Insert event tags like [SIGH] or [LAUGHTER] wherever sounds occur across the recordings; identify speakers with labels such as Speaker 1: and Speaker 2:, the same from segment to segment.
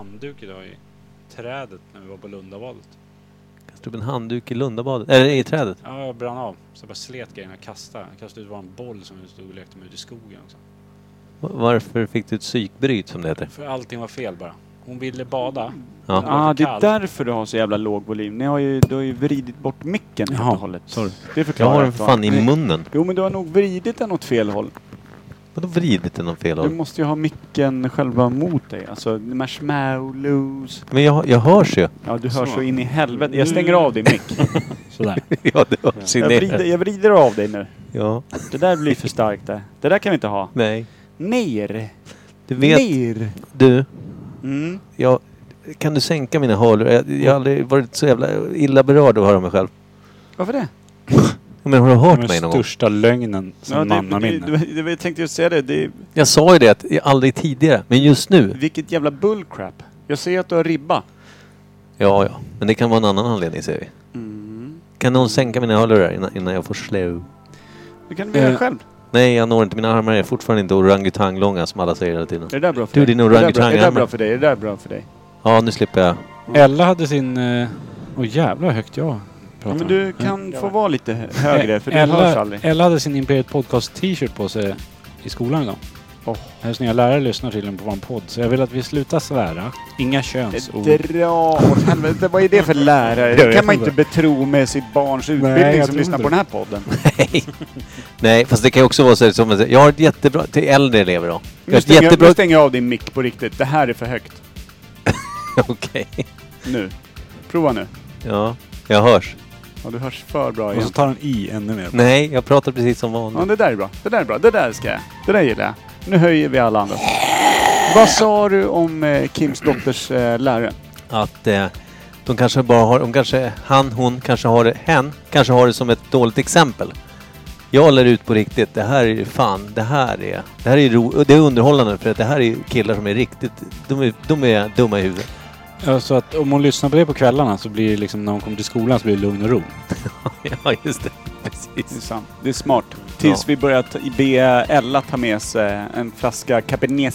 Speaker 1: handduk idag i trädet när vi var på Lundavalet.
Speaker 2: Kastade upp en handduk i Lundabadet. Eller i trädet.
Speaker 1: Ja, jag brann av. Så jag bara slet grejerna och kastade. Jag kastade ut en boll som vi stod och lekte med ute i skogen också.
Speaker 2: Va- Varför fick du ett psykbryt som det heter?
Speaker 1: För allting var fel bara. Hon ville bada.
Speaker 2: Ja.
Speaker 1: Den var
Speaker 3: Ah,
Speaker 1: för
Speaker 3: det är
Speaker 1: kall.
Speaker 3: därför du har så jävla låg volym. Ni har ju, du har ju vridit bort micken helt
Speaker 1: Jaha,
Speaker 3: och hållet.
Speaker 1: sorry.
Speaker 3: Det
Speaker 2: Jag
Speaker 3: förklarar
Speaker 2: har den för
Speaker 3: va?
Speaker 2: fan
Speaker 3: Nej.
Speaker 2: i munnen.
Speaker 3: Jo, men du har nog vridit den åt fel håll.
Speaker 2: Vadå vridit den åt fel
Speaker 3: Du
Speaker 2: håll?
Speaker 3: måste ju ha micken själva mot dig. Alltså, marshmallows.
Speaker 2: Men jag, jag hörs ju.
Speaker 3: Ja, du hör
Speaker 1: Så.
Speaker 3: så in i helvete. Jag stänger av din mick.
Speaker 1: [LAUGHS] Sådär.
Speaker 2: [LAUGHS] Ja, det hörs ju
Speaker 3: Jag vrider,
Speaker 2: ner.
Speaker 3: jag vrider av dig nu.
Speaker 2: Ja,
Speaker 3: Det där blir för starkt det. Det där kan vi inte ha.
Speaker 2: nej.
Speaker 3: Ner!
Speaker 2: Du vet,
Speaker 3: Ner!
Speaker 2: du.
Speaker 3: Mm.
Speaker 2: Jag, kan du sänka mina hörlurar? Jag, jag har aldrig varit så jävla illa berörd av att höra mig själv.
Speaker 3: Varför det?
Speaker 2: Men har du hört
Speaker 1: Den
Speaker 2: mig någon gång?
Speaker 1: största lögnen
Speaker 3: Ja,
Speaker 1: som
Speaker 3: det,
Speaker 1: mannaminne.
Speaker 3: det, det, det, jag tänkte just säga det. det.
Speaker 2: Jag sa ju det att jag aldrig tidigare, men just nu.
Speaker 3: Vilket jävla bullcrap. Jag ser att du har ribba.
Speaker 2: Ja, ja. Men det kan vara en annan anledning säger vi.
Speaker 3: Mm.
Speaker 2: Kan någon sänka mina hörlurar innan, innan jag får slå?
Speaker 3: Det kan du göra
Speaker 1: Eh.
Speaker 3: själv.
Speaker 2: Nej, jag når inte. Mina armar är fortfarande inte orangutanglånga som alla säger hela tiden.
Speaker 3: Är det där bra för
Speaker 2: Du,
Speaker 3: dig?
Speaker 2: din
Speaker 3: Är det där bra-
Speaker 2: orangutangarm.
Speaker 3: Är det där bra för dig? Är det där bra för dig?
Speaker 2: Ja, nu slipper jag. [LAUGHS]
Speaker 1: Ella hade sin... eh, Åh jävlar vad högt jag
Speaker 3: Ja,
Speaker 1: pratar. Eh,
Speaker 3: men du kan få vara lite hö- högre för du hörs
Speaker 1: Ella,
Speaker 3: aldrig.
Speaker 1: Ella hade sin Imperiet Podcast t-shirt på sig i skolan idag.
Speaker 3: Åh.
Speaker 1: Hennes nya lärare lyssnar tydligen på vår podd. Så jag vill att vi slutar svära. Inga könsord.
Speaker 3: Dra åt helvete. Vad är det för lärare?
Speaker 1: Jag
Speaker 3: Det
Speaker 1: vet
Speaker 3: kan man
Speaker 1: inte.
Speaker 3: inte betro med sitt barns utbildning
Speaker 1: jag
Speaker 3: som
Speaker 1: tror
Speaker 3: lyssnar
Speaker 1: inte
Speaker 3: på
Speaker 1: det.
Speaker 3: den här podden.
Speaker 2: Nej. Nej, fast det kan ju också vara så här som man säger, jag har ett jättebra, till äldre elever då. Jag har
Speaker 3: Nu
Speaker 2: ett
Speaker 3: stänger, jag, nu
Speaker 2: jättebra... [LAUGHS]
Speaker 3: stänger jag av din mick på riktigt. Det här är för högt.
Speaker 2: Okej.
Speaker 3: Nu. Prova nu.
Speaker 2: Ja, jag hörs.
Speaker 3: Ja, du hörs för bra
Speaker 1: Och
Speaker 3: igen.
Speaker 1: så tar han i ännu mer.
Speaker 2: Nej, jag pratar precis som vanligt.
Speaker 3: Ja, det där är bra. Det där är bra. Det där ska jag. Det där gillar jag. Nu höjer vi alla andra. Vad sa du om eh, Kims dotters eh, lärare?
Speaker 2: Att eh, de kanske bara har, de kanske, han, hon, kanske har det, hen, kanske har det som ett dåligt exempel. Jag lär ut på riktigt, det här är fan, det här är, det här är, ro, det är underhållande för att det här är killar som är riktigt, de är, de är dumma i huvudet. [LAUGHS]
Speaker 1: Ja, så att om hon lyssnar på det på kvällarna så blir det liksom när hon kommer till skolan så blir det lugn och ro.
Speaker 2: ja, just det.
Speaker 3: Det är
Speaker 2: Precis.
Speaker 3: sant. Det är smart. Tills
Speaker 2: Ja.
Speaker 3: vi börjar ta- be Ella ta med sig en flaska Cabernet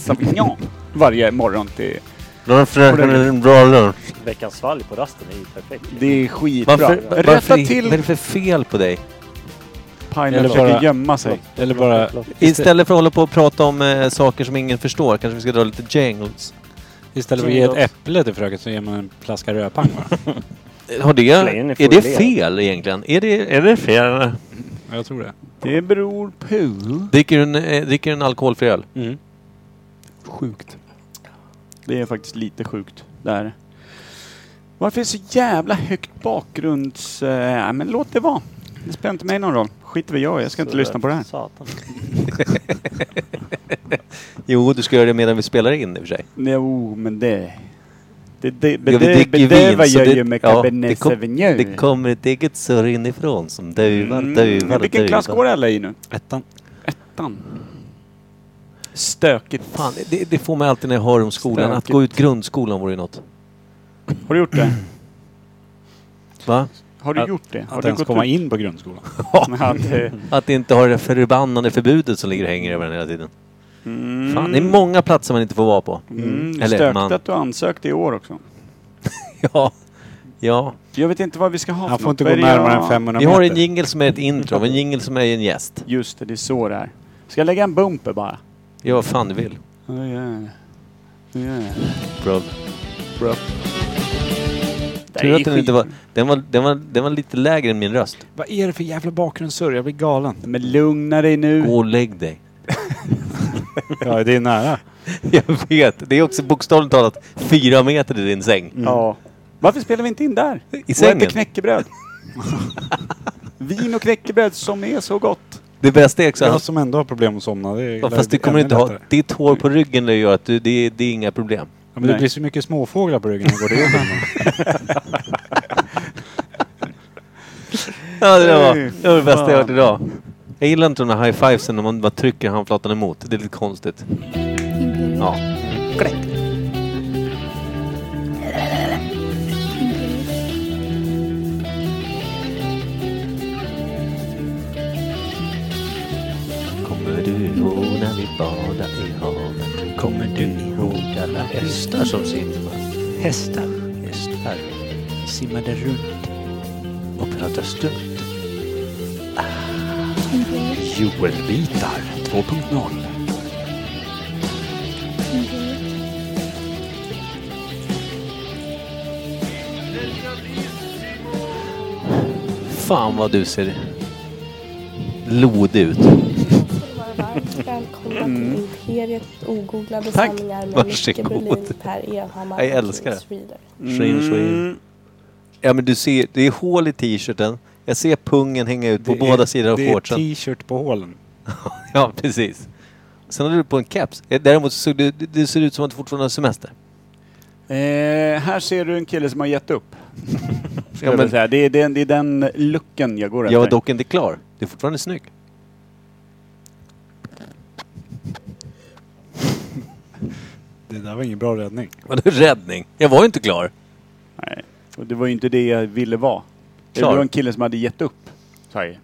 Speaker 2: [LAUGHS]
Speaker 3: Sauvignon varje morgon till...
Speaker 2: Lunch, lunch, bra lunch.
Speaker 4: Veckans svalg på rasten är ju perfekt.
Speaker 3: Det är skitbra.
Speaker 2: Varför,
Speaker 3: Rätta
Speaker 2: varför, vad är det
Speaker 3: till
Speaker 2: för fel på dig?
Speaker 3: Pajlen
Speaker 1: Eller
Speaker 3: försöker
Speaker 1: bara-
Speaker 3: gömma sig.
Speaker 1: Eller bara...
Speaker 2: Istället för att hålla på och prata om eh, saker som ingen förstår kanske vi ska dra lite jingles.
Speaker 1: Istället för att ge ett äpple till fröken så ger man en flaska rödpang bara.
Speaker 2: Eh, Har det,
Speaker 4: Slängen är
Speaker 2: är det
Speaker 4: full
Speaker 2: fel egentligen? Är det, är det fel?
Speaker 1: [LAUGHS] Ja, jag tror det.
Speaker 3: Det beror på...
Speaker 2: Dricker du en, eh, dricker du en alkoholfri öl?
Speaker 1: Mm.
Speaker 3: Sjukt. Det är faktiskt lite sjukt där. Varför är det så jävla högt bakgrunds... Eh, men låt det vara. Det spelar inte mig någon roll. Skit i vad jag är. Jag ska inte
Speaker 4: Så,
Speaker 3: lyssna på det här.
Speaker 4: Satan.
Speaker 2: Jo, du ska göra det medan vi spelar in i och för sig.
Speaker 3: Jo, oh, men det... Det, det,
Speaker 2: Ja, vi
Speaker 3: det
Speaker 2: dricker ju
Speaker 3: bedövar
Speaker 2: vin, så
Speaker 3: jag
Speaker 2: det-
Speaker 3: ju med
Speaker 2: ja, det
Speaker 3: Cabernet
Speaker 2: kom-
Speaker 3: Sauvignon.
Speaker 2: Det kommer ett eget surr inifrån som duvar,
Speaker 3: Mm,
Speaker 2: duvar,
Speaker 3: Vilken
Speaker 2: duvar.
Speaker 3: klass går alla i nu?
Speaker 1: Ettan.
Speaker 3: Ettan. Stökigt.
Speaker 2: Fan, det, det får mig alltid när jag hör om skolan. Att
Speaker 3: Stökigt.
Speaker 2: gå ut grundskolan vore ju något.
Speaker 3: Har du gjort det?
Speaker 2: Va?
Speaker 3: Har du
Speaker 1: Att-
Speaker 3: gjort det? Har
Speaker 1: Att
Speaker 3: du
Speaker 1: ens komma in på grundskolan.
Speaker 3: Ja, det-
Speaker 2: Att inte ha det förbannade förbudet som ligger och hänger över den hela tiden.
Speaker 3: Mm.
Speaker 2: Fan, det är många platser man inte får vara på.
Speaker 3: Mm.
Speaker 2: Eller
Speaker 3: Stökigt
Speaker 2: man.
Speaker 3: att du ansökte i år också.
Speaker 2: [LAUGHS] Ja. Ja.
Speaker 3: Jag vet inte vad vi ska ha
Speaker 1: Han
Speaker 3: för
Speaker 1: får
Speaker 3: något.
Speaker 1: inte gå
Speaker 3: Vad är det
Speaker 1: närmare
Speaker 3: jag-
Speaker 1: än 500
Speaker 2: Vi
Speaker 1: meter.
Speaker 2: har en jingle som är ett intro, en jingle som är en gäst.
Speaker 3: Just det, det är så det är. Ska jag lägga en bumper bara?
Speaker 2: Gör vad fan du vill.
Speaker 3: Ja, det gör jag. Det gör jag.
Speaker 2: Bro.
Speaker 3: Bro.
Speaker 2: Tur att den inte var... Den var, den var... den var lite lägre än min röst.
Speaker 1: Vad är det för jävla bakgrundssurr? Jag blir galen.
Speaker 3: Men lugna dig nu.
Speaker 2: Gå och lägg dig. [LAUGHS]
Speaker 1: Ja, det är nära.
Speaker 2: Jag vet. Det är också bokstavligt talat fyra meter till din säng.
Speaker 3: Mm. Ja. Varför spelar vi inte in där?
Speaker 2: I
Speaker 3: Och
Speaker 2: sängen.
Speaker 3: äter [LAUGHS] knäckebröd. Vin och knäckebröd som är så gott.
Speaker 2: Det bästa är också...
Speaker 1: Jag
Speaker 2: Han...
Speaker 1: som ändå har problem att somna. Det är,
Speaker 2: Ja,
Speaker 1: det
Speaker 2: fast du
Speaker 1: blir
Speaker 2: kommer
Speaker 1: ännu
Speaker 2: inte ha...
Speaker 1: lättare.
Speaker 2: Ditt hår på ryggen det gör att du... Det, det är inga problem.
Speaker 1: Ja, men det
Speaker 3: Nej.
Speaker 1: blir så mycket småfåglar på ryggen när jag
Speaker 2: [LAUGHS]
Speaker 1: går till jobbet.
Speaker 2: Ja, det där var
Speaker 3: Fy
Speaker 2: det, var det bästa jag hört
Speaker 3: fan.
Speaker 2: idag. Jag gillar inte de här high-fivesen när man bara trycker handflatan emot. Det är lite konstigt. Ja. Kommer du ihåg när vi badade i havet? Kommer du ihåg alla hästar som simmar?
Speaker 5: Hästar, hästar simmade runt och pratade strunt. Ah, Joelbitar 2.0.
Speaker 2: Fan vad du ser lodig ut.
Speaker 6: Varmt välkomna till Imperiet ogooglade
Speaker 3: Tack.
Speaker 6: sanningar
Speaker 2: Mm.
Speaker 6: med
Speaker 2: Varsågod.
Speaker 6: Micke Berlin, Per Evhammar
Speaker 2: Jag
Speaker 6: och
Speaker 2: älskar
Speaker 6: James Reader.
Speaker 2: Shrein, shrein.
Speaker 3: Mm.
Speaker 2: Ja men du ser, det är hål i t-shirten. Jag ser pungen hänga ut på
Speaker 1: Det är-
Speaker 2: båda sidor av shortsen.
Speaker 1: Det är t-shirt på hålen.
Speaker 2: [LAUGHS] Ja, precis. Sen hade du på en caps. Eh, Däremot så såg du, det- det ser ut som att du fortfarande har semester.
Speaker 3: Eh, här ser du en kille som har gett [LAUGHS] upp.
Speaker 2: Ja,
Speaker 3: Ja,
Speaker 2: men-
Speaker 3: men... säga. Det, är, det, är, det är den lucken jag går
Speaker 2: Jag var
Speaker 3: efter.
Speaker 2: dock inte klar. Du är fortfarande snygg.
Speaker 1: Det där var ingen bra räddning.
Speaker 2: Vadå räddning? Jag var ju inte klar.
Speaker 3: Nej. Och det var ju inte det jag ville vara. Det
Speaker 2: Klar.
Speaker 3: var en kille som hade gett upp. Sorry.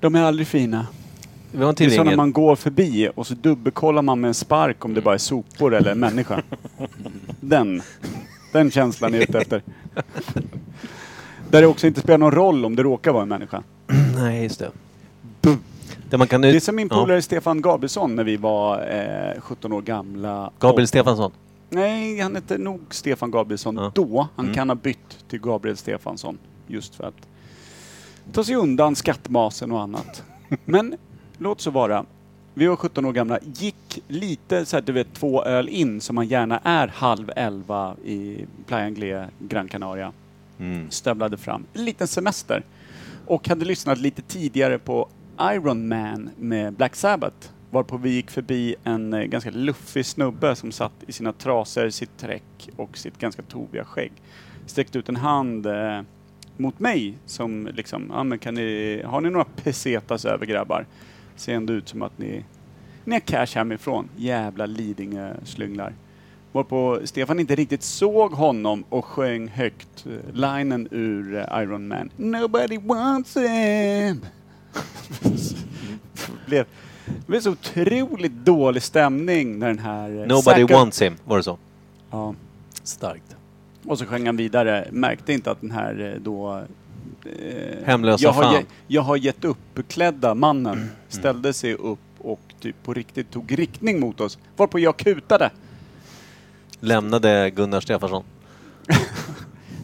Speaker 3: De är aldrig fina.
Speaker 2: Vi har en
Speaker 3: Det är
Speaker 2: till
Speaker 3: så när
Speaker 2: ringel.
Speaker 3: man går förbi och så dubbelkollar man med en spark
Speaker 2: Mm.
Speaker 3: om det bara är sopor eller en människa. Den. Den känslan är jag ute efter. Där det också inte spelar någon roll om det råkar vara en människa.
Speaker 2: [CLEARS THROAT] Nej, just det. Där man kan ut...
Speaker 3: Det är som min
Speaker 2: Ja.
Speaker 3: polare Stefan Gabrielsson när vi var eh, 17 år gamla.
Speaker 2: Gabriel Stefansson.
Speaker 3: Nej, han hette nog Stefan Gabrielsson
Speaker 2: Ja.
Speaker 3: då. Han
Speaker 2: Mm.
Speaker 3: kan ha bytt till Gabriel Stefansson. Just för att ta sig undan skattmasen och
Speaker 2: [LAUGHS]
Speaker 3: annat. Men låt så vara. Vi var 17 år gamla. Gick lite så här, du vet, två öl in som man gärna är halv elva i Playa Anglais, Gran Canaria.
Speaker 2: Mm.
Speaker 3: Stövlade fram. En liten semester. Och hade lyssnat lite tidigare på Iron Man med Black Sabbath. Varpå vi gick förbi en eh, ganska luffig snubbe som satt i sina trasor, sitt träck och sitt ganska toviga skägg. Sträckte ut en hand eh, mot mig som liksom, ja men kan ni, har ni några pesetas över grabbar? Ser ändå ut som att ni, ni har cash hemifrån. Jävla Lidingö-slynglar. Varpå Stefan inte riktigt såg honom och sjöng högt eh, linen ur eh, Iron Man. Nobody
Speaker 2: [LAUGHS]
Speaker 3: wants him. blev, det blev så otroligt dålig stämning när den här... eh,
Speaker 2: Nobody
Speaker 3: Zac-
Speaker 2: wants him, var det så?
Speaker 3: Ja.
Speaker 2: Starkt.
Speaker 3: Och så sjöng han vidare, märkte inte att den här eh, då... Eh,
Speaker 2: Hemlösa
Speaker 3: jag har,
Speaker 2: fan. Mm.
Speaker 3: ge, jag har gett upp-klädda mannen ställde sig upp och typ på riktigt tog riktning mot oss. Varpå jag kutade.
Speaker 2: Lämnade Gunnar Stefansson.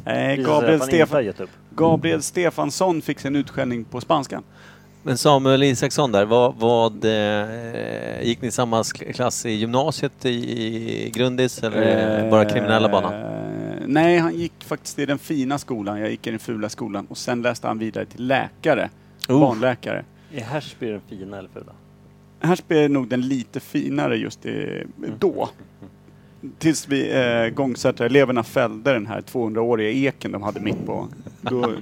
Speaker 3: Eh,
Speaker 4: Visar sig
Speaker 3: Gabriel,
Speaker 4: att han inte har
Speaker 3: Stefan,
Speaker 4: gett upp.
Speaker 3: Gabriel Stefansson fick sin utskällning på spanska.
Speaker 2: Men Samuel Isaksson där, vad... vad eh, gick ni i samma sk- klass i gymnasiet i, i Grundis eller eh, bara kriminella banan?
Speaker 3: Eh, Nej, han gick faktiskt i den fina skolan. Jag gick i den fula skolan. Och sen läste han vidare till läkare. Barnläkare.
Speaker 4: Är Hersby den fina eller fula?
Speaker 3: Här spelar nog den lite finare just i, då. Tills vi eh, gångsättareleverna fällde den här 200-åriga eken de hade mitt på. Då,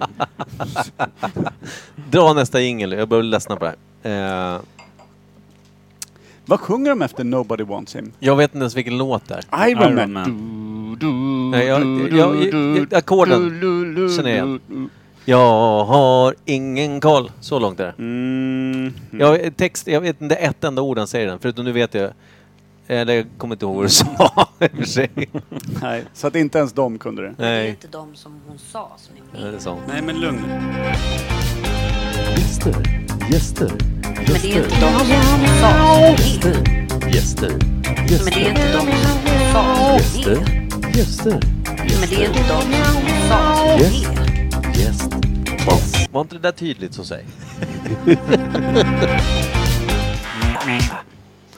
Speaker 2: Dra nästa jingel, jag börjar ledsna på det här. Eh,
Speaker 3: vad sjunger de efter Nobody Wants Him?
Speaker 2: jag vet inte ens vilken låt det är.
Speaker 3: Iron,
Speaker 1: Iron
Speaker 3: Man.
Speaker 1: Man.
Speaker 3: Du, du,
Speaker 2: Nej, jag-
Speaker 3: du,
Speaker 2: jag- jag-
Speaker 3: du,
Speaker 2: jag- ackorden
Speaker 3: du, du, du,
Speaker 2: känner jag igen.
Speaker 3: du, du.
Speaker 2: Jag har ingen koll. Så långt är det.
Speaker 3: Mm.
Speaker 2: Jag, text, jag vet inte ett enda ord han säger i den, förutom nu vet jag. Eller jag kommer inte ihåg vad du [LAUGHS] sa i och för
Speaker 3: [LAUGHS]
Speaker 2: sig.
Speaker 3: Nej, så att inte ens de kunde det.
Speaker 7: Det är ju
Speaker 2: Nej,
Speaker 7: inte de som hon sa som är
Speaker 2: det är
Speaker 7: med.
Speaker 2: sånt.
Speaker 3: Nej, men lugn.
Speaker 5: Gäster, gäster,
Speaker 7: Men det är
Speaker 5: gäster,
Speaker 7: inte de som hon sa som är med.
Speaker 5: gäster,
Speaker 7: Men det är
Speaker 5: gäster,
Speaker 7: inte de som hon sa som
Speaker 5: gäster,
Speaker 7: är med.
Speaker 5: gäster,
Speaker 7: Men det är inte de som hon sa som är med.
Speaker 5: gäst.
Speaker 2: Var inte det där tydligt så säg?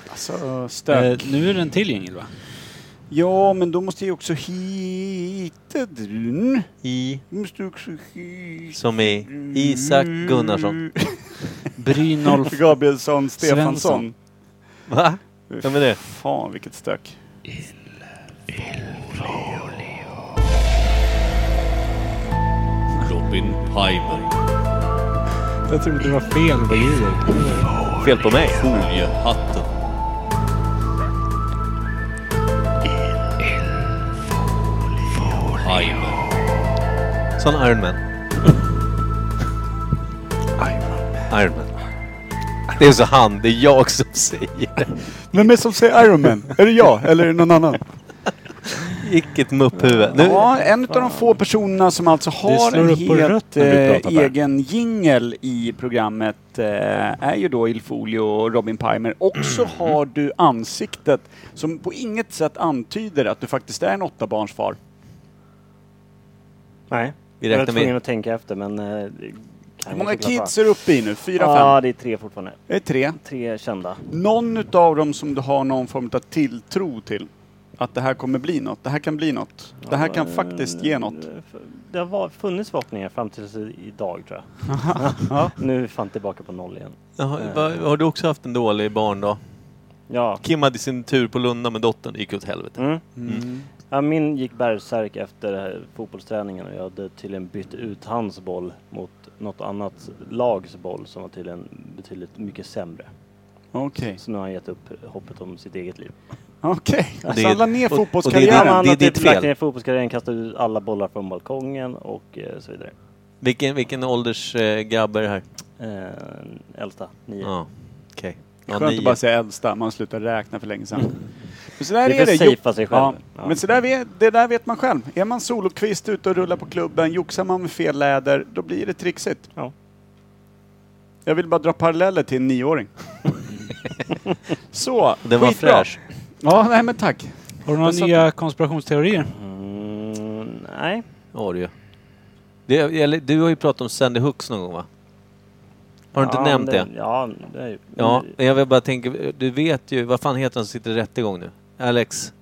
Speaker 3: Alltså,
Speaker 1: Eh,
Speaker 3: stök.
Speaker 1: nu är det en till jingel va?
Speaker 3: Ja, men då måste jag också hitta den.
Speaker 2: I
Speaker 3: Då måste jag också hitta...
Speaker 2: som i Isak Gunnarsson.
Speaker 1: Brynolf
Speaker 3: Gabrielsson Stefansson.
Speaker 1: Svensson.
Speaker 2: Va? Vem är det?
Speaker 3: Fan, vilket stök.
Speaker 8: Robin Piper,
Speaker 1: Jag trodde det var fel på ljudet.
Speaker 2: Fel på mig?
Speaker 8: foliehatten. Piper,
Speaker 2: Sån Iron Man. Iron Man. Det är så han, det är jag som säger det.
Speaker 3: Vem är det som säger Iron Man? är det jag eller är det någon annan?
Speaker 2: Vilket mupphuvud. Nu,
Speaker 3: Ja, en av de få personerna som alltså har
Speaker 1: slår
Speaker 3: en
Speaker 1: upp på
Speaker 3: helt
Speaker 1: rött när vi
Speaker 3: eh,
Speaker 1: pratar, Per.
Speaker 3: egen jingel i programmet eh, är ju då Ilfolio och Robin Pimer. Och så
Speaker 1: Mm.
Speaker 3: har du ansiktet som på inget sätt antyder att du faktiskt är en åttabarnsfar.
Speaker 4: Nej.
Speaker 2: Vi
Speaker 4: jag var
Speaker 2: räknar med-
Speaker 4: tvungen att tänka efter men... eh, det kan
Speaker 3: Hur
Speaker 4: ju
Speaker 3: många
Speaker 4: såklart
Speaker 3: kids
Speaker 4: vara.
Speaker 3: är du uppe i nu? Fyra,
Speaker 4: Ja,
Speaker 3: fem?
Speaker 4: det är tre fortfarande.
Speaker 3: Det är tre.
Speaker 4: Tre kända.
Speaker 3: Någon utav dem som du har någon form av tilltro till? Att det här kommer bli något, det här kan bli något, det här kan
Speaker 4: Eh,
Speaker 3: faktiskt ge något.
Speaker 4: Det har var- funnits förhoppningar fram till idag tror jag.
Speaker 3: [LAUGHS] Ja.
Speaker 4: Nu är fan tillbaka på noll igen.
Speaker 2: Jaha, va- har du också haft en dålig barn då?
Speaker 4: Ja.
Speaker 2: Kim hade sin tur på Lunda med dottern. Det gick åt helvete.
Speaker 4: Mm. ja min gick bärsärk efter det här fotbollsträningen och jag hade tydligen bytt ut hans boll mot något annat lags boll som var tydligen betydligt mycket sämre.
Speaker 3: Okej.
Speaker 4: Så nu har han gett upp hoppet om sitt eget liv.
Speaker 3: Okej.
Speaker 2: Och det
Speaker 3: Så
Speaker 2: är-
Speaker 3: han la ner
Speaker 2: och- och det är
Speaker 3: fotbollskarriären.
Speaker 2: det-
Speaker 4: han har
Speaker 2: ditt
Speaker 4: typ lagt
Speaker 2: fel.
Speaker 4: ner fotbollskarriären, kastat ut alla bollar från balkongen och eh, så vidare.
Speaker 2: Vilken, vilken ålders eh, grabb är det här?
Speaker 4: Eh, äldsta, nio.
Speaker 2: Ja, okej. Ja,
Speaker 3: Skönt
Speaker 2: nio.
Speaker 3: att bara säga äldsta, man slutar räkna för länge
Speaker 2: Mm.
Speaker 3: sedan. Men så där
Speaker 4: Det är för
Speaker 3: det.
Speaker 4: att safea
Speaker 3: Jo-
Speaker 4: sig själv.
Speaker 3: Ja.
Speaker 4: Ja.
Speaker 3: Men så där vet, det där vet man själv. Är man solokvist ute och rullar på klubben, joxar man med fel läder, då blir det trixigt.
Speaker 4: Ja.
Speaker 3: Jag vill bara dra paralleller till
Speaker 2: [LAUGHS]
Speaker 3: en nioåring. så,
Speaker 2: Den var
Speaker 3: skitbra.
Speaker 2: fräsch.
Speaker 3: Ja, nej men tack.
Speaker 1: Har du några
Speaker 3: Jag satt-
Speaker 1: nya konspirationsteorier?
Speaker 4: Mm, nej.
Speaker 2: Ja, det, är. det eller, Du har ju pratat om Sandy Hooks någon gång va? Har du inte
Speaker 4: ja,
Speaker 2: nämnt det?
Speaker 4: Ja, det är ju...
Speaker 2: Ja, men jag vill bara tänka, du vet ju, vad fan heter han som sitter i rättegång nu? Alex,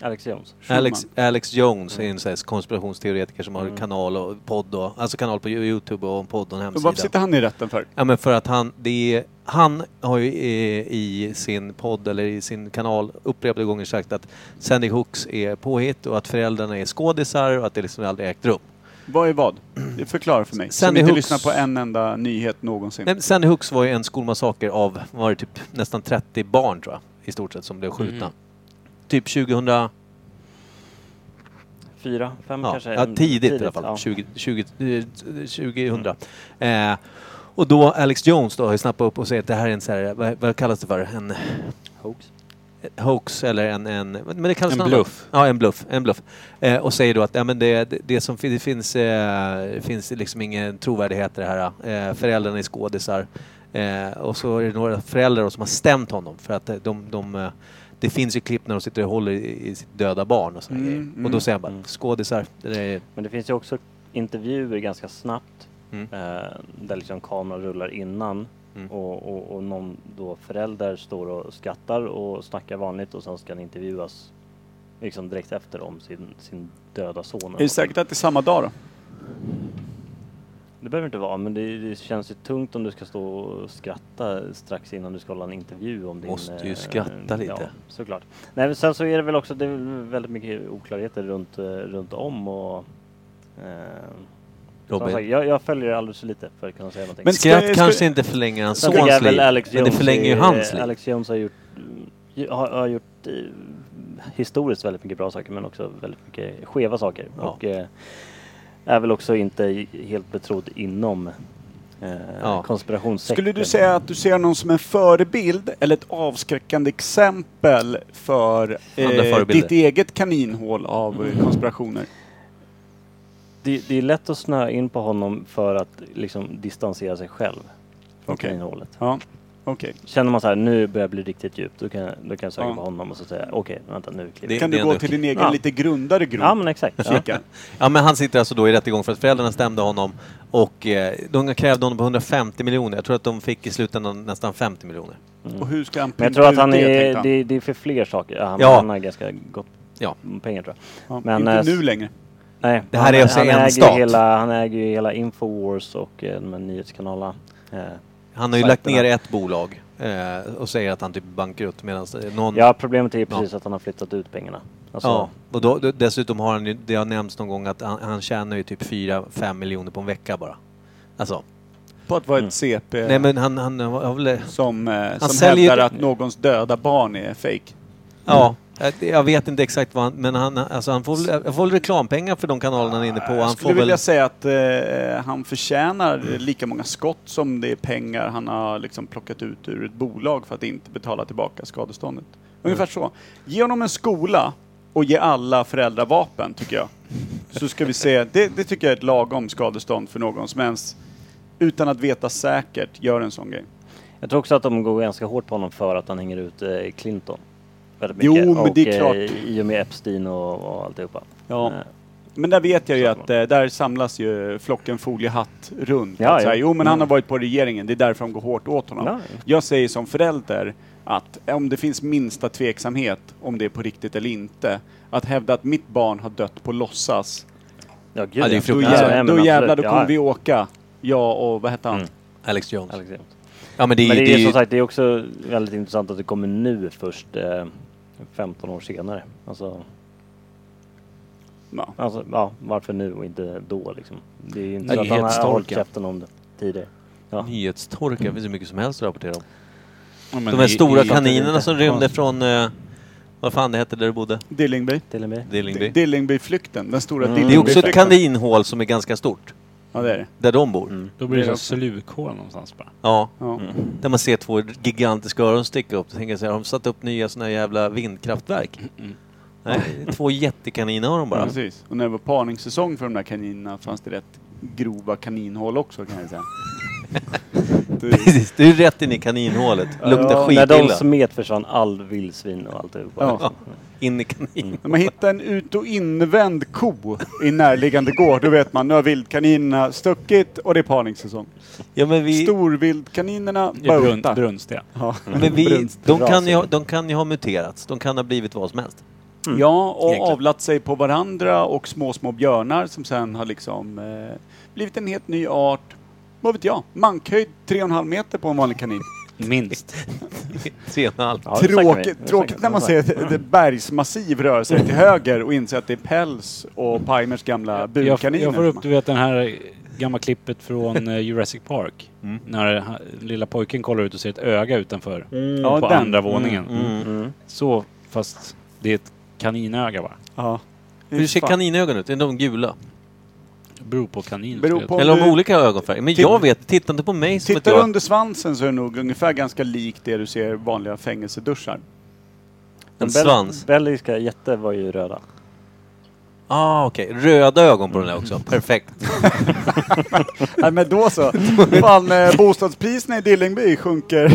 Speaker 4: Alex Jones.
Speaker 2: Alex, Alex Jones
Speaker 3: Mm.
Speaker 2: är en sån här konspirationsteoretiker som har kanal och podd och, alltså kanal på Youtube och en podd och en
Speaker 3: Varför
Speaker 2: hemsida.
Speaker 3: sitter han i rätten för?
Speaker 2: Ja men för att han, det är, han har ju i, i sin podd eller i sin kanal upprepade gånger sagt att Sandy Hooks är påhitt och att föräldrarna är skådisar och att det liksom aldrig ägt rum.
Speaker 3: Vad är vad? Förklara för mig. Som
Speaker 2: Sandy
Speaker 3: inte
Speaker 2: Hooks.
Speaker 3: lyssnar på en enda nyhet någonsin.
Speaker 2: Nej, men Sandy Hooks var ju en skolmassaker av, vad var det typ nästan 30 barn tror jag, i stort sett som blev skjutna. Typ 2000
Speaker 4: Fyra, fem
Speaker 2: Ja,
Speaker 4: kanske?
Speaker 2: ja,
Speaker 4: en-
Speaker 2: tidigt, i alla fall. 20, 20, eh, 2000. Eh, och då Alex Jones då har ju snappat upp och säger att det här är en så här, vad, vad kallas det för? En
Speaker 4: Hoax.
Speaker 2: hoax eller en... en men det kallas
Speaker 1: En
Speaker 2: något
Speaker 1: bluff.
Speaker 2: Annat. Ja, en bluff. En bluff. Eh, och säger då att ja, men det, det- det, som, fin- det finns, eh, finns liksom ingen trovärdighet i det här. Eh, föräldrarna är skådisar. Eh, och så är det några föräldrar då som har stämt honom för att eh, de... de eh, det finns ju klipp när de sitter och håller i i sitt döda barn och såna
Speaker 3: Mm,
Speaker 2: grejer. Och
Speaker 3: mm.
Speaker 2: då säger han bara, skådisar, det där är
Speaker 4: Men det finns ju också intervjuer ganska snabbt
Speaker 2: Mm.
Speaker 4: eh, där liksom kameran rullar innan
Speaker 2: Mm.
Speaker 4: och, och, och någon då förälder står och skrattar och snackar vanligt och sen ska han intervjuas liksom direkt efter om sin, sin döda son. eller
Speaker 3: Är det
Speaker 4: någonting.
Speaker 3: säkert att det är samma dag då?
Speaker 4: Det behöver inte vara, men det, det känns ju tungt om du ska stå och skratta strax innan du ska hålla en intervju om din...
Speaker 2: Måste ju
Speaker 4: eh,
Speaker 2: skratta lite.
Speaker 4: Ja, såklart. Nej, men sen så är det väl också, det är väl väldigt mycket oklarheter runt, eh, runt om och... Eh, som
Speaker 2: Robin.
Speaker 4: sagt, jag, jag följer det alldeles för lite för att kunna säga någonting.
Speaker 3: Men
Speaker 2: Skratt
Speaker 3: Ska- ska-
Speaker 2: kanske inte förlänger hans
Speaker 4: Sen tycker
Speaker 2: sons
Speaker 4: jag väl
Speaker 2: liv,
Speaker 4: Alex
Speaker 2: men det
Speaker 4: Jones
Speaker 2: förlänger ju
Speaker 4: är-
Speaker 2: hans liv.
Speaker 4: Alex Jones har gjort, ju- har, har gjort eh, historiskt väldigt mycket bra saker men också väldigt mycket skeva saker.
Speaker 2: Ja.
Speaker 4: Och eh, är väl också inte helt betrodd inom eh,
Speaker 2: Ja.
Speaker 4: konspirationssektorn.
Speaker 3: Skulle du säga att du ser någon som en förebild eller ett avskräckande exempel för
Speaker 2: Andra
Speaker 3: eh,
Speaker 2: förebilder.
Speaker 3: ditt eget kaninhål av eh, konspirationer?
Speaker 4: Det, det är lätt att snöa in på honom för att liksom distansera sig själv från
Speaker 3: Okej.
Speaker 4: kaninhålet.
Speaker 3: Ja, okej.
Speaker 4: Känner man så här, nu börjar det bli riktigt djupt, då kan, jag- då kan jag söka
Speaker 3: Ja.
Speaker 4: på honom och så säga okej, vänta nu
Speaker 2: Det-
Speaker 4: kliver
Speaker 3: Kan
Speaker 2: det
Speaker 3: du
Speaker 2: är
Speaker 3: gå
Speaker 2: ändå-
Speaker 3: till din egen
Speaker 4: Ja.
Speaker 3: lite grundare grop?
Speaker 4: Ja men exakt. Ja.
Speaker 3: Kika.
Speaker 2: Ja, men han sitter alltså då i rättegång för att föräldrarna stämde honom och eh, de krävde honom på 150 miljoner. Jag tror att de fick i slutändan nästan 50 miljoner.
Speaker 3: Och hur ska han
Speaker 4: Men jag tror att
Speaker 3: pynta
Speaker 4: han
Speaker 3: ut det, tänkte
Speaker 4: är,
Speaker 3: han.
Speaker 4: det, det är för fler saker. Han,
Speaker 2: Ja.
Speaker 4: han har ganska gott
Speaker 2: Ja.
Speaker 4: om pengar tror jag.
Speaker 3: Ja,
Speaker 4: men, eh,
Speaker 3: inte nu längre.
Speaker 4: Nej,
Speaker 2: Det här
Speaker 4: han,
Speaker 2: är alltså
Speaker 4: han
Speaker 2: en
Speaker 4: äger ju
Speaker 2: stat.
Speaker 4: Hela, han äger ju hela Infowars och eh, de här nyhetskanalerna. Eh,
Speaker 2: Mm. Han har ju
Speaker 4: Sajterna.
Speaker 2: lagt ner ett bolag eh, och säger att han typ är bankrutt medan eh, någon...
Speaker 4: Ja, problemet är ju precis att han har flyttat ut pengarna. Alltså,
Speaker 2: Ja, och då, då, dessutom har han ju, det har nämnts någon gång att han, han tjänar ju typ 4-5 miljoner på en vecka bara. Alltså,
Speaker 3: På att vara ett CP
Speaker 2: nej men han, han har väl...
Speaker 3: som, eh, som
Speaker 2: säljer-
Speaker 3: hävdar att någons döda barn är fake.
Speaker 2: Ja,
Speaker 4: Mm.
Speaker 2: jag- jag vet inte exakt vad han... Men han, alltså han får, väl- han får väl reklampengar för de kanalerna han är inne på.
Speaker 3: Jag
Speaker 2: Han
Speaker 3: skulle
Speaker 2: får
Speaker 3: vilja
Speaker 2: väl...
Speaker 3: säga att eh, han förtjänar lika många skott som det är pengar han har liksom plockat ut
Speaker 2: Mm.
Speaker 3: ur ett bolag för att inte betala tillbaka skadeståndet. Ungefär så. Ge honom en skola och ge alla föräldrar vapen, tycker jag. Så ska vi se, det, det tycker jag är ett lagom skadestånd för någon som ens, utan att veta säkert, gör en sån grej.
Speaker 4: Jag tror också att de går ganska hårt på honom för att han hänger ut eh, Clinton. Väldigt
Speaker 3: Jo,
Speaker 4: mycket.
Speaker 3: men det är
Speaker 4: eh,
Speaker 3: klart.
Speaker 4: I och med Epstein och, och alltihopa.
Speaker 3: Ja.
Speaker 4: Eh,
Speaker 3: Men där vet jag ju att eh, där samlas ju flocken foliehatt runt.
Speaker 4: Ja,
Speaker 3: att säga,
Speaker 4: ja. Mm.
Speaker 3: Jo men han har varit på regeringen, det är därför de går hårt åt honom.
Speaker 4: Ja.
Speaker 3: Jag säger som förälder att om det finns minsta tveksamhet om det är på riktigt eller inte, att hävda att mitt barn har dött på låtsas,
Speaker 4: Ja, gud,
Speaker 2: Ja, det är
Speaker 3: då,
Speaker 2: Fruktansvärt.
Speaker 3: jävlar,
Speaker 4: men
Speaker 3: då
Speaker 4: absolut.
Speaker 3: jävlar då
Speaker 4: Ja,
Speaker 3: kommer
Speaker 4: ja.
Speaker 3: vi åka. Ja och vad hette han?
Speaker 4: Mm.
Speaker 2: Alex Jones.
Speaker 4: Alex Jones.
Speaker 2: Ja men det är
Speaker 4: Men
Speaker 2: ju...
Speaker 4: det är
Speaker 2: ju-
Speaker 4: som sagt, det är också väldigt intressant att det kommer nu först eh, 15 år senare. Alltså,
Speaker 3: Ja.
Speaker 4: alltså, ja, varför nu och inte då liksom? Det är ju inte så att han har
Speaker 2: Nyhetstorka.
Speaker 4: hållit käften om det tidigare. Ja.
Speaker 2: Nyhetstorka, det finns ju mycket som helst att rapportera om.
Speaker 1: Ja, men
Speaker 2: De här
Speaker 1: i-
Speaker 2: stora
Speaker 1: i-
Speaker 2: kaninerna som rymde från... eh, vad fan det hette där du bodde?
Speaker 3: Dillingby.
Speaker 4: Till och med.
Speaker 2: Dillingby.
Speaker 3: Dillingbyflykten, den stora
Speaker 4: Mm.
Speaker 2: Det är också
Speaker 3: Dillingbyflykten.
Speaker 2: ett kaninhål som är ganska stort.
Speaker 3: Ja det är det.
Speaker 2: Där de bor.
Speaker 4: Mm.
Speaker 1: Då blir det som slukhål någonstans bara.
Speaker 2: Ja.
Speaker 3: Ja.
Speaker 2: Där man ser två gigantiska öron sticka upp. Då tänker jag så här, har de satt upp nya såna här jävla vindkraftverk?
Speaker 4: Mm.
Speaker 2: Nej, två jättekaninöron bara.
Speaker 3: Precis. Och när det var parningssäsong för de där kaninerna fanns det rätt grova kaninhål också kan jag säga. Det-
Speaker 2: Precis, [LAUGHS] du är rätt in i kaninhålet. Luktar
Speaker 4: Ja, När de
Speaker 2: skitilla.
Speaker 4: smet försvann all vildsvin och alltihopa.
Speaker 3: Ja.
Speaker 4: liksom.
Speaker 2: In i
Speaker 4: Mm.
Speaker 2: kanin.
Speaker 3: När man hittar en ut och invänd ko i närliggande gård, då vet man nu har vildkaninerna stuckit och det är parningssäsong.
Speaker 2: Ja, men vi,
Speaker 3: Storvildkaninerna
Speaker 1: I brun,
Speaker 3: bultar.
Speaker 1: brunstiga.
Speaker 3: Ja.
Speaker 2: men vi,
Speaker 3: Brunst.
Speaker 2: de, kan ju, ha- de kan ju ha muterats. De kan ha blivit vad som helst.
Speaker 3: Mm. ja, och
Speaker 2: Egentligen.
Speaker 3: avlat sig på varandra och små, små björnar som sen har liksom eh, blivit en helt ny art. Vad vet jag? Mankhöjd 3,5 meter på en vanlig kanin.
Speaker 1: Minst.
Speaker 2: Tre och en halv.
Speaker 4: Ja, det snackar vi. Det snackar
Speaker 3: Tråkigt,
Speaker 4: vi. Mm.
Speaker 3: tråkigt när man ser ett, ett bergsmassiv röra sig till höger och inser att det är päls och Palmers gamla
Speaker 1: Jag, f-
Speaker 3: bukkaniner.
Speaker 1: jag får upp, du vet den här gamla klippet från eh, Jurassic Park. När ha- lilla pojken kollar ut och ser ett öga utanför.
Speaker 3: Ja,
Speaker 1: på
Speaker 3: den.
Speaker 1: andra
Speaker 3: Mm,
Speaker 1: våningen.
Speaker 4: Mm.
Speaker 1: Så, fast det är ett kaninöga va?
Speaker 3: ja.
Speaker 2: Hur ser
Speaker 3: Fan.
Speaker 2: kaninögon ut? Är de gula?
Speaker 1: Beror på kanin.
Speaker 3: Beror
Speaker 1: skulle jag
Speaker 3: på-
Speaker 1: tro.
Speaker 2: Eller har de
Speaker 3: du-
Speaker 2: olika ögonfärger? Men
Speaker 3: Titt-
Speaker 2: jag vet, titta inte på mig som att
Speaker 3: Tittar du
Speaker 2: jag...
Speaker 3: under svansen så är det nog ungefär ganska likt det du ser i
Speaker 1: [LAUGHS]
Speaker 3: vanliga fängelseduschar.
Speaker 2: En
Speaker 4: Den bel-
Speaker 2: svans.
Speaker 4: Belgiska jätte var ju röda.
Speaker 2: Ah, okej. Röda ögon på den där också. Perfekt.
Speaker 3: Nej men då så. Fan, eh, bostadspriserna i Dillingby sjunker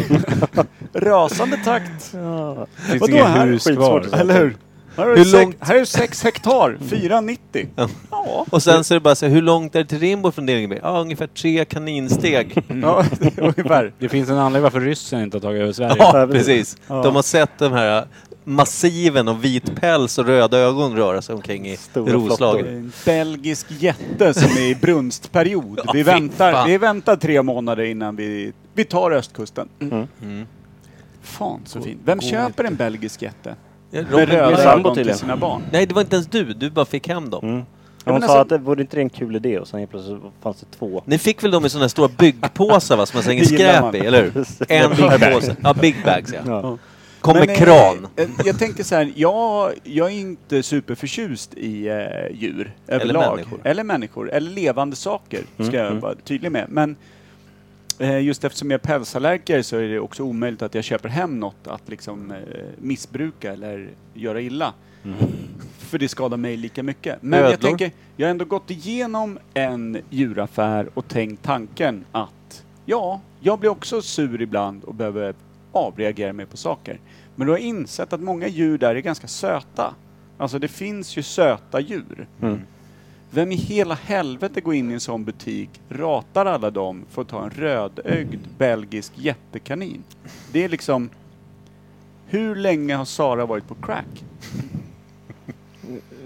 Speaker 3: [LAUGHS] rasande takt.
Speaker 1: finns
Speaker 3: Vadå,
Speaker 1: inga
Speaker 3: här är
Speaker 1: hus
Speaker 4: skitsvårt.
Speaker 1: kvar.
Speaker 3: Eller hur? Här
Speaker 2: Hur
Speaker 3: är,
Speaker 2: långt-
Speaker 3: sex, här är sex hektar,
Speaker 4: Mm.
Speaker 3: 4,90. Ja.
Speaker 2: Och sen så är det bara så här, hur långt är det till Rimbo från Dillingby? Ja, ungefär tre kaninsteg.
Speaker 3: ja, [LAUGHS] det är ungefär.
Speaker 1: Det finns en anledning varför ryssen inte har tagit över Sverige.
Speaker 2: Ja, precis. De har sett de här äh, massiven av vit päls och röda ögon röra sig omkring i
Speaker 4: Stora
Speaker 3: Det är
Speaker 2: Roslagen.
Speaker 3: en belgisk jätte som är i
Speaker 2: [LAUGHS]
Speaker 3: brunstperiod. vi,
Speaker 2: fy
Speaker 3: väntar,
Speaker 2: fan.
Speaker 3: vi väntar tre månader innan vi, vi tar östkusten.
Speaker 2: Mm.
Speaker 3: Fan så fint. Vem köper en belgisk jätte?
Speaker 2: Ja,
Speaker 3: Med
Speaker 2: Robin,
Speaker 3: röda
Speaker 4: sambo
Speaker 3: ögon till
Speaker 4: tydligen.
Speaker 3: sina barn.
Speaker 2: nej, det var inte ens du. Du bara fick hem dem.
Speaker 4: Hon
Speaker 3: men
Speaker 4: sa
Speaker 3: alltså-
Speaker 4: att det vore inte det en kul idé och sen helt plötsligt fanns det två.
Speaker 2: Ni fick väl dem i sådana här stora byggpåsar va, som man slänger
Speaker 3: Det gillar
Speaker 2: skräp
Speaker 3: man.
Speaker 2: i, eller hur? En byggpåse. Ja, big bags ja.
Speaker 4: Ja.
Speaker 2: Kom
Speaker 3: Men,
Speaker 2: med
Speaker 3: eh,
Speaker 2: kran.
Speaker 3: eh, jag tänker så här, jag, jag är inte superförtjust i eh, djur överlag.
Speaker 2: människor.
Speaker 3: Eller människor. Eller levande saker, ska jag vara tydlig med. Men eh, just eftersom jag är pälsallergiker så är det också omöjligt att jag köper hem något att liksom eh, missbruka eller göra illa. För det skadar mig lika mycket. Men jag
Speaker 2: Ödlor?
Speaker 3: tänker, jag har ändå gått igenom en djuraffär och tänkt tanken att ja, jag blir också sur ibland och behöver avreagera mig på saker. Men då har jag insett att många djur där är ganska söta. Alltså det finns ju söta djur. Vem i hela helvete går in i en sån butik, ratar alla dem för att ta en rödögd belgisk jättekanin? Det är liksom... Hur länge har Sara varit på crack?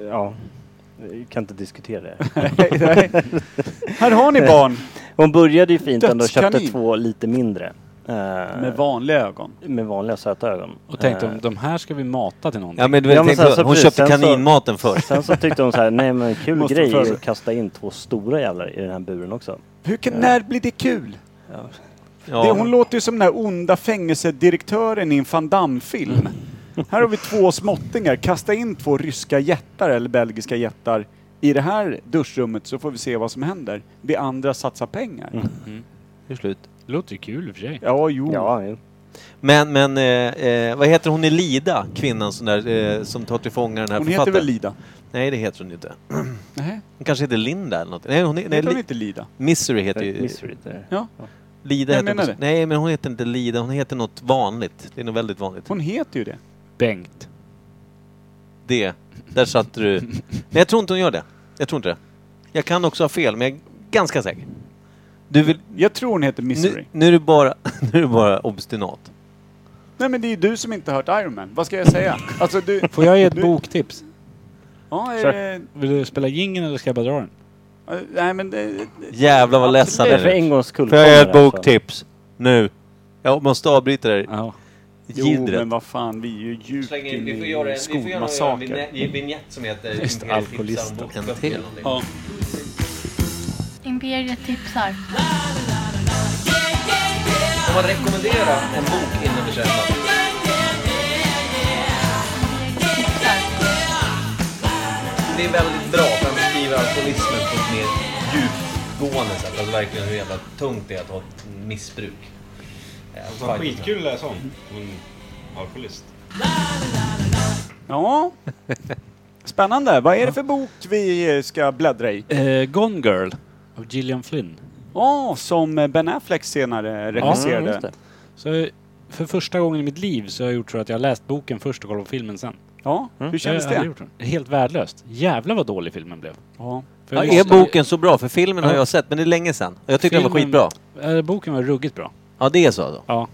Speaker 4: ja. Jag kan inte diskutera det.
Speaker 3: Nej, nej. Här har ni barn!
Speaker 4: Hon började ju fint ändå och köpte
Speaker 3: Dödskanin.
Speaker 4: två lite mindre. eh,
Speaker 3: Med
Speaker 4: med,
Speaker 3: vanliga ögon.
Speaker 4: vanliga söta ögon.
Speaker 1: Och tänkte
Speaker 4: Eh,
Speaker 1: om de här ska vi mata till någonting.
Speaker 2: Ja, men,
Speaker 4: Ja, men
Speaker 2: tänk
Speaker 4: sen
Speaker 2: på-
Speaker 4: så
Speaker 2: hon
Speaker 4: precis,
Speaker 2: köpte
Speaker 4: sen så-
Speaker 2: kaninmaten först.
Speaker 4: Sen så tyckte hon så här, nej men kul
Speaker 3: Måste få
Speaker 4: grej är
Speaker 3: för- Mm.
Speaker 4: ju att kasta in två stora jävlar i den här buren också.
Speaker 3: Hur kan, när blir det kul? [LAUGHS] Det, hon
Speaker 2: Ja.
Speaker 3: låter ju som den här onda fängelsedirektören i en van Damme-film. Här har vi två småttingar. Kasta in två ryska jättar eller belgiska jättar i det här duschrummet så får vi se vad som händer. Vi andra satsar pengar.
Speaker 2: Det är slut.
Speaker 1: Det låter ju kul i och för sig.
Speaker 3: Ja, jo.
Speaker 4: Ja, jo.
Speaker 2: Men, men eh, eh, vad heter hon i Lida, kvinnan som, där, eh, som tar till fånga den här
Speaker 3: Hon heter
Speaker 2: författaren?
Speaker 3: väl Lida?
Speaker 2: Nej, det heter hon ju inte.
Speaker 3: Nej,
Speaker 2: Hon kanske heter Linda eller något. Nej, hon, är- nej,
Speaker 3: heter hon
Speaker 2: li,
Speaker 3: inte Lida?
Speaker 2: Misery heter ju...
Speaker 4: Misery där.
Speaker 3: Ja,
Speaker 2: Lida
Speaker 3: Jag
Speaker 2: heter
Speaker 3: menar
Speaker 2: hon,
Speaker 3: det.
Speaker 2: Nej, men hon heter inte Lida. Hon heter något vanligt. Det är något väldigt vanligt.
Speaker 3: hon heter ju det.
Speaker 1: Bengt.
Speaker 2: Det. Där satte du... Nej, jag tror inte hon gör det. Jag tror inte det. Jag kan också ha fel, men jag är ganska säker. Du vill...
Speaker 3: Jag tror hon heter Misery.
Speaker 2: Nu, nu, är, du bara, [LAUGHS] nu är du bara obstinat.
Speaker 3: Nej men det är ju du som inte har hört Iron Man. Vad ska jag säga? Alltså du...
Speaker 1: Får jag ge ett
Speaker 3: du-
Speaker 1: boktips?
Speaker 3: Ja,
Speaker 1: Kör.
Speaker 3: eh,
Speaker 1: Vill du spela jingeln eller ska jag bara dra den?
Speaker 3: eh, nej men... Det,
Speaker 2: Jävlar vad ledsen
Speaker 4: Det är
Speaker 2: jag
Speaker 4: för en
Speaker 2: är.
Speaker 4: gångs skull.
Speaker 2: Får jag ge ett
Speaker 4: kommer det alltså.
Speaker 2: boktips? Nu. Jag måste avbryta det här
Speaker 1: Ja.
Speaker 3: jo
Speaker 2: jiddret.
Speaker 3: men vad fan, vi är ju djupt inne i
Speaker 2: vinjett
Speaker 3: skolmassaker.
Speaker 2: som heter...
Speaker 1: Just alkoholister.
Speaker 2: En till.
Speaker 3: Ja.
Speaker 9: Imperiet tipsar.
Speaker 2: Får man rekommendera en bok innan vi köper? Det är väldigt bra för han beskriver alkoholismen på ett mer djupgående sätt. Alltså verkligen hur jävla tungt det är att ha ett missbruk. Alltså,
Speaker 10: Skitkul att läsa om. En alkoholist.
Speaker 3: ja. Spännande. Vad är det för bok vi eh, ska bläddra i?
Speaker 1: Eh, Gone Girl av Gillian Flynn.
Speaker 3: Ja, som eh, Ben Affleck senare regisserade.
Speaker 4: Ja, just det.
Speaker 1: Så eh, för första gången i mitt liv så har jag gjort så att jag har läst boken först och kollat på filmen sen.
Speaker 3: Ja, hur kändes
Speaker 1: jag, har aldrig
Speaker 3: det?
Speaker 1: gjort det? Helt värdelöst. Jävlar vad dålig filmen blev.
Speaker 3: Ja.
Speaker 1: För
Speaker 2: Ja,
Speaker 1: jag
Speaker 2: är
Speaker 1: lyssnade-
Speaker 2: boken så bra? För filmen har
Speaker 1: Ja.
Speaker 2: jag sett, men det är länge sedan. Och jag tyckte den var
Speaker 1: Filmen-
Speaker 2: skitbra.
Speaker 1: Eh, boken var ruggigt bra.
Speaker 2: Ja, det är så alltså.
Speaker 1: Ja.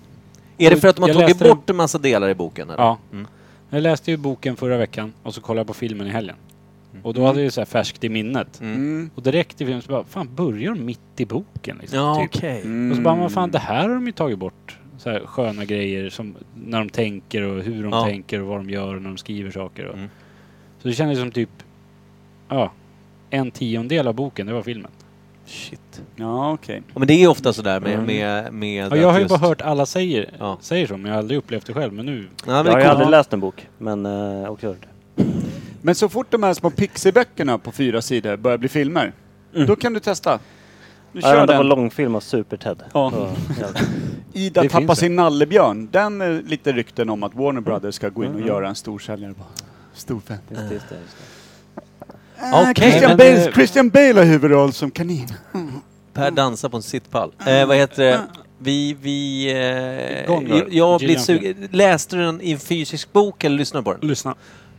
Speaker 2: Är det för att de har
Speaker 1: Jag
Speaker 2: tagit
Speaker 1: läste den-
Speaker 2: bort en massa delar i boken? Eller?
Speaker 1: Ja.
Speaker 2: Mm.
Speaker 1: Jag läste ju boken förra veckan och så kollade jag på filmen i helgen. Och då hade jag ju så här färskt i minnet.
Speaker 3: Mm.
Speaker 1: Och direkt i filmen så bara, fan börjar de mitt i boken? Liksom,
Speaker 2: Ja,
Speaker 1: typ.
Speaker 2: okej.
Speaker 1: Och
Speaker 3: Mm.
Speaker 1: så bara, men
Speaker 2: Mm.
Speaker 1: fan det här har de ju tagit bort. Så här sköna grejer som när de tänker och hur de
Speaker 2: Ja.
Speaker 1: tänker och vad de gör och när de skriver saker. Och.
Speaker 2: Mm.
Speaker 1: Så det kändes som typ, ja, en tiondel av boken, det var filmen.
Speaker 2: Shit.
Speaker 3: Ja, okej.
Speaker 2: Ja, men det är ofta sådär med... med, med
Speaker 1: Mm. Ja, jag
Speaker 2: att
Speaker 1: har ju
Speaker 2: just-
Speaker 1: bara hört alla säger,
Speaker 2: Ja.
Speaker 1: säger så, men jag har aldrig upplevt det själv. Men nu,
Speaker 2: Ja, men det är
Speaker 4: Jag har ju
Speaker 2: coolt.
Speaker 4: aldrig läst en bok, men eh, också hört.
Speaker 3: Men så fort de här små pixiböckerna på fyra sidor börjar bli filmer, då kan du testa. Du
Speaker 4: Jag
Speaker 3: kör
Speaker 4: det var
Speaker 3: den.
Speaker 4: långfilm av Super-Ted.
Speaker 3: Ja.
Speaker 4: Så,
Speaker 3: [LAUGHS]
Speaker 4: jävla-
Speaker 3: Ida
Speaker 1: Det
Speaker 3: tappar
Speaker 1: finns
Speaker 3: sin nallebjörn. Den är lite rykten om att Warner Brothers ska gå in och göra en storsäljare på. Storfan.
Speaker 4: Just det, just det, just
Speaker 3: Ah,
Speaker 2: Okej,
Speaker 3: Christian,
Speaker 2: men eh,
Speaker 3: Bale,
Speaker 1: det-
Speaker 3: Christian Bale har huvudroll som kanin.
Speaker 2: Per dansar på en sittpall. Eh, vad heter det? Vi, vi... Eh,
Speaker 1: Gone Girl.
Speaker 2: jag- jag har blivit
Speaker 1: Gillian
Speaker 2: sugen. Läste du den i en fysisk bok eller lyssnade på den?
Speaker 1: lyssna.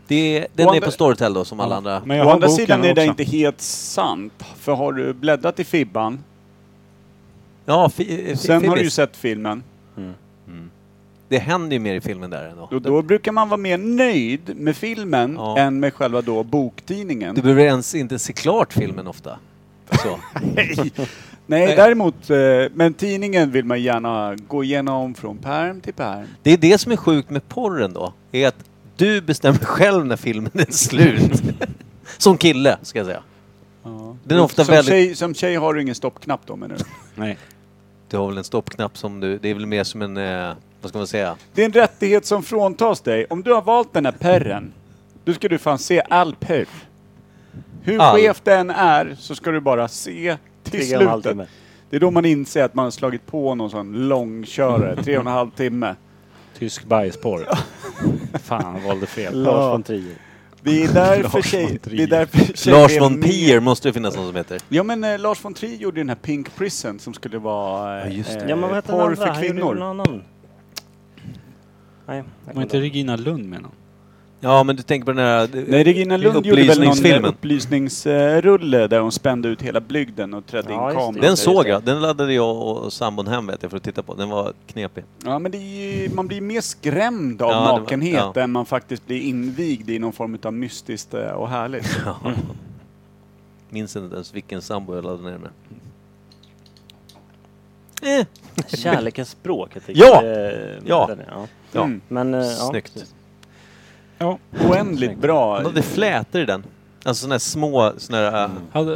Speaker 2: Det, den
Speaker 3: Å
Speaker 2: är
Speaker 3: andra-
Speaker 2: på Storytel då, som alla andra.
Speaker 1: Men jag
Speaker 3: Å
Speaker 1: har
Speaker 3: andra
Speaker 1: boken
Speaker 3: sidan är det
Speaker 1: också.
Speaker 3: inte helt sant. För har du bläddrat i Fibban,
Speaker 2: Ja, fi, eh, fi,
Speaker 3: sen har du ju
Speaker 2: Fibbis.
Speaker 3: sett filmen,
Speaker 2: Det händer ju mer i filmen där ändå.
Speaker 3: och då brukar man vara mer nöjd med filmen
Speaker 2: Ja.
Speaker 3: än med själva då boktidningen.
Speaker 2: Du behöver ens inte se klart filmen ofta.
Speaker 3: [LAUGHS]
Speaker 2: Så. [LAUGHS]
Speaker 3: Nej, däremot, eh, men tidningen vill man gärna gå igenom från pärm till pärm.
Speaker 2: Det är det som är sjukt med porren då. Är att du bestämmer själv när filmen är
Speaker 3: [LAUGHS]
Speaker 2: slut. som kille, ska jag säga. Den är ofta
Speaker 3: som,
Speaker 2: väldigt...
Speaker 3: tjej, som tjej har du ingen stoppknapp då menar du?
Speaker 1: Nej.
Speaker 2: Du har väl en stoppknapp som du... Det är väl mer som en... Eh, vad ska man säga?
Speaker 3: Det är en rättighet som fråntas dig. Om du har valt den här perren, då ska du fan se all perr. Hur
Speaker 2: All.
Speaker 3: skevt den är så ska du bara se till
Speaker 4: Tre och en halv
Speaker 3: slutet.
Speaker 4: timme.
Speaker 3: Det är då man inser att man har slagit på någon sån
Speaker 4: [LAUGHS]
Speaker 3: långkörare, tre och en halv timme.
Speaker 1: Tysk
Speaker 3: [LAUGHS]
Speaker 1: bajsporr. Fan, jag valde fel.
Speaker 4: det. Lars von
Speaker 3: Eh,
Speaker 4: Trier.
Speaker 3: Det är därför tjej... Det är därför tjejer
Speaker 2: Lars
Speaker 3: är
Speaker 2: von
Speaker 3: mer-
Speaker 2: Pier måste det finnas någon som heter.
Speaker 3: Ja men eh, Lars von Trier gjorde ju den här Pink Prison som skulle vara eh,
Speaker 2: just det.
Speaker 3: eh,
Speaker 4: Ja, men vad hette den
Speaker 3: porr
Speaker 4: andra?
Speaker 3: för
Speaker 4: Han gjorde ju
Speaker 3: kvinnor.
Speaker 4: någon annan. Nej,
Speaker 1: Var
Speaker 4: jag kommer
Speaker 1: inte
Speaker 4: inte ihåg.
Speaker 1: Regina Lund med någon?
Speaker 2: Ja, men du tänker på den här...
Speaker 3: Nej, Regina Lund gjorde väl någon eh,
Speaker 2: Upplysningsfilmen.
Speaker 3: upplysningsrulle där hon spände ut hela blygden och trädde
Speaker 4: Ja,
Speaker 3: in
Speaker 4: just det.
Speaker 3: kameran.
Speaker 2: Den
Speaker 4: just
Speaker 2: såg
Speaker 4: det.
Speaker 2: jag. Den laddade jag och och sambon hem vet jag för att titta på. Den var knepig.
Speaker 3: Ja, men det är ju, man blir mer skrämd av
Speaker 2: Ja, det var-
Speaker 3: nakenhet
Speaker 2: ja.
Speaker 3: än man faktiskt blir invigd i någon form av mystiskt eh, och härligt.
Speaker 2: Minns inte ens vilken sambo jag laddade ner med. Eh,
Speaker 4: Kärlekens språk heter
Speaker 2: Ja!
Speaker 4: eh,
Speaker 2: Ja.
Speaker 4: den är, ja.
Speaker 2: [LAUGHS] Ja.
Speaker 3: Mm.
Speaker 4: Men, eh, ja,
Speaker 2: Snyggt.
Speaker 4: precis.
Speaker 1: Ja.
Speaker 3: Oändligt bra.
Speaker 2: Han hade flätor i den. Alltså såna här små, såna här...
Speaker 3: Mm.
Speaker 2: äh,
Speaker 1: Hade,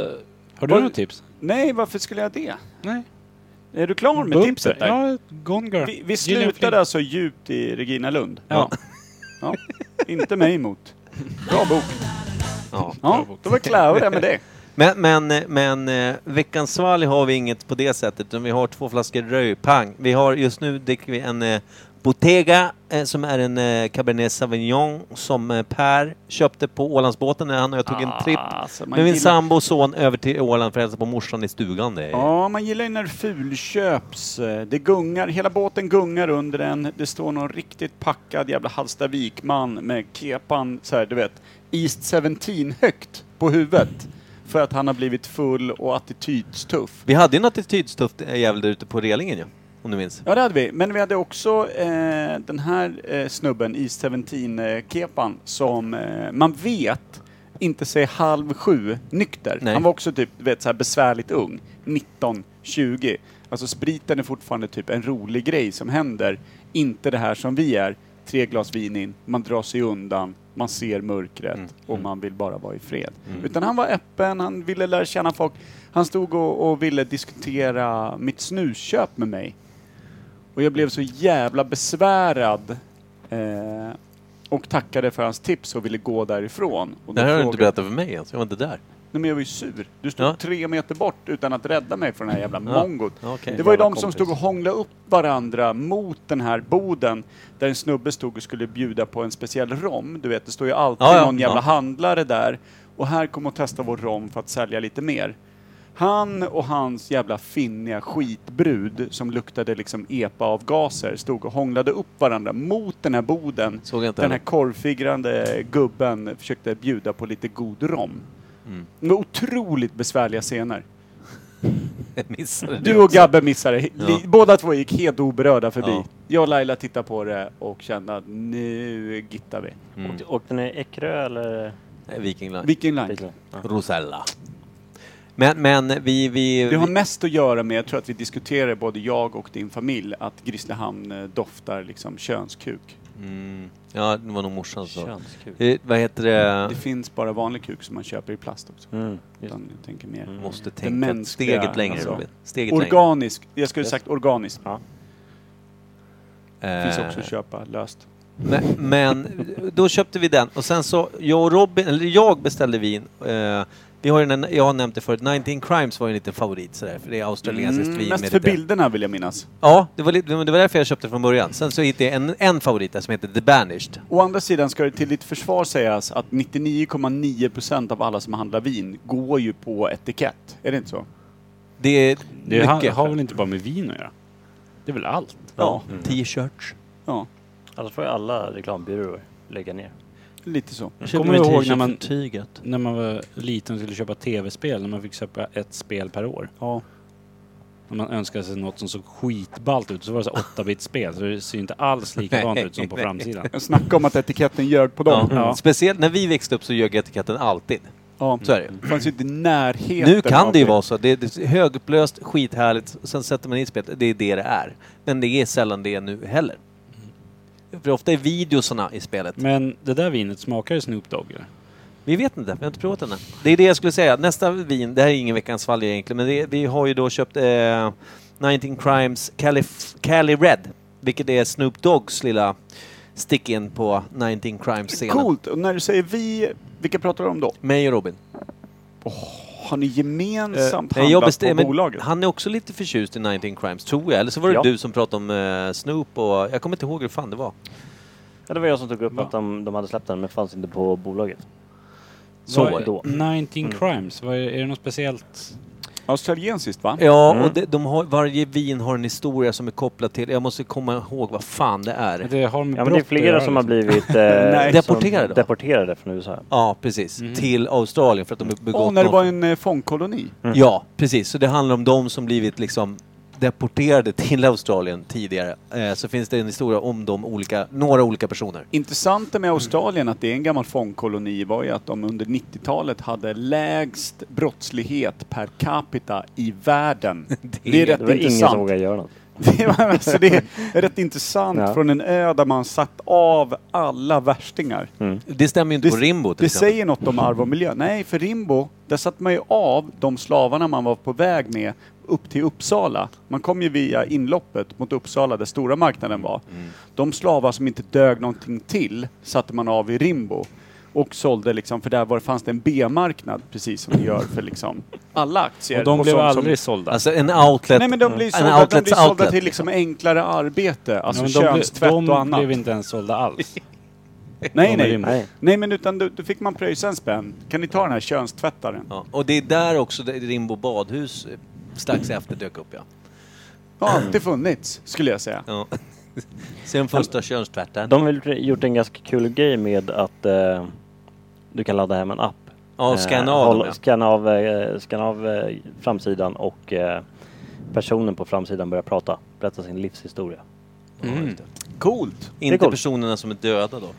Speaker 1: har
Speaker 3: Var-
Speaker 1: du något tips?
Speaker 3: Nej, varför skulle jag det?
Speaker 1: Nej.
Speaker 3: Är du klar med
Speaker 1: Bumper.
Speaker 3: tipset där?
Speaker 1: Ja, Gone Girl.
Speaker 3: Vi, vi
Speaker 1: Gillian
Speaker 3: slutade
Speaker 1: Flynn.
Speaker 3: alltså djupt i Regina Lund.
Speaker 1: Ja.
Speaker 3: Ja. Inte mig emot. Bra bok.
Speaker 2: Ja.
Speaker 3: Ja, då var jag klar där med det.
Speaker 2: Men, men, eh, men eh, veckans svalg har vi inget på det sättet. Utan vi har två flaskor röj, pang. Vi har, just nu dricker vi en eh, Bottega eh, som är en eh, Cabernet Sauvignon som eh, Per köpte på Ålandsbåten när han och jag tog en tripp
Speaker 3: Alltså, man
Speaker 2: med min
Speaker 3: gillar-
Speaker 2: sambo och son över till Åland för att hälsa på morsan i stugan. Det är
Speaker 3: Ja, man gillar ju när det fulköps. Det gungar, hela båten gungar under en. Det står någon riktigt packad jävla Hallstavikman med kepan så här, du vet, East 17 högt på huvudet. För att han har blivit full och attitydstuff.
Speaker 2: Vi hade ju en attitydstufft eh, jävel där ute på relingen ju, om du minns.
Speaker 3: Ja, det hade vi. Men vi hade också eh, den här eh, snubben, East 17-kepan, som eh, man vet inte säger halv sju nykter.
Speaker 2: Nej.
Speaker 3: Han var också typ, du vet, så här besvärligt ung. 19, 20. Alltså spriten är fortfarande typ en rolig grej som händer. Inte det här som vi är. Tre glas vin in, man drar sig undan, man ser mörkret och man vill bara vara i fred. Utan han var öppen, han ville lära känna folk. Han stod och, och ville diskutera mitt snusköp med mig. Och jag blev så jävla besvärad eh, och tackade för hans tips och ville gå därifrån. Och
Speaker 2: Det
Speaker 3: då
Speaker 2: här har du inte
Speaker 3: frågade-
Speaker 2: berättat för mig ens, jag var inte där.
Speaker 3: Nej men jag var ju sur. Du stod
Speaker 2: Ja.
Speaker 3: tre meter bort utan att rädda mig från den här jävla
Speaker 2: Ja.
Speaker 3: mongot.
Speaker 2: Ja, okej.
Speaker 3: Det var ju
Speaker 4: Jävla
Speaker 3: de som
Speaker 4: kompis.
Speaker 3: stod och hånglade upp varandra mot den här boden där en snubbe stod och skulle bjuda på en speciell rom. Du vet, det står ju alltid
Speaker 2: Ja, ja.
Speaker 3: någon jävla
Speaker 2: Ja.
Speaker 3: handlare där. Och här kom och testa vår rom för att sälja lite mer. Han och hans jävla finniga skitbrud som luktade liksom epa-avgaser stod och hånglade upp varandra mot den här boden.
Speaker 2: Såg jag inte
Speaker 3: Den här
Speaker 2: heller.
Speaker 3: korvfigrande gubben försökte bjuda på lite god rom.
Speaker 2: Mm.
Speaker 3: Det var otroligt besvärliga scener.
Speaker 2: Jag missade det.
Speaker 3: Du och Gabbe missade. Li-
Speaker 2: Ja.
Speaker 3: Båda två gick helt oberörda förbi.
Speaker 2: Ja.
Speaker 3: Jag och Laila tittade på det och kände att nu gittar vi.
Speaker 2: Mm.
Speaker 4: Och, den är Ekerö eller?
Speaker 2: Nej, Viking Line.
Speaker 3: Vilken line?
Speaker 2: Rosella. Men, men vi... vi
Speaker 3: Det har mest att göra med, jag tror att vi diskuterade, både jag och din familj, att Grisslehamn eh, doftar liksom könskuk.
Speaker 2: mm, ja, det var nog morsan som sa.
Speaker 4: Könskul.
Speaker 2: Eh, Vad heter det?
Speaker 3: Det finns bara vanlig kuk som man köper i plast också.
Speaker 4: Mm, just.
Speaker 3: Utan jag tänker mer.
Speaker 2: Måste
Speaker 3: mänskliga,
Speaker 2: tänka steget längre
Speaker 3: alltså.
Speaker 2: Robin. Steget längre.
Speaker 3: Organisk, jag skulle sagt organisk. Finns
Speaker 2: Eh,
Speaker 3: också att köpa löst.
Speaker 2: Men, men då köpte vi den och sen så, jag och Robin, eller jag beställde vin. Eh, vi har ju den, jag har nämnt det förut, 19 Crimes var ju en liten favorit sådär, för det är australiensiskt vin. med
Speaker 3: Mm, mest för
Speaker 2: lite-
Speaker 3: bilderna vill jag minnas.
Speaker 2: Ja, det var, lite, det var därför jag köpte från början. Sen så hittade jag en, en favorit där som heter The Banished.
Speaker 3: Å andra sidan ska det till ditt försvar sägas att 99,9% av alla som handlar vin går ju på etikett. Är det inte så?
Speaker 2: Det är
Speaker 1: Det har,
Speaker 2: mycket.
Speaker 1: har väl inte Mm. bara med vin att göra? Det är väl allt?
Speaker 3: Ja.
Speaker 2: T-shirts.
Speaker 3: Ja,
Speaker 4: Alltså får ju alla reklambyråer lägga ner.
Speaker 3: lite så.
Speaker 1: Kommer du ihåg när man,
Speaker 2: Tyget.
Speaker 1: när man var liten och skulle köpa tv-spel, när man fick köpa ett spel per år?
Speaker 3: Ja.
Speaker 1: När man önskade sig något som såg skitballt ut, så var det så 8-bit-spel, så det ser ju inte alls likadant ut som på
Speaker 2: Nej.
Speaker 1: framsidan.
Speaker 3: Snacka om att etiketten ljög på dem.
Speaker 2: Ja.
Speaker 3: Ja.
Speaker 2: Mm. Speciellt när vi växte upp så ljög etiketten alltid.
Speaker 3: ja.
Speaker 2: Så är det.
Speaker 3: Det fanns ju inte närheten
Speaker 2: Nu kan
Speaker 3: av
Speaker 2: det ju vara så. Det är det är högupplöst, skithärligt, och sen sätter man in spelet. Det är det det är. Men det är sällan det nu heller. För ofta är videosarna i spelet.
Speaker 1: Men det där vinet, smakar det Snoop Dogg eller?
Speaker 2: Vi vet inte, vi har inte provat den än. Det är det jag skulle säga. Nästa vin, det här är ingen veckans valja egentligen, men det, vi har ju då köpt eh, 19 Crimes Cali, Cali Red, vilket är Snoop Doggs lilla stick-in på 19 Crimes-scenen.
Speaker 3: Coolt! Och när du säger vi, vilka pratar du om då?
Speaker 2: Mig och Robin.
Speaker 3: Har ni gemensamt
Speaker 2: Eh, Nej,
Speaker 3: handlat
Speaker 2: bestäm-
Speaker 3: på
Speaker 2: men
Speaker 3: bolaget?
Speaker 2: Han är också lite förtjust i 19 Crimes, tror jag. Eller så var det
Speaker 4: Ja.
Speaker 2: du som pratade om eh, Snoop och... Jag kommer inte ihåg hur fan det var.
Speaker 4: Ja, det var jag som tog upp att de, de hade släppt den men fanns inte på bolaget.
Speaker 2: Så
Speaker 1: Vad-
Speaker 2: var det.
Speaker 1: 19 Crimes, vad är, är det något speciellt?
Speaker 3: Australiensiskt va?
Speaker 2: Ja,
Speaker 4: Mm.
Speaker 2: och det, de har, varje vin har en historia som är kopplad till... Jag måste komma ihåg vad fan det är.
Speaker 1: Det har med
Speaker 4: Ja men det är
Speaker 1: brott att göra,
Speaker 4: flera som har
Speaker 1: liksom.
Speaker 2: [LAUGHS]
Speaker 4: blivit eh,
Speaker 2: Deporterade då?
Speaker 4: som deporterade från USA.
Speaker 2: Ja, precis. Till Australien för att de har begått
Speaker 3: Åh, när det
Speaker 2: något-
Speaker 3: var en eh, fångkoloni.
Speaker 2: Ja, precis. Så det handlar om de som blivit liksom deporterade till Australien tidigare. Eh, så finns det en historia om de olika, några olika personer.
Speaker 3: Intressanta med Australien, att det är en gammal fångkoloni, var ju att de under 90-talet hade lägst brottslighet per capita i världen. Det är rätt
Speaker 4: [LAUGHS] Det var ingen som
Speaker 3: intressant.
Speaker 4: vågade göra något.
Speaker 3: [LAUGHS] Det, var, alltså, det är rätt intressant
Speaker 4: Ja.
Speaker 3: från en ö där man satt av alla värstingar.
Speaker 4: Mm.
Speaker 2: Det stämmer ju inte på Rimbo till
Speaker 3: Det
Speaker 2: exempel.
Speaker 3: säger något om arv och miljö. Nej, för Rimbo, där satt man ju av de slavarna man var på väg med upp till Uppsala. Man kom ju via inloppet mot Uppsala där stora
Speaker 2: Mm.
Speaker 3: marknaden var. De slavar som inte dög någonting till satte man av i Rimbo. Och sålde liksom, för där var, fanns det en B-marknad precis som det gör för liksom alla aktier.
Speaker 1: Och de blev
Speaker 3: sånt som-
Speaker 1: aldrig sålda.
Speaker 2: Alltså en outlet.
Speaker 3: Nej men de blir
Speaker 2: en
Speaker 3: sålda, de
Speaker 2: Mm. outlets
Speaker 3: blir sålda
Speaker 2: outlet,
Speaker 3: till liksom enklare arbete, alltså
Speaker 1: Ja, men de,
Speaker 3: könstvätt
Speaker 1: blev-
Speaker 3: och
Speaker 1: de
Speaker 3: annat.
Speaker 1: blev inte ens sålda alls.
Speaker 3: nej,
Speaker 1: de är
Speaker 3: nej.
Speaker 1: rimliga.
Speaker 4: Nej.
Speaker 3: Nej men utan då, då fick man pröjsa en spänn. Kan ni ta den här könstvättaren?
Speaker 2: Ja. Och det är där också det- Rimbo badhus eh, strax efter dök upp ja.
Speaker 3: Ja, alltid funnits skulle jag säga.
Speaker 2: ja. [LAUGHS] Sen första könstvätten.
Speaker 4: De har väl gjort en ganska kul grej med att eh, du kan ladda hem en app.
Speaker 2: Ja, scanna av
Speaker 4: Eh, håll-
Speaker 2: dem, ja.
Speaker 4: scanna av, eh, scanna av eh, framsidan och eh, personen på framsidan börjar prata, berätta sin livshistoria.
Speaker 3: Mm. Coolt!
Speaker 2: Inte
Speaker 4: coolt.
Speaker 2: personerna som är döda dock.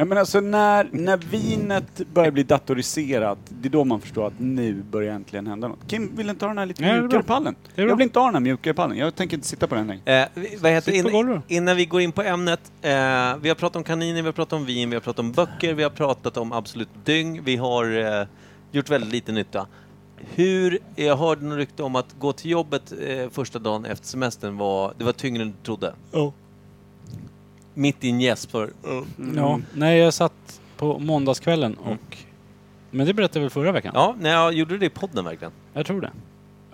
Speaker 3: Ja men alltså när, när vinet börjar bli datoriserat, det är då man förstår att nu börjar äntligen hända något. Kim, vill inte ha den här lite
Speaker 1: Nej, det är
Speaker 3: mjukare
Speaker 1: bra.
Speaker 3: pallen?
Speaker 1: är bra.
Speaker 3: Jag vill inte ha den här mjukare pallen, jag tänker inte sitta på den längre.
Speaker 2: Eh, vi- vad heter,
Speaker 1: Sitt på
Speaker 2: in,
Speaker 1: golvet.
Speaker 2: innan vi går in på ämnet. Eh, vi har pratat om kaniner, vi har pratat om vin, vi har pratat om böcker, vi har pratat om Absolut Dyng. Vi har eh, gjort väldigt lite nytta. Hur, jag hörde något rykte om att gå till jobbet eh, första dagen efter semestern var, det var tyngre än du trodde. Mitt i en gäsp för...
Speaker 1: Ja, nej jag satt på måndagskvällen och... Men det berättade jag väl förra veckan?
Speaker 2: Ja, nej, jag gjorde du det i podden verkligen?
Speaker 1: Jag tror det.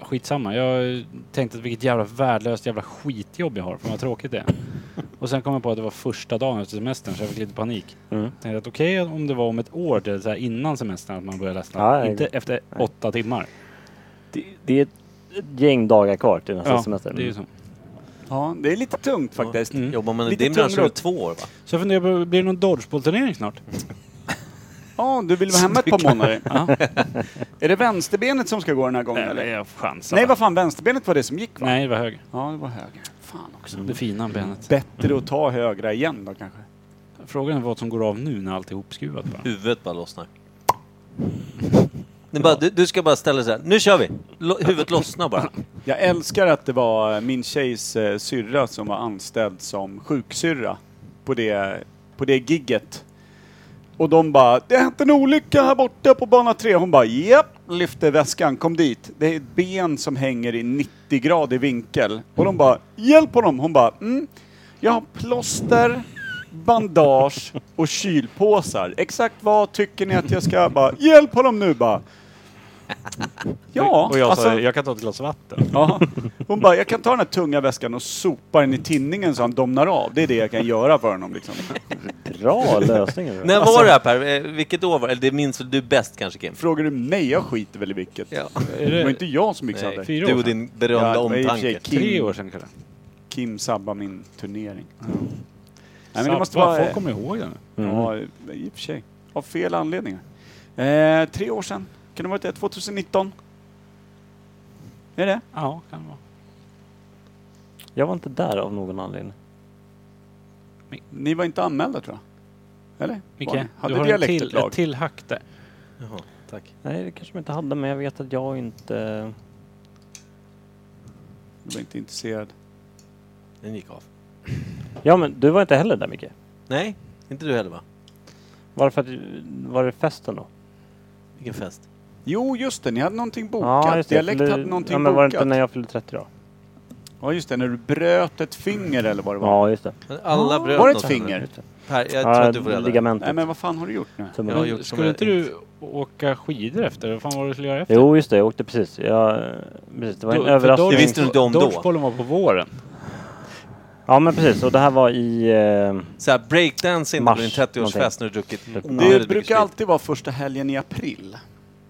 Speaker 1: Skitsamma, jag tänkte att vilket jävla värdelöst jävla skitjobb jag har, för vad tråkigt
Speaker 3: [LAUGHS]
Speaker 1: det är. Och sen kom jag på att det var första dagen efter semestern så jag fick lite panik.
Speaker 4: Mm.
Speaker 1: Tänkte att okej om det var om ett år, det är så här innan semestern, att man börjar läsa.
Speaker 4: Ja,
Speaker 1: inte
Speaker 4: nej.
Speaker 1: efter åtta timmar.
Speaker 4: Det, det är ett ett gäng dagar kvar till nästa
Speaker 1: Ja,
Speaker 4: semester.
Speaker 1: det är ju så.
Speaker 3: Ja, det är lite tungt faktiskt.
Speaker 1: Mm.
Speaker 2: Jobbar man i
Speaker 3: Lite
Speaker 2: din bransch så är det
Speaker 3: tungrot.
Speaker 2: två år va?
Speaker 1: Så jag funderar på, blir det någon dodgeballturnering
Speaker 3: [LAUGHS]
Speaker 1: snart?
Speaker 3: Ja, du vill vara hemma ett par månader. Är det vänsterbenet som ska gå den här gången eller?
Speaker 1: jag chansar.
Speaker 3: Nej, vad fan, vänsterbenet var det som gick va?
Speaker 1: Nej, det var höger.
Speaker 3: Ja, det var höger. Fan också.
Speaker 1: Det fina benet.
Speaker 3: Bättre att ta högra igen då kanske.
Speaker 1: Frågan är vad som går av nu när allt är ihopskruvat bara.
Speaker 2: Huvudet bara lossnar. Det är bara, du, du ska bara ställa dig så här. nu kör vi! Lo, huvudet lossnar bara.
Speaker 3: Jag älskar att det var min tjejs eh, syrra som var anställd som sjuksyrra på det, på det gigget. Och de bara, det har hänt en olycka här borta på bana 3. Hon bara, japp, lyfte väskan, kom dit. Det är ett ben som hänger i 90 grader vinkel. Och de bara, hjälp honom! Hon bara, mm, jag har plåster, bandage och kylpåsar. Exakt vad tycker ni att jag ska, bara, hjälp honom nu bara. Ja,
Speaker 1: och jag
Speaker 3: alltså-
Speaker 1: sa, jag kan ta ett glas vatten.
Speaker 3: Ja. Hon bara, jag kan ta den här tunga väskan och sopa den i tinningen så han domnar av. Det är det jag kan göra för honom liksom.
Speaker 4: Bra
Speaker 2: [LAUGHS]
Speaker 4: lösning! Robert.
Speaker 2: När var det här Per? Eh, Vilket år var det? Eller det minns väl du bäst kanske Kim?
Speaker 3: Frågar du mig, jag skiter väl i vilket.
Speaker 2: Ja.
Speaker 1: Är
Speaker 3: Det var
Speaker 1: det
Speaker 3: inte jag som yxade.
Speaker 2: Nej,
Speaker 1: fyra
Speaker 2: Eh, du
Speaker 1: år
Speaker 2: och
Speaker 1: sedan.
Speaker 2: din berömda
Speaker 3: Ja, det var i och för sig
Speaker 2: omtanke.
Speaker 3: Kim.
Speaker 1: tre år sedan kanske?
Speaker 3: Kim sabbar min turnering. Nej,
Speaker 1: Nej,
Speaker 3: men det måste vara...
Speaker 1: Folk kommer Mm. ihåg den.
Speaker 4: Mm.
Speaker 3: Ja, i och för sig. Av fel anledningar. Eh, tre år sedan. Kan det ha varit det? 2019? Är det?
Speaker 1: Ja, kan det vara.
Speaker 4: Jag var inte där av någon anledning.
Speaker 3: Ni var inte anmälda tror jag. Eller? Var ni?
Speaker 1: Micke,
Speaker 3: Hade
Speaker 1: du har en
Speaker 3: dialekt
Speaker 1: till,
Speaker 3: ett lag?
Speaker 1: ett till hack där.
Speaker 2: Jaha, tack.
Speaker 4: Nej, det kanske man inte hade, men jag vet att jag inte...
Speaker 3: Du var inte intresserad.
Speaker 2: Den gick av.
Speaker 4: Ja, men du var inte heller där, Micke.
Speaker 2: Nej, inte du heller va?
Speaker 4: Varför att, var det festen då?
Speaker 2: Vilken fest.
Speaker 3: Jo, just det. Ni hade någonting bokat.
Speaker 4: just det.
Speaker 3: Dialekt
Speaker 4: Fyllde-
Speaker 3: hade någonting
Speaker 4: ja, men
Speaker 3: bokat.
Speaker 4: Var det inte när jag fyllde 30 då?
Speaker 3: Ja just det, när du bröt ett finger eller vad det var.
Speaker 4: Ja, just det.
Speaker 2: Alla bröt
Speaker 3: var det ett
Speaker 2: något.
Speaker 3: finger?
Speaker 2: Per, jag
Speaker 4: Ja,
Speaker 2: tror att du får reda det.
Speaker 4: ligamentet.
Speaker 3: Nej men vad fan har du gjort nu?
Speaker 4: Tummen.
Speaker 2: Jag har gjort som
Speaker 1: Skulle
Speaker 2: jag
Speaker 1: inte du åka skidor efter? Vad fan var det du skulle göra efter?
Speaker 4: Jo, just det. Jag åkte precis. Jag, precis. Det var en
Speaker 1: Då- för
Speaker 4: överraskning.
Speaker 1: dodge-
Speaker 2: Det visste du inte om då.
Speaker 1: Dodgebollen var på våren.
Speaker 4: Ja, men precis. Och det här var i... Eh,
Speaker 2: Så här, breakdance inte
Speaker 4: Mars,
Speaker 2: på din 30-årsfest när du druckit
Speaker 3: Det
Speaker 2: onödigt mycket
Speaker 3: brukar
Speaker 2: sprit.
Speaker 3: alltid vara första helgen i april.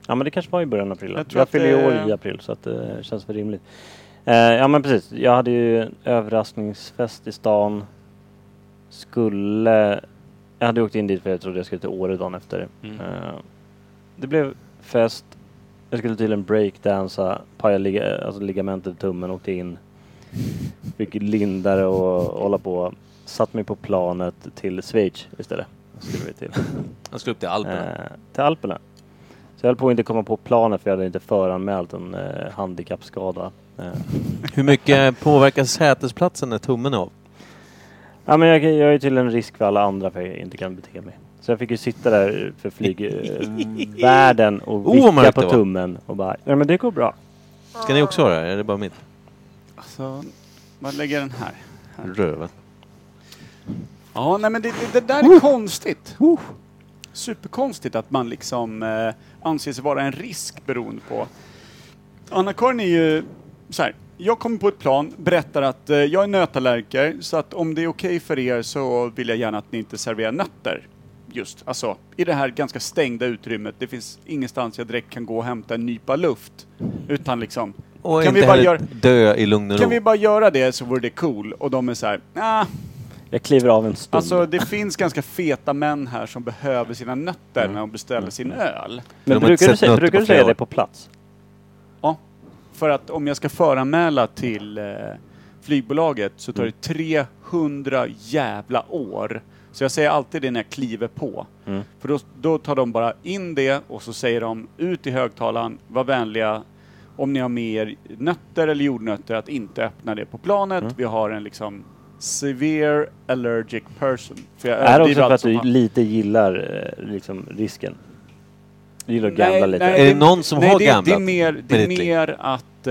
Speaker 4: ja, men det kanske var i början av april.
Speaker 3: Jag
Speaker 4: Jag,
Speaker 3: tror att
Speaker 4: fyller
Speaker 3: det-
Speaker 4: i år i april, så att det känns väl rimligt. Eh, ja, men precis. Jag hade ju en överraskningsfest i stan. Skulle... Jag hade åkt in dit för jag trodde jag skulle till Åre dagen efter.
Speaker 1: Mm.
Speaker 4: Eh, det blev fest. Jag skulle till en eh, breakdansa, pajade liga, alltså ligamentet i tummen, åkte in. Fick lindare och hålla på. Satt mig på planet till Schweiz istället. Skulle vi till.
Speaker 2: Han skulle upp till Alperna.
Speaker 4: Eh, till Alperna. Så jag höll på att inte komma på planet för jag hade inte föranmält en eh, handikappskada. Eh.
Speaker 2: Hur mycket påverkar sätesplatsen när tummen är av?
Speaker 4: Ja, men jag, jag är till en risk för alla andra för jag inte kan bete mig. Så jag fick ju sitta där för
Speaker 2: [LAUGHS]
Speaker 4: flygvärlden och
Speaker 2: Oh, vad
Speaker 4: vicka
Speaker 2: mörkt
Speaker 4: på
Speaker 2: det var.
Speaker 4: tummen och bara, nej men det går bra.
Speaker 2: Ska ni också ha det här? Är det bara mitt?
Speaker 3: Alltså, man lägger den här.
Speaker 2: Röven.
Speaker 3: Ja, nej men det, det, det där är konstigt. Superkonstigt att man liksom eh, anser sig vara en risk beroende på. Anna-Karin är ju så här. Jag kommer på ett plan, berättar att eh, jag är nötallergiker så att om det är okej för er så vill jag gärna att ni inte serverar nötter. Just, alltså i det här ganska stängda utrymmet. Det finns ingenstans jag direkt kan gå och hämta en nypa luft. Utan liksom,
Speaker 2: Och
Speaker 3: kan
Speaker 2: inte
Speaker 3: vi bara
Speaker 2: heller
Speaker 3: göra
Speaker 2: dö i lugn och
Speaker 3: kan vi
Speaker 2: ro.
Speaker 3: bara göra det så vore det cool. Och de är så här, nah,
Speaker 4: Jag kliver av en stund.
Speaker 3: Alltså det finns ganska feta män här som behöver sina nötter när de beställer sin
Speaker 4: Mm.
Speaker 3: öl.
Speaker 2: de har
Speaker 4: men
Speaker 2: inte
Speaker 4: brukar du,
Speaker 2: sett
Speaker 4: säga,
Speaker 2: nötter
Speaker 4: brukar
Speaker 2: på
Speaker 4: du säga
Speaker 2: flera
Speaker 4: det
Speaker 2: år.
Speaker 4: på plats?
Speaker 3: För att om jag ska föranmäla till eh, flygbolaget så tar det
Speaker 4: Mm.
Speaker 3: 300 jävla år. Så jag säger alltid det när jag kliver på.
Speaker 4: Mm.
Speaker 3: För då, då tar de bara in det och så säger de ut i högtalaren, var vänliga om ni har med er nötter eller jordnötter att inte öppna det på planet.
Speaker 4: Mm.
Speaker 3: Vi har en liksom severe allergic person. För jag
Speaker 4: är det också
Speaker 3: överdriver
Speaker 4: för
Speaker 3: allt
Speaker 4: att
Speaker 3: som
Speaker 4: du
Speaker 3: fan.
Speaker 4: lite gillar eh, liksom, risken? Du gillar att gambla lite?
Speaker 2: Är det någon som
Speaker 3: nej,
Speaker 2: har
Speaker 3: det,
Speaker 2: gamblat
Speaker 3: Det är mer, det
Speaker 2: med
Speaker 3: är
Speaker 2: ditt liv?
Speaker 3: mer att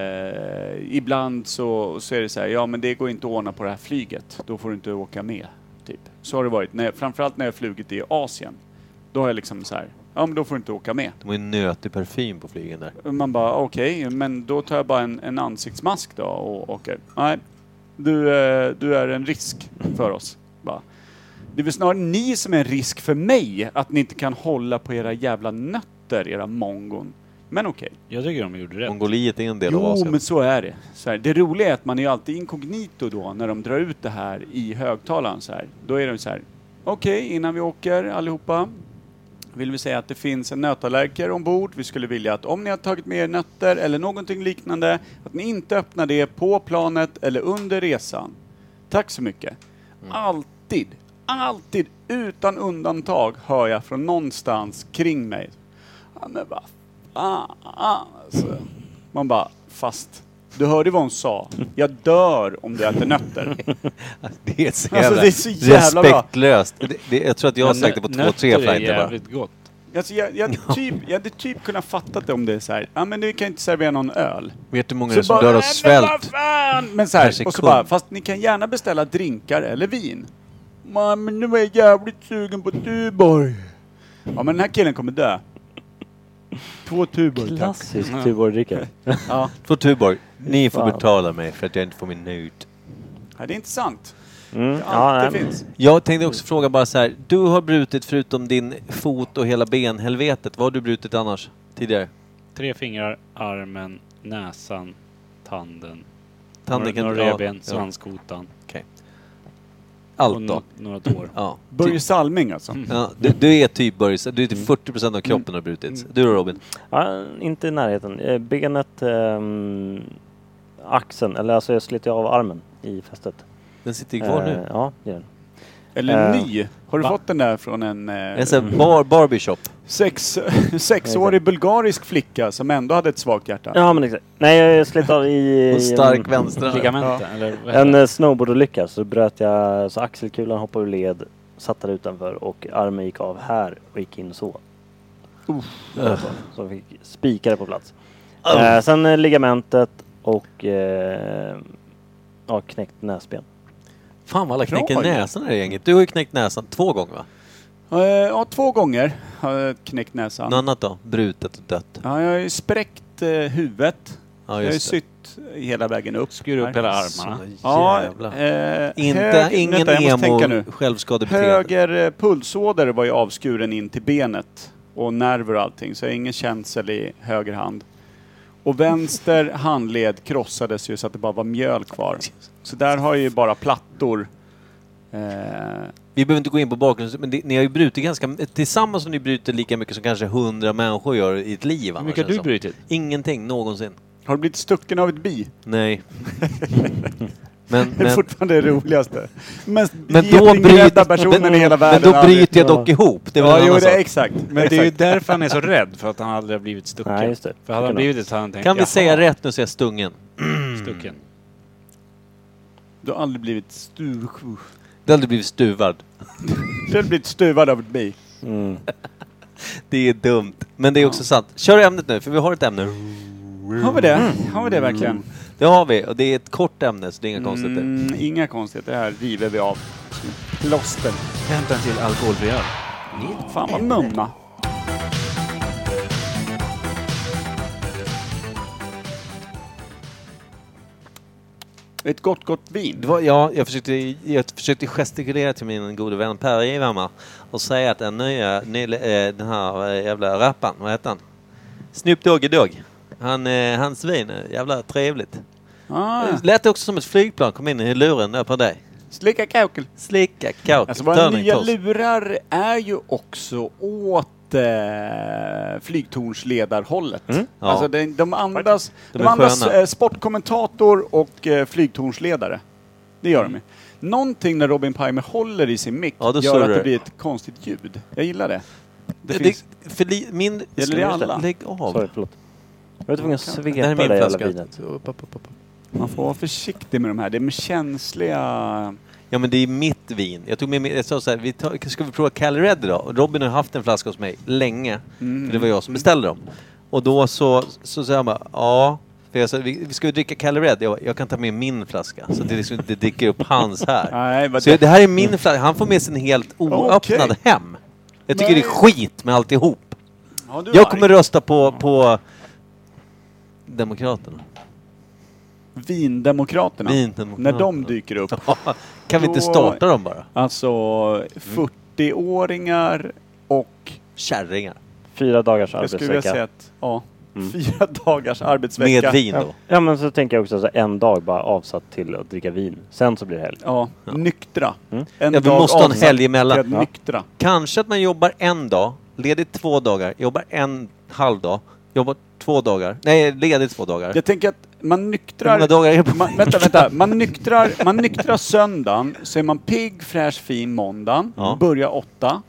Speaker 3: eh, ibland så, så är det så här, ja men det går inte att ordna på det här flyget. Då får du inte åka med. Typ. Så har det varit. När, jag- framförallt när jag flugit i Asien. Då har jag liksom så här, ja men då får du inte åka med.
Speaker 2: De har ju nötig parfym på flygen där.
Speaker 3: Och Man bara okej, men då tar jag bara en, en ansiktsmask då och åker. Nej, du, eh, du är en risk för oss. Bara. Det är väl snarare ni som är en risk för mig, att ni inte kan hålla på era jävla nötter, era mongon. Men okej.
Speaker 1: Jag tycker de gjorde rätt.
Speaker 2: Mongoliet är en del av
Speaker 3: Jo,
Speaker 2: Asien.
Speaker 3: men så är det. Så här, det roliga är att man är ju alltid inkognito då när de drar ut det här i högtalaren så här. Då är de så här. Okej, innan vi åker allihopa vill vi säga att det finns en nötallergiker ombord. Vi skulle vilja att om ni har tagit med er nötter eller någonting liknande, att ni inte öppnar det på planet eller under resan. Tack så mycket.
Speaker 2: Mm.
Speaker 3: Alltid, alltid utan undantag hör jag från någonstans kring mig. Ja, men vad fan alltså. Man bara, fast du hörde vad hon sa. Jag dör om du äter nötter.
Speaker 2: [LAUGHS] Det är så jävla,
Speaker 3: Alltså, det är så jävla bra.
Speaker 2: respektlöst. Det, det, jag tror att jag har
Speaker 1: Men
Speaker 2: sagt det på
Speaker 1: nö-
Speaker 2: två, tre
Speaker 1: nötter är
Speaker 2: flighter bara.
Speaker 1: jävligt gott.
Speaker 3: Alltså, jag, jag, typ, jag hade typ kunnat fatta det om det är så här, ja men du kan inte servera någon öl.
Speaker 2: Vet du hur många
Speaker 3: Så
Speaker 2: som
Speaker 3: bara,
Speaker 2: dör av
Speaker 3: "Nej, men vad
Speaker 2: svält?
Speaker 3: fan! Men så här,
Speaker 2: Per
Speaker 3: och så
Speaker 2: sekund.
Speaker 3: bara, fast ni kan gärna beställa drinkar eller vin. "Nej, Men nu är jag jävligt sugen på Tuborg. Ja men den här killen kommer dö. Två Tuborg tack.
Speaker 4: Klassisk
Speaker 3: [LAUGHS]
Speaker 4: Tuborg-drickare.
Speaker 3: Ja,
Speaker 2: Två Tuborg, ni får
Speaker 4: Fan.
Speaker 2: betala mig för att jag inte får min nöt.
Speaker 3: Ja, det är intressant.
Speaker 4: Mm.
Speaker 3: Allt
Speaker 4: Ja,
Speaker 3: det
Speaker 4: nej,
Speaker 3: finns.
Speaker 2: Jag tänkte
Speaker 3: Mm.
Speaker 2: också fråga bara så här. Du har brutit förutom din fot och hela benhelvetet. Vad har du brutit annars? Tidigare?
Speaker 1: Tre fingrar, armen, näsan, tanden.
Speaker 2: Tanden kan
Speaker 1: några
Speaker 2: ja,
Speaker 1: revben,
Speaker 2: ja,
Speaker 1: svanskotan. Och
Speaker 2: Allt
Speaker 1: no-
Speaker 2: då.
Speaker 1: några tår.
Speaker 2: Ja.
Speaker 3: Börje Salming alltså.
Speaker 2: Ja, du, du är typ Börje, så du är typ 40% av kroppen har brutits. Du då Robin?
Speaker 4: Ja, inte i närheten. Eh, Benet, ehm, axeln, eller alltså jag slet ju av armen i fästet.
Speaker 2: Den sitter ju kvar
Speaker 4: Eh,
Speaker 2: nu.
Speaker 4: Ja, det gör den.
Speaker 3: Eller
Speaker 4: Eh,
Speaker 3: ny. Har du
Speaker 1: va?
Speaker 3: fått den där från en...
Speaker 2: Det
Speaker 3: Eh,
Speaker 2: är så här bar, barbershop.
Speaker 3: Sex, [LAUGHS] sexårig bulgarisk flicka som ändå hade ett svagt hjärta.
Speaker 4: Ja, men exakt. Nej, jag slet
Speaker 2: [LAUGHS]
Speaker 4: av i...
Speaker 2: Och
Speaker 4: i en-
Speaker 2: stark vänster.
Speaker 1: Ligamenten, eller vad heter
Speaker 4: En
Speaker 1: det?
Speaker 4: eh, snowboardolycka så bröt jag, så axelkulan hoppade ur led, satt där utanför och armen gick av här och gick in så.
Speaker 2: Ugh.
Speaker 4: Så jag fick spikare på plats. Eh, sen eh, ligamentet och eh, ja, knäckt näsben.
Speaker 2: Fan vad alla knäcker
Speaker 3: Bra ju.
Speaker 2: näsan i det här gänget. Du har ju knäckt näsan två gånger va?
Speaker 3: Eh, ja, två gånger har jag knäckt näsan.
Speaker 2: Något annat då? Brutet och dött?
Speaker 3: Ja, jag har ju spräckt eh, huvudet.
Speaker 2: Ja
Speaker 3: jag har ju
Speaker 2: just det.
Speaker 3: sytt hela vägen upp.
Speaker 1: Skurit upp hela armarna.
Speaker 2: Såna
Speaker 3: Ja,
Speaker 2: jävla-
Speaker 3: eh,
Speaker 2: Inte,
Speaker 3: hög-
Speaker 2: ingen
Speaker 3: vänta, jag måste tänka nu.
Speaker 2: emo självskadebeteende.
Speaker 3: Höger eh, pulsåder var ju avskuren in till benet och nerver och allting, så jag har ingen känsel i höger hand.
Speaker 2: [LAUGHS]
Speaker 3: Och vänster handled krossades ju så att det bara var mjöl kvar. Så där har jag ju bara plattor. Eh,
Speaker 2: Vi behöver inte gå in på bakgrunden, men det, ni har ju brutit ganska... Tillsammans har ni brutit lika mycket som kanske hundra människor gör i ett liv
Speaker 1: Hur
Speaker 2: annars,
Speaker 1: mycket har
Speaker 2: känns
Speaker 1: du
Speaker 2: det som.
Speaker 1: brutit?
Speaker 2: Ingenting, någonsin.
Speaker 3: har du blivit stucken av ett bi? [LAUGHS]
Speaker 2: Nej. men,
Speaker 3: Det är
Speaker 2: men,
Speaker 3: fortfarande det roligaste. Mest
Speaker 2: men då
Speaker 3: getingrädda
Speaker 2: bryter...
Speaker 3: personen
Speaker 2: Men,
Speaker 3: i hela
Speaker 2: men
Speaker 3: världen.
Speaker 2: då
Speaker 3: aldrig.
Speaker 2: bryter jag dock ihop. Det är väl en
Speaker 3: Ja, jo,
Speaker 2: annan
Speaker 3: det är
Speaker 2: sak.
Speaker 3: exakt.
Speaker 1: Men det är ju
Speaker 3: exakt.
Speaker 1: därför han är så rädd, för att han aldrig har blivit stucken.
Speaker 4: Nej, just det.
Speaker 1: För hade han
Speaker 4: Stucken.
Speaker 1: blivit det så hade han tänkt,
Speaker 2: Kan vi
Speaker 1: "Jaha,
Speaker 2: säga rätt nu så är jag stungen?
Speaker 1: stucken.
Speaker 3: Du har aldrig blivit stuv...
Speaker 2: Du har aldrig blivit stuvad.
Speaker 3: Du har blivit stuvad av ett bi.
Speaker 4: Mm.
Speaker 2: Det är dumt. Men det är också sant. Kör ämnet nu, för vi har ett ämne.
Speaker 3: Har vi det? Har vi det verkligen?
Speaker 2: Det har vi, och det är ett kort ämne så det är inga konstigheter.
Speaker 3: Mm, inga konstigheter. Det här river vi av. Plåster.
Speaker 2: Hämta till alkoholfria.
Speaker 3: Fan vad mumma. Ett gott, gott
Speaker 2: Det
Speaker 3: vin.
Speaker 2: var, ja, jag, försökte, jag försökte gestikulera till min gode vän Per Evhammar och säga att den nya, ny, eh, den här eh, jävla rapparen, vad heter han? Snoop Doggy Dogg. Han, eh, hans vin, eh, jävla trevligt.
Speaker 3: Ah,
Speaker 2: Det Lät också som ett flygplan kom in i luren där på dig.
Speaker 3: slicka kaukel.
Speaker 2: Slicka kauk,
Speaker 3: Alltså våra nya
Speaker 2: törningtoast.
Speaker 3: lurar är ju också åt eh, flygtornsledarhållet.
Speaker 2: Mm. ja.
Speaker 3: Alltså de, de andas,
Speaker 2: De
Speaker 3: de
Speaker 2: är
Speaker 3: andas
Speaker 2: sköna.
Speaker 3: eh, sportkommentator och eh, flygtornsledare. Det gör de ju. Någonting när Robin Palmer håller i sin mick
Speaker 2: Ja, då
Speaker 3: gör
Speaker 2: surrar
Speaker 3: att
Speaker 2: det.
Speaker 3: det blir ett konstigt ljud. Jag gillar det. Det
Speaker 2: Det,
Speaker 3: finns,
Speaker 2: det, för li, min...
Speaker 3: det
Speaker 2: Sluta,
Speaker 3: alla?
Speaker 2: Lägg av.
Speaker 4: Sorry, förlåt. Jag var tvungen att
Speaker 2: Det här
Speaker 4: svepa
Speaker 2: är
Speaker 4: det
Speaker 2: min
Speaker 4: där jävla
Speaker 2: flaska.
Speaker 4: vinet.
Speaker 2: Upp, upp, upp, upp.
Speaker 3: man får vara försiktig med de här. Det är med känsliga...
Speaker 2: Ja men det är mitt vin. Jag tog med mig, jag sa så här, vi tar, ska vi prova Cali Red idag? Och Robin har haft en flaska hos mig länge. För det var jag som beställde dem. Och då så, så sa han bara, ja. För jag sa, vi, vi ska ju dricka Cali Red. Jag, bara, jag kan ta med min flaska. Så det liksom inte dyker upp hans
Speaker 3: [LAUGHS]
Speaker 2: här.
Speaker 3: Nej, vad
Speaker 2: Så det här är min flaska. Han får med sin helt oöppnad
Speaker 3: Okej.
Speaker 2: hem. Jag tycker
Speaker 3: Nej.
Speaker 2: det är skit med alltihop.
Speaker 3: Ja, du är
Speaker 2: Jag kommer
Speaker 3: arg.
Speaker 2: rösta på, på Demokraterna.
Speaker 3: Vindemokraterna.
Speaker 2: Vindemokraterna.
Speaker 3: När de dyker upp.
Speaker 2: Kan vi inte
Speaker 3: Då-
Speaker 2: starta dem bara?
Speaker 3: Alltså
Speaker 2: Mm.
Speaker 3: 40-åringar och
Speaker 2: Kärringar.
Speaker 4: Fyra dagars
Speaker 3: jag skulle vilja säga
Speaker 4: arbetsvecka.
Speaker 3: att ja, fyra dagars arbetsvecka.
Speaker 2: Mm. Med vin då.
Speaker 4: Ja men så tänker jag också så här, en dag bara avsatt till att dricka vin. Sen så blir det helg.
Speaker 3: Ja, nyktra. En
Speaker 2: Mm. Ja, vi måste ha en helg emellan.
Speaker 3: avsatt till
Speaker 2: Ja.
Speaker 3: Nyktra.
Speaker 2: Kanske att man jobbar en dag, ledigt två dagar, jobbar en halv dag, jobbar två dagar. Nej, ledigt två dagar.
Speaker 3: Jag tänker att man
Speaker 2: Hur många
Speaker 3: nyktrar...
Speaker 2: dagar är det på
Speaker 3: Man, vänta, vänta. Man nyktrar, man nyktrar söndagen, så är man pigg, fräsch, fin måndagen.
Speaker 2: Ja.
Speaker 3: Börjar åtta,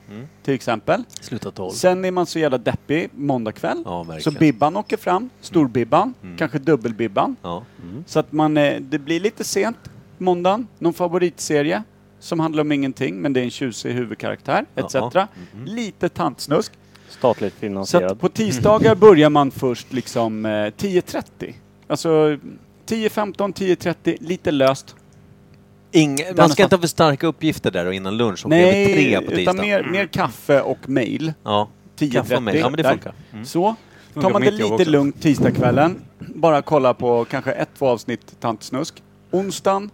Speaker 3: till exempel.
Speaker 2: Sluta tolv.
Speaker 3: Sen är man så jävla deppig måndag kväll.
Speaker 2: Ja,
Speaker 3: så
Speaker 2: verkligen. Mm.
Speaker 3: Bibban åker fram, storbibban, kanske dubbelbibban.
Speaker 2: Ja.
Speaker 3: Så att man, eh, det blir lite sent måndagen. Någon favoritserie som handlar om ingenting, men det är en tjusig huvudkaraktär, etc.
Speaker 2: Jaha.
Speaker 3: Lite tantsnusk.
Speaker 4: Statligt
Speaker 3: Så att
Speaker 4: finansierad.
Speaker 3: på tisdagar börjar man först liksom eh, 10.30. Alltså 10.15, 10.30, lite löst.
Speaker 2: Inge, man ska inte ha för starka uppgifter där och innan lunch och över tre
Speaker 3: Nej,
Speaker 2: på Mm.
Speaker 3: utan
Speaker 2: tisdagen.
Speaker 3: mer, mer kaffe och mail.
Speaker 2: Ja. Kaffe och
Speaker 3: 10.30.
Speaker 2: mig. Ja, men det
Speaker 3: där.
Speaker 2: funkar. Mm.
Speaker 3: Så.
Speaker 1: Funkar
Speaker 3: Tar
Speaker 1: på
Speaker 3: man det
Speaker 1: mitt jobb
Speaker 3: lite
Speaker 1: också.
Speaker 3: lugnt tisdagskvällen, bara kolla på kanske ett, två avsnitt Tantsnusk. Onsdagen,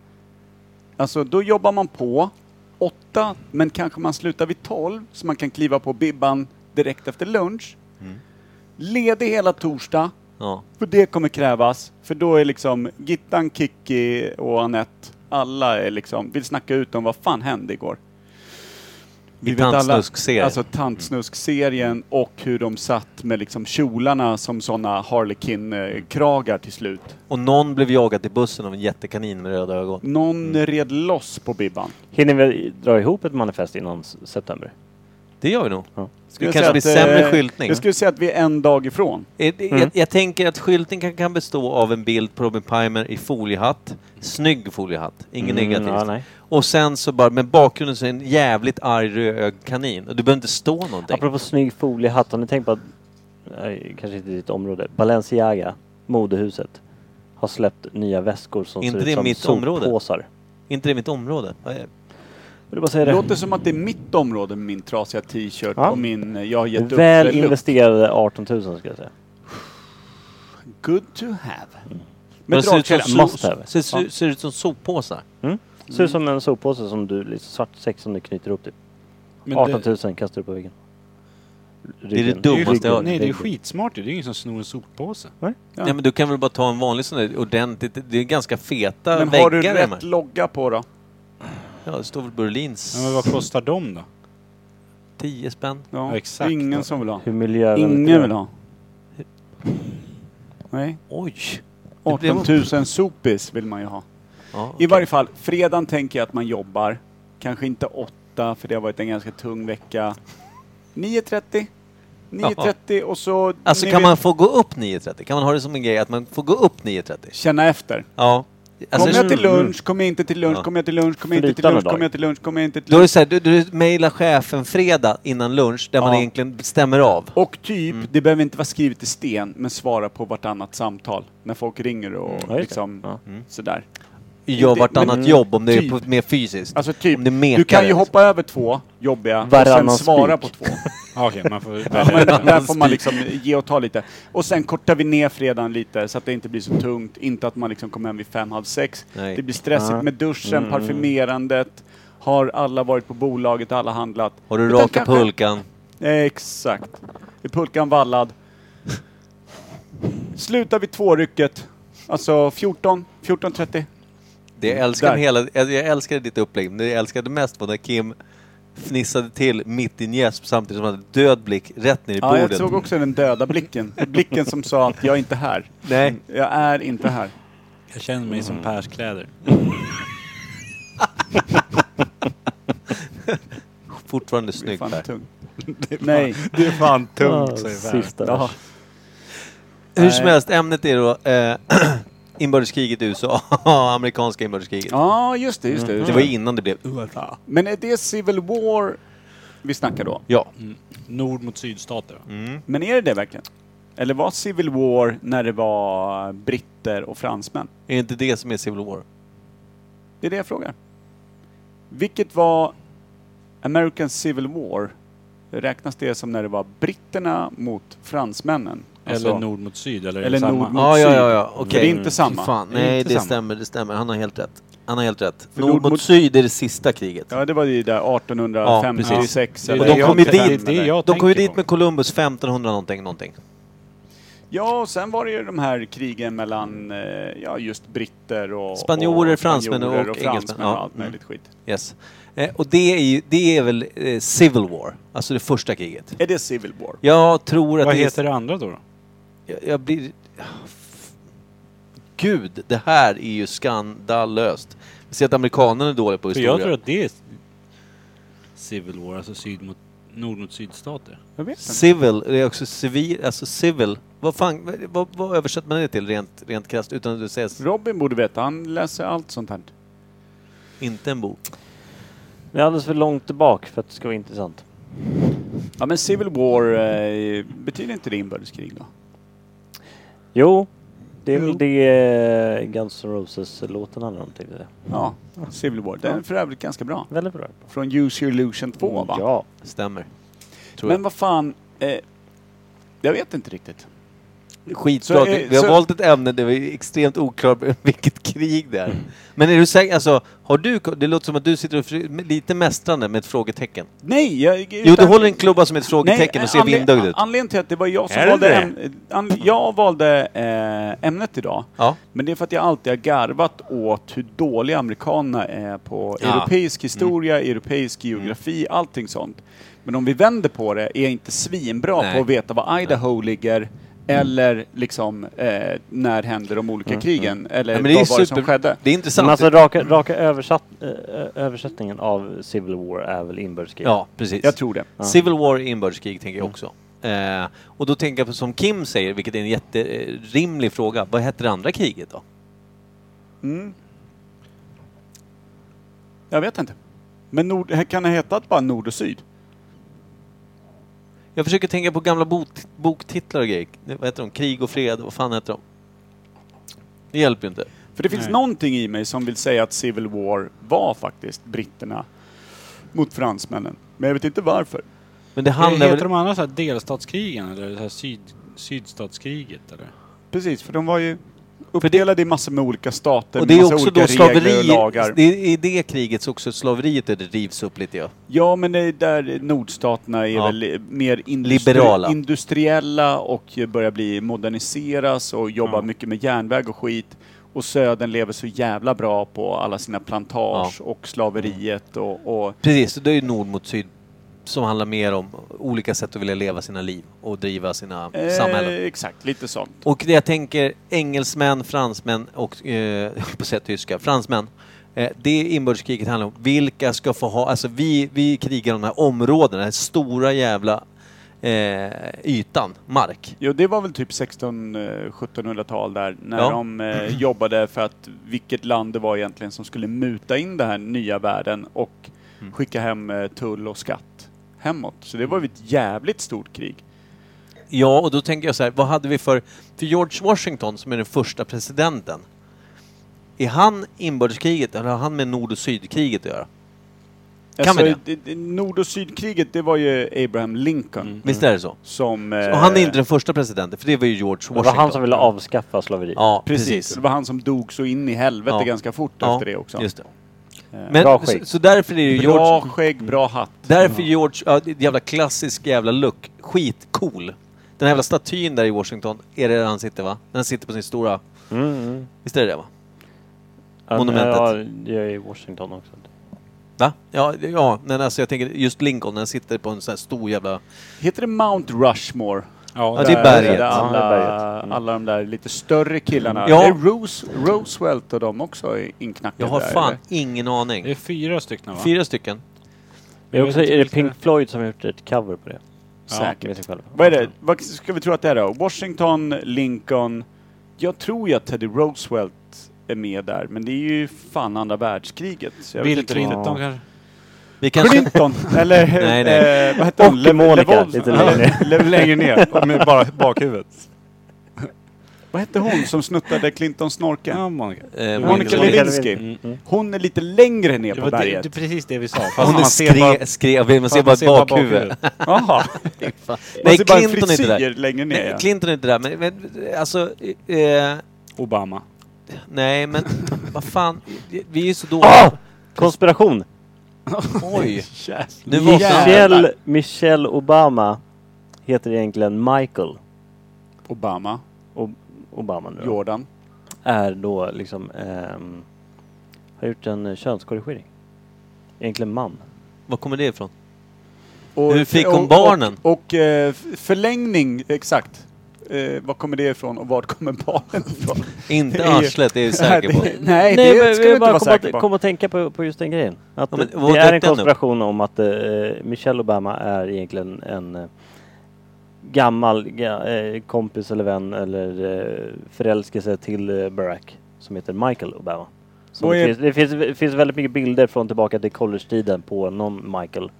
Speaker 3: alltså då jobbar man på åtta, men kanske man slutar vid tolv, så man kan kliva på Bibban direkt efter lunch.
Speaker 2: Mm.
Speaker 3: Ledig hela torsdag,
Speaker 2: Ja.
Speaker 3: för det kommer krävas. För då är liksom Gittan, Kikki och Anette, alla är liksom, vill snacka ut om vad fan hände igår. Vi
Speaker 2: I
Speaker 3: vet alla-
Speaker 2: tantsnusk-serien.
Speaker 3: Alltså tantsnusk-serien och hur de satt med liksom kjolarna som sådana harlekin-kragar till slut.
Speaker 2: Och någon blev jagad i bussen av en jättekanin med röda ögon.
Speaker 3: Någon
Speaker 2: Mm.
Speaker 3: red loss på Bibban.
Speaker 4: Hinner vi dra ihop ett manifest innan s- september?
Speaker 2: Det gör vi nog.
Speaker 3: Skulle
Speaker 2: kanske
Speaker 3: säga
Speaker 2: blir
Speaker 3: att, eh,
Speaker 2: sämre skyltning.
Speaker 3: Jag skulle säga att vi är en dag ifrån.
Speaker 2: Jag, jag, jag tänker att skylten kan, kan bestå av en bild på Robin Palmer i foliehatt. Snygg foliehatt, inget
Speaker 4: Mm,
Speaker 2: negativt.
Speaker 4: ja, nej.
Speaker 2: och sen så bara, med bakgrunden så är en jävligt arg röd kanin. Och du behöver inte stå någonting.
Speaker 4: Apropå snygg foliehatt, har ni tänkt på att, nej, kanske inte ditt område, Balenciaga, modehuset, har släppt nya väskor som
Speaker 2: Inte
Speaker 4: ser
Speaker 2: det
Speaker 4: ut som
Speaker 2: mitt område?
Speaker 4: soppåsar.
Speaker 2: Inte i mitt område. Vad är-
Speaker 4: Vill du bara säga
Speaker 3: Det
Speaker 4: det?
Speaker 3: låter som att det är mitt område med min trasiga t-shirt
Speaker 4: Ja.
Speaker 3: och min, eh, jag har gett upp.
Speaker 4: Väl
Speaker 3: look.
Speaker 4: investerade 18 000 skulle jag säga.
Speaker 3: Good to have.
Speaker 2: Men
Speaker 3: Men
Speaker 2: det ser ut som,
Speaker 3: dragkedja,
Speaker 2: so-
Speaker 4: must have.
Speaker 2: ser, ser, ser ut som soppåsar.
Speaker 4: Ser
Speaker 3: Mm.
Speaker 4: ut som en soppåse som du, liksom svart säck som du knyter upp typ.
Speaker 1: Men
Speaker 4: 18
Speaker 1: det,
Speaker 4: 000 kastar du på väggen.
Speaker 2: är det
Speaker 4: Ryggen.
Speaker 1: det är ju,
Speaker 2: dummaste jag hört.
Speaker 1: nej, det är ju skitsmart. ju. Det är ju ingen som snor en soppåse.
Speaker 3: Ja.
Speaker 2: Nej men du kan väl bara ta en vanlig sån där ordentligt. Det är ganska feta
Speaker 3: Men
Speaker 2: väggar
Speaker 3: har du
Speaker 2: i de
Speaker 3: rätt
Speaker 2: här.
Speaker 3: logga på då?
Speaker 2: Ja, det står väl Berlins.
Speaker 1: Ja, men vad kostar de då?
Speaker 2: 10 spänn.
Speaker 3: Ja,
Speaker 1: Ja, exakt.
Speaker 3: Ingen som vill ha.
Speaker 4: Hur miljövänligt är
Speaker 3: Ingen
Speaker 4: det?
Speaker 3: vill ha. Nej,
Speaker 2: Oj!
Speaker 3: 18 000 sopis vill man ju ha.
Speaker 2: Ja.
Speaker 3: I varje fall, fredagen tänker jag att man jobbar. Kanske inte åtta, för det har varit en ganska tung vecka. 9.30. 9.30 och så...
Speaker 2: Alltså
Speaker 3: ni
Speaker 2: kan
Speaker 3: vet,
Speaker 2: man få gå upp 9.30? Kan man ha det som en grej att man får gå upp 9.30?
Speaker 3: Känna efter.
Speaker 2: Ja. Alltså,
Speaker 3: kommer jag till lunch, kommer jag inte till lunch,
Speaker 2: Ja.
Speaker 3: kommer jag till lunch, kommer jag inte till
Speaker 4: Flytande
Speaker 3: lunch,
Speaker 4: dag.
Speaker 3: kommer jag till lunch, kommer jag inte till
Speaker 2: Då är det
Speaker 3: lunch.
Speaker 2: så här, du, du mejlar chefen fredag innan lunch där man
Speaker 3: Ja.
Speaker 2: egentligen stämmer av.
Speaker 3: Och typ,
Speaker 1: Mm.
Speaker 3: det behöver inte vara skrivet i
Speaker 1: Mm.
Speaker 3: sten, men svara på vartannat samtal. När folk ringer och
Speaker 4: Ja, just det.
Speaker 2: Mm.
Speaker 3: liksom
Speaker 4: Ja.
Speaker 3: sådär.
Speaker 2: gör
Speaker 3: Det-
Speaker 2: vartannat
Speaker 3: men-
Speaker 2: jobb om det är
Speaker 3: typ.
Speaker 2: på, mer fysiskt.
Speaker 3: Alltså typ,
Speaker 2: Om det mekar
Speaker 3: du kan ju
Speaker 2: rätt.
Speaker 3: hoppa över två jobbiga och
Speaker 4: Varannan
Speaker 3: sen svara
Speaker 4: spik.
Speaker 3: på två.
Speaker 1: [LAUGHS] Ja, Okej, man får
Speaker 3: Ja, men
Speaker 1: välja.
Speaker 3: där får man liksom ge och ta lite. Och sen kortar vi ner fredagen lite så att det inte blir så tungt. Inte att man liksom kommer hem vid fem, halv sex.
Speaker 2: Nej. Mm.
Speaker 3: Det blir stressigt med duschen, parfymerandet. Har alla varit på bolaget, alla handlat?
Speaker 2: Har du
Speaker 3: Utan
Speaker 2: raka
Speaker 3: kanske-
Speaker 2: pulkan?
Speaker 3: Exakt. Är pulkan vallad? Slutar vi tvårycket, alltså 14, 14.30.
Speaker 2: Det jag, älskar
Speaker 3: Där.
Speaker 2: hela, jag jag älskar ditt upplägg. Det jag älskade mest var när Kim fnissade till mitt i en gäsp samtidigt som han hade död blick rätt ner i
Speaker 3: Ja,
Speaker 2: bordet.
Speaker 3: jag såg också den döda blicken. Blicken som sa att jag är inte här.
Speaker 2: Nej.
Speaker 3: Jag är inte här.
Speaker 1: Jag känner mig som Pers kläder.
Speaker 2: Fortfarande
Speaker 3: Det är
Speaker 2: snygg
Speaker 3: fan
Speaker 2: Per.
Speaker 3: tung. Nej.
Speaker 1: [LAUGHS] Det är fan
Speaker 4: Ah, Sista.
Speaker 3: Ja.
Speaker 2: Hur som
Speaker 3: Nej.
Speaker 2: helst, ämnet är då eh, [CLEARS THROAT] inbördeskriget i USA. [LAUGHS] Amerikanska inbördeskriget.
Speaker 3: Ja, just det, just det. Just
Speaker 1: Mm.
Speaker 2: Det var ju innan det blev
Speaker 3: Ja. Men är det Civil War vi snackar då?
Speaker 2: Ja.
Speaker 1: Nord mot sydstater. va?
Speaker 3: Men är det det verkligen? Eller var Civil War när det var britter och fransmän?
Speaker 2: Är det inte det som är Civil War?
Speaker 3: Det är det jag frågar. Vilket var American Civil War? Räknas det som när det var britterna mot fransmännen?
Speaker 1: Eller
Speaker 3: Alltså,
Speaker 1: nord mot syd, eller, är
Speaker 3: eller
Speaker 1: det samma?
Speaker 3: nord mot-
Speaker 2: Ja, ja,
Speaker 3: syd.
Speaker 2: ja, ja. okej.
Speaker 3: För det är inte samma.
Speaker 2: Fy Fan.
Speaker 1: Det är
Speaker 2: Nej,
Speaker 1: inte
Speaker 2: det
Speaker 1: samma.
Speaker 2: stämmer, det stämmer. Han har helt rätt. Han har helt rätt.
Speaker 3: För
Speaker 2: Nord,
Speaker 3: nord
Speaker 2: mot,
Speaker 3: mot-
Speaker 2: syd är det sista kriget.
Speaker 3: Ja, det var ju där 1856.
Speaker 1: Ja,
Speaker 2: Och
Speaker 3: eller
Speaker 2: de kom ju
Speaker 3: 1835
Speaker 2: dit-
Speaker 1: det är
Speaker 3: eller-
Speaker 1: jag
Speaker 2: De kom ju
Speaker 1: tänker
Speaker 2: dit
Speaker 1: på.
Speaker 2: med Columbus 1500 någonting, någonting.
Speaker 3: Ja, och sen var det ju de här krigen mellan eh, ja, just britter och
Speaker 2: Spanjorer,
Speaker 3: och
Speaker 2: fransmän
Speaker 3: spanjorer
Speaker 2: och
Speaker 3: och
Speaker 2: engelsmän.
Speaker 3: fransmän
Speaker 2: Ja.
Speaker 3: och allt möjligt skit.
Speaker 2: Yes. Eh, och det är ju, det är väl eh, Civil War, alltså det första kriget.
Speaker 3: Är det Civil War?
Speaker 2: Jag tror att
Speaker 1: Vad
Speaker 2: det är-
Speaker 1: heter det andra då? då?
Speaker 2: Jag, jag blir... Gud, det här är ju skandalöst. Vi ser att amerikanerna är dåliga på
Speaker 1: För
Speaker 2: historia.
Speaker 1: jag tror att det är Civil War, alltså syd mot, nord mot sydstater.
Speaker 3: Jag vet inte.
Speaker 2: Civil, det är också civil, alltså civil. Vad fan, vad, vad översätter man det till rent, rent krasst utan att det sägs
Speaker 3: Robin borde veta, han läser allt sånt här.
Speaker 2: inte en bok?
Speaker 4: Det är alldeles för långt tillbaka för att det ska vara intressant.
Speaker 3: Ja men Civil War, eh, betyder inte det inbördeskrig då?
Speaker 4: Jo, det är väl det eh, Guns N' Roses-låten handlar om tänkte jag.
Speaker 3: Ja, Civil War. Den är för övrigt ganska bra.
Speaker 4: Väldigt bra.
Speaker 3: Från Use Your Illusion 2 va?
Speaker 4: Ja.
Speaker 2: Stämmer. Mm, Tror
Speaker 3: Men vad fan, eh, jag vet inte riktigt.
Speaker 2: jag. Skitbra.
Speaker 3: så
Speaker 2: att vi,
Speaker 3: är-
Speaker 2: vi har
Speaker 3: så-
Speaker 2: valt ett ämne där vi är extremt oklara på [LAUGHS] vilket krig det är. Men är du säker, alltså, har du, det låter som att du sitter och fri- lite mästrande med ett frågetecken.
Speaker 3: Nej, jag...
Speaker 2: Jo, du håller en klubba som ett frågetecken och ser
Speaker 3: anle-
Speaker 2: vindögd ut.
Speaker 3: Anledningen till att det var jag som
Speaker 1: Är det
Speaker 3: valde,
Speaker 1: det?
Speaker 3: äm- an- jag valde eh, ämnet idag.
Speaker 2: Ja.
Speaker 3: Men det är för att jag alltid har garvat åt hur dåliga amerikanerna är på
Speaker 2: Ja. Mm.
Speaker 3: europeisk historia, europeisk geografi, allting sånt. Men om vi vänder på det, är jag inte svinbra
Speaker 2: Nej.
Speaker 3: på att veta var Idaho ligger eller liksom eh, när hände de olika krigen eller
Speaker 2: Ja, Mm, men det är
Speaker 3: vad var det som
Speaker 2: super...
Speaker 3: skedde.
Speaker 2: Det är
Speaker 4: Men
Speaker 2: intressant.
Speaker 4: alltså raka, raka översatt, eh, ö- översättningen av Civil War är väl inbördeskrig?
Speaker 2: Ja, precis.
Speaker 3: Jag tror Mm. det.
Speaker 2: Civil War är inbördeskrig tänker jag också. Eh, och då tänker jag på som Kim säger, vilket är en jätterimlig fråga. Vad hette det andra kriget då?
Speaker 3: Mm. Jag vet inte. Men nord, här kan det heta att bara nord och syd?
Speaker 2: Jag försöker tänka på gamla bot- boktitlar och grejer. Vad heter de? Krig och fred, vad fan heter de? Det hjälper ju inte.
Speaker 3: För det finns
Speaker 1: Nej.
Speaker 3: någonting i mig som vill säga att Civil War var faktiskt britterna mot fransmännen. Men jag vet inte varför.
Speaker 2: Men det handlar
Speaker 1: Heter
Speaker 2: väl...
Speaker 1: de andra så här delstatskrigen eller så här syd, sydstatskriget eller?
Speaker 3: Precis, för de var ju uppdelade i massor med olika stater
Speaker 2: Och
Speaker 3: med
Speaker 2: det är
Speaker 3: massa
Speaker 2: också
Speaker 3: olika
Speaker 2: då
Speaker 3: regler och
Speaker 2: slaveri...
Speaker 3: lagar.
Speaker 2: Det är i det kriget också slaveriet där det rivs upp lite ja.
Speaker 3: Ja, men det är där nordstaterna är
Speaker 2: Ja.
Speaker 3: väl mer industri-
Speaker 2: Liberala.
Speaker 3: industriella och börjar bli moderniseras och jobbar
Speaker 1: Ja.
Speaker 3: mycket med järnväg och skit. Och södern lever så jävla bra på alla sina plantage och slaveriet och, och
Speaker 2: Precis, det är ju nord mot syd som handlar mer om olika sätt att vilja leva sina liv och driva sina samhällen.
Speaker 3: Eh, exakt, lite sånt.
Speaker 2: Och det jag tänker engelsmän, fransmän och eh, [LAUGHS] på sätt tyska, fransmän. Eh, det inbördeskriget handlar om vilka ska få ha, alltså vi, vi krigar om de här områdena, den här stora jävla eh, ytan, mark.
Speaker 3: Jo, det var väl typ 1600-1700-tal där när
Speaker 2: Ja.
Speaker 3: de eh, [CLEARS THROAT] jobbade för att vilket land det var egentligen som skulle muta in den här nya världen och
Speaker 2: Mm.
Speaker 3: skicka hem eh, tull och skatt hemåt. Så det var ju ett jävligt stort krig.
Speaker 2: Ja, och då tänker jag så här, vad hade vi för, för George Washington som är den första presidenten. Är han inbördeskriget eller har han med nord och sydkriget att göra? Kan
Speaker 3: Alltså,
Speaker 2: vi det?
Speaker 3: d- d- Nord och sydkriget, det var ju Abraham Lincoln.
Speaker 4: Mm.
Speaker 2: Visst är det Mm. så?
Speaker 3: Som... eh,
Speaker 2: Och han är inte den första presidenten, för det var ju George
Speaker 4: Det
Speaker 2: Washington.
Speaker 4: var han som ville avskaffa slaveriet.
Speaker 2: Ja,
Speaker 3: Precis.
Speaker 2: precis.
Speaker 3: Det var han som dog så in i helvete
Speaker 2: Ja.
Speaker 3: ganska fort
Speaker 2: Ja,
Speaker 3: efter det också.
Speaker 2: Just det.
Speaker 3: Eh,
Speaker 2: Men,
Speaker 4: Bra
Speaker 2: så,
Speaker 4: skägg.
Speaker 2: så därför är det ju
Speaker 3: Bra
Speaker 2: George...
Speaker 3: skägg, bra hatt.
Speaker 2: Därför George... Ja, det är ett jävla klassisk jävla look. Skitcool. Den här jävla statyn där i Washington, är det där han sitter va? Den sitter på sin stora...
Speaker 4: Mm, mm.
Speaker 2: Visst är det det va?
Speaker 4: Ja,
Speaker 2: Monumentet.
Speaker 4: Ja, det är i Washington också.
Speaker 2: Va? Ja, ja men alltså jag tänker just Lincoln, den sitter på en sån här stor jävla...
Speaker 3: Heter det Mount Rushmore?
Speaker 2: Ja, det är
Speaker 3: Där-
Speaker 2: berget.
Speaker 3: Där
Speaker 4: Ja, det
Speaker 3: alla,
Speaker 4: är berget. Mm.
Speaker 3: alla de där lite större killarna.
Speaker 2: Ja.
Speaker 3: Det är Rose, Roosevelt och de också är inknackade
Speaker 2: Jag har
Speaker 3: där,
Speaker 2: fan
Speaker 3: eller?
Speaker 2: ingen
Speaker 1: Det är
Speaker 2: aning.
Speaker 1: fyra stycken va?
Speaker 2: Fyra stycken.
Speaker 4: Men också är det Pink Floyd som har gjort ett cover på det.
Speaker 3: Säkert.
Speaker 4: Med sig själva.
Speaker 3: Vad är det? Vad ska vi tro att det är då? Washington, Lincoln. Jag tror ju att Teddy Roosevelt är med där, men det är ju fan andra världskriget. så jag vet
Speaker 1: Bill
Speaker 3: inte riktigt.
Speaker 1: Clinton kanske?
Speaker 2: Vi kanske...
Speaker 3: Clinton,
Speaker 4: [LAUGHS]
Speaker 3: eller
Speaker 2: Nej,
Speaker 3: Eh, vad hette hon?
Speaker 4: Och Monica,
Speaker 3: Levolta.
Speaker 4: lite längre ner.
Speaker 3: [LAUGHS] Le- längre ner.
Speaker 4: [LAUGHS]
Speaker 3: Och med-
Speaker 1: bara bakhuvudet.
Speaker 3: vad hette hon som snuttade Clintons snorkel?
Speaker 1: Ja, Monica.
Speaker 2: eh,
Speaker 3: Monica
Speaker 4: Monica
Speaker 3: Lewinsky.
Speaker 1: Mm, mm.
Speaker 3: Hon är lite längre ner
Speaker 1: Det
Speaker 3: på
Speaker 1: var det,
Speaker 3: berget.
Speaker 1: det är precis det vi sa. Fast
Speaker 2: Hon
Speaker 1: man ser bara,
Speaker 2: skrev, skrev, man ser
Speaker 1: fast
Speaker 2: bara ett bakhuvud.
Speaker 3: [LAUGHS] Jaha.
Speaker 2: Nej,
Speaker 3: [LAUGHS] Man ser bara en
Speaker 2: Clinton är inte där.
Speaker 3: frisyr längre ner.
Speaker 2: Nej,
Speaker 3: ja.
Speaker 2: Clinton är inte där, men, men alltså... Eh,
Speaker 1: Obama.
Speaker 2: nej, men vad fan. Vi är ju så dåliga.
Speaker 4: Konspiration!
Speaker 3: [LAUGHS]
Speaker 2: Oj!
Speaker 3: Jävlar.
Speaker 2: Nu vaknar han.
Speaker 4: Michelle, Michelle Obama heter egentligen Michael
Speaker 3: Obama,
Speaker 4: Ob- Obama nu. då.
Speaker 3: Jordan.
Speaker 4: Är då liksom... ehm, har gjort en eh, könskorrigering. Egentligen man.
Speaker 2: Var kommer det ifrån?
Speaker 3: Och,
Speaker 2: Hur fick hon barnen?
Speaker 3: Och, och eh, f- förlängning, exakt. Eh, var kommer det ifrån och vart kommer barnen
Speaker 2: [LAUGHS]
Speaker 3: ifrån?
Speaker 2: Inte
Speaker 3: Det är ju-
Speaker 2: arslet, det är jag säker på.
Speaker 3: [LAUGHS] nej, nej,
Speaker 4: Nej,
Speaker 3: det
Speaker 4: men
Speaker 3: ska du
Speaker 4: vi
Speaker 3: inte
Speaker 4: bara
Speaker 3: vara
Speaker 4: kom
Speaker 3: säker
Speaker 4: att,
Speaker 3: på.
Speaker 4: kom att tänka på, på just den grejen. Att
Speaker 2: Ja, men
Speaker 4: det-
Speaker 2: vad
Speaker 4: det
Speaker 2: dök
Speaker 4: är en
Speaker 2: den upp?
Speaker 4: konspiration om att eh, Michelle Obama är egentligen en eh, gammal ga, eh, kompis eller vän eller eh, förälskelse till eh, Barack som heter Michael Obama. Så
Speaker 3: Vad
Speaker 4: det,
Speaker 3: är-
Speaker 4: finns, det, finns, det finns väldigt mycket bilder från tillbaka till college-tiden på någon Michael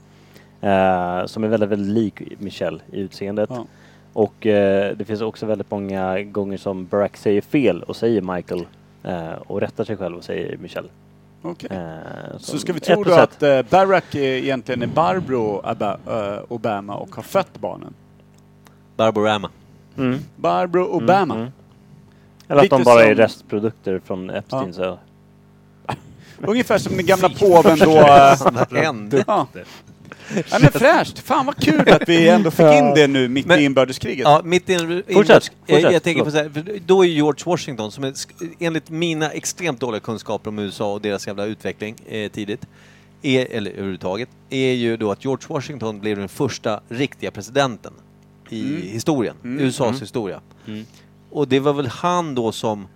Speaker 4: eh, som är väldigt, väldigt lik Michelle i utseendet.
Speaker 3: Ja.
Speaker 4: Och eh, det finns också väldigt många gånger som Barack säger fel och säger Michael eh, och rättar sig själv och säger Michelle.
Speaker 3: Okej.
Speaker 4: Eh,
Speaker 3: Så
Speaker 4: som
Speaker 3: ska vi
Speaker 4: ett
Speaker 3: tro då
Speaker 4: plus ett.
Speaker 3: att eh, Barack är egentligen är Barbro Aba- eh, Obama och har fött barnen? [LAUGHS]
Speaker 2: Barbarama.
Speaker 4: Mm.
Speaker 3: Barbro Obama.
Speaker 4: Mm. Eller att de
Speaker 3: Lite
Speaker 4: bara är
Speaker 3: som-
Speaker 4: restprodukter från Epsteins ö.
Speaker 3: Ungefär som
Speaker 2: [LAUGHS]
Speaker 3: den gamla påven då. eh,
Speaker 2: Händer.
Speaker 3: ja. ja men fräscht! Fan vad kul att vi ändå fick in det nu mitt
Speaker 2: Men-
Speaker 3: i inbördeskriget.
Speaker 2: Ja, mitt in, in,
Speaker 4: Fortsätt,
Speaker 2: jag, jag
Speaker 4: fortsätt,
Speaker 2: tänker på
Speaker 4: förlåt.
Speaker 2: så här, för då är George Washington, som är, sk- enligt mina extremt dåliga kunskaper om USA och deras jävla utveckling eh, tidigt, är, eller överhuvudtaget, är ju då att George Washington blev den första riktiga presidenten i
Speaker 4: Mm.
Speaker 2: historien, USAs historia. Och det var väl han då som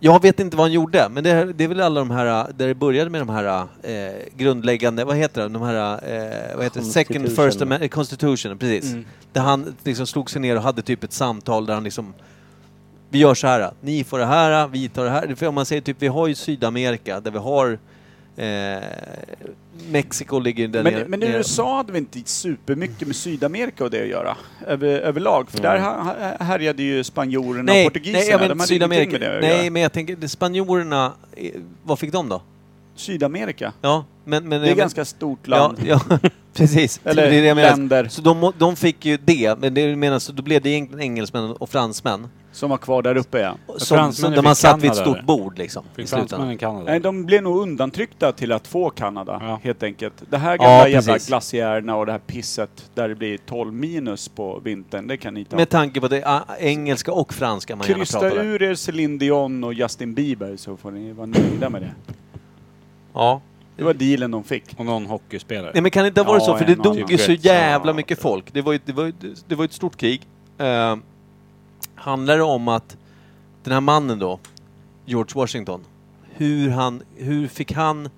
Speaker 2: jag vet inte vad han gjorde, men det, det är väl alla de här, äh, där det började med de här äh, grundläggande, vad heter det, de här, äh, vad heter det, second,
Speaker 4: Constitution.
Speaker 2: first amendment, constitution, precis.
Speaker 3: Mm.
Speaker 2: Där han liksom slog sig ner och hade typ ett samtal där han liksom, vi gör så här, ni får det här, vi tar det här. För om man säger typ, vi har ju Sydamerika där vi har, eh, Mexiko ligger där nere.
Speaker 3: Men, men i
Speaker 2: nere.
Speaker 3: USA hade vi inte supermycket med Sydamerika och det att göra över, överlag. För där ha- ha- härjade ju spanjorerna och portugiserna.
Speaker 2: Mm. nej, jag menar
Speaker 3: de hade ingenting
Speaker 2: Sydamerika.
Speaker 3: med det att
Speaker 2: Nej,
Speaker 3: göra.
Speaker 2: men jag tänker, det- spanjorerna, eh, vad fick de då?
Speaker 3: Sydamerika.
Speaker 2: Ja, men... men
Speaker 3: Det är
Speaker 2: jag men-
Speaker 3: ganska stort land.
Speaker 2: Ja, ja [LAUGHS] precis.
Speaker 3: [LAUGHS] Eller
Speaker 2: det är det jag menar.
Speaker 3: länder.
Speaker 2: Så de, må- de fick ju det, men det jag menar, så då blev det egentligen engelsmän och fransmän.
Speaker 3: Som var kvar där uppe ja.
Speaker 2: Som,
Speaker 1: fransmännen
Speaker 2: som, där man
Speaker 1: fick
Speaker 2: satt vid ett
Speaker 1: Kanada,
Speaker 2: stort
Speaker 1: eller?
Speaker 2: bord liksom. I
Speaker 1: Fick
Speaker 2: slutändan.
Speaker 1: fransmännen Kanada?
Speaker 3: Nej, de blev nog undantryckta till att få Kanada,
Speaker 1: Ja.
Speaker 3: helt enkelt. Det här gamla
Speaker 2: Ja,
Speaker 3: jävla
Speaker 2: precis.
Speaker 3: glaciärerna och det här pisset där det blir 12 minus på vintern, det kan ni ta.
Speaker 2: Med tanke på att det är ah, engelska och franska man gärna
Speaker 3: Krysta
Speaker 2: pratar. där.
Speaker 3: ur er Celine Dion och Justin Bieber så får ni vara nöjda med det.
Speaker 2: Ja.
Speaker 3: Det var dealen de fick.
Speaker 1: Och någon hockeyspelare.
Speaker 2: Nej men kan det inte ha varit
Speaker 3: Ja,
Speaker 2: så? För
Speaker 3: en
Speaker 2: det
Speaker 3: och
Speaker 2: dog ju
Speaker 1: annan.
Speaker 2: så jävla
Speaker 1: Ja.
Speaker 2: mycket folk. Det var ju, det var ju, det var ju ett stort krig. Uh, handlar det om att den här mannen då, George Washington, hur, han, hur fick han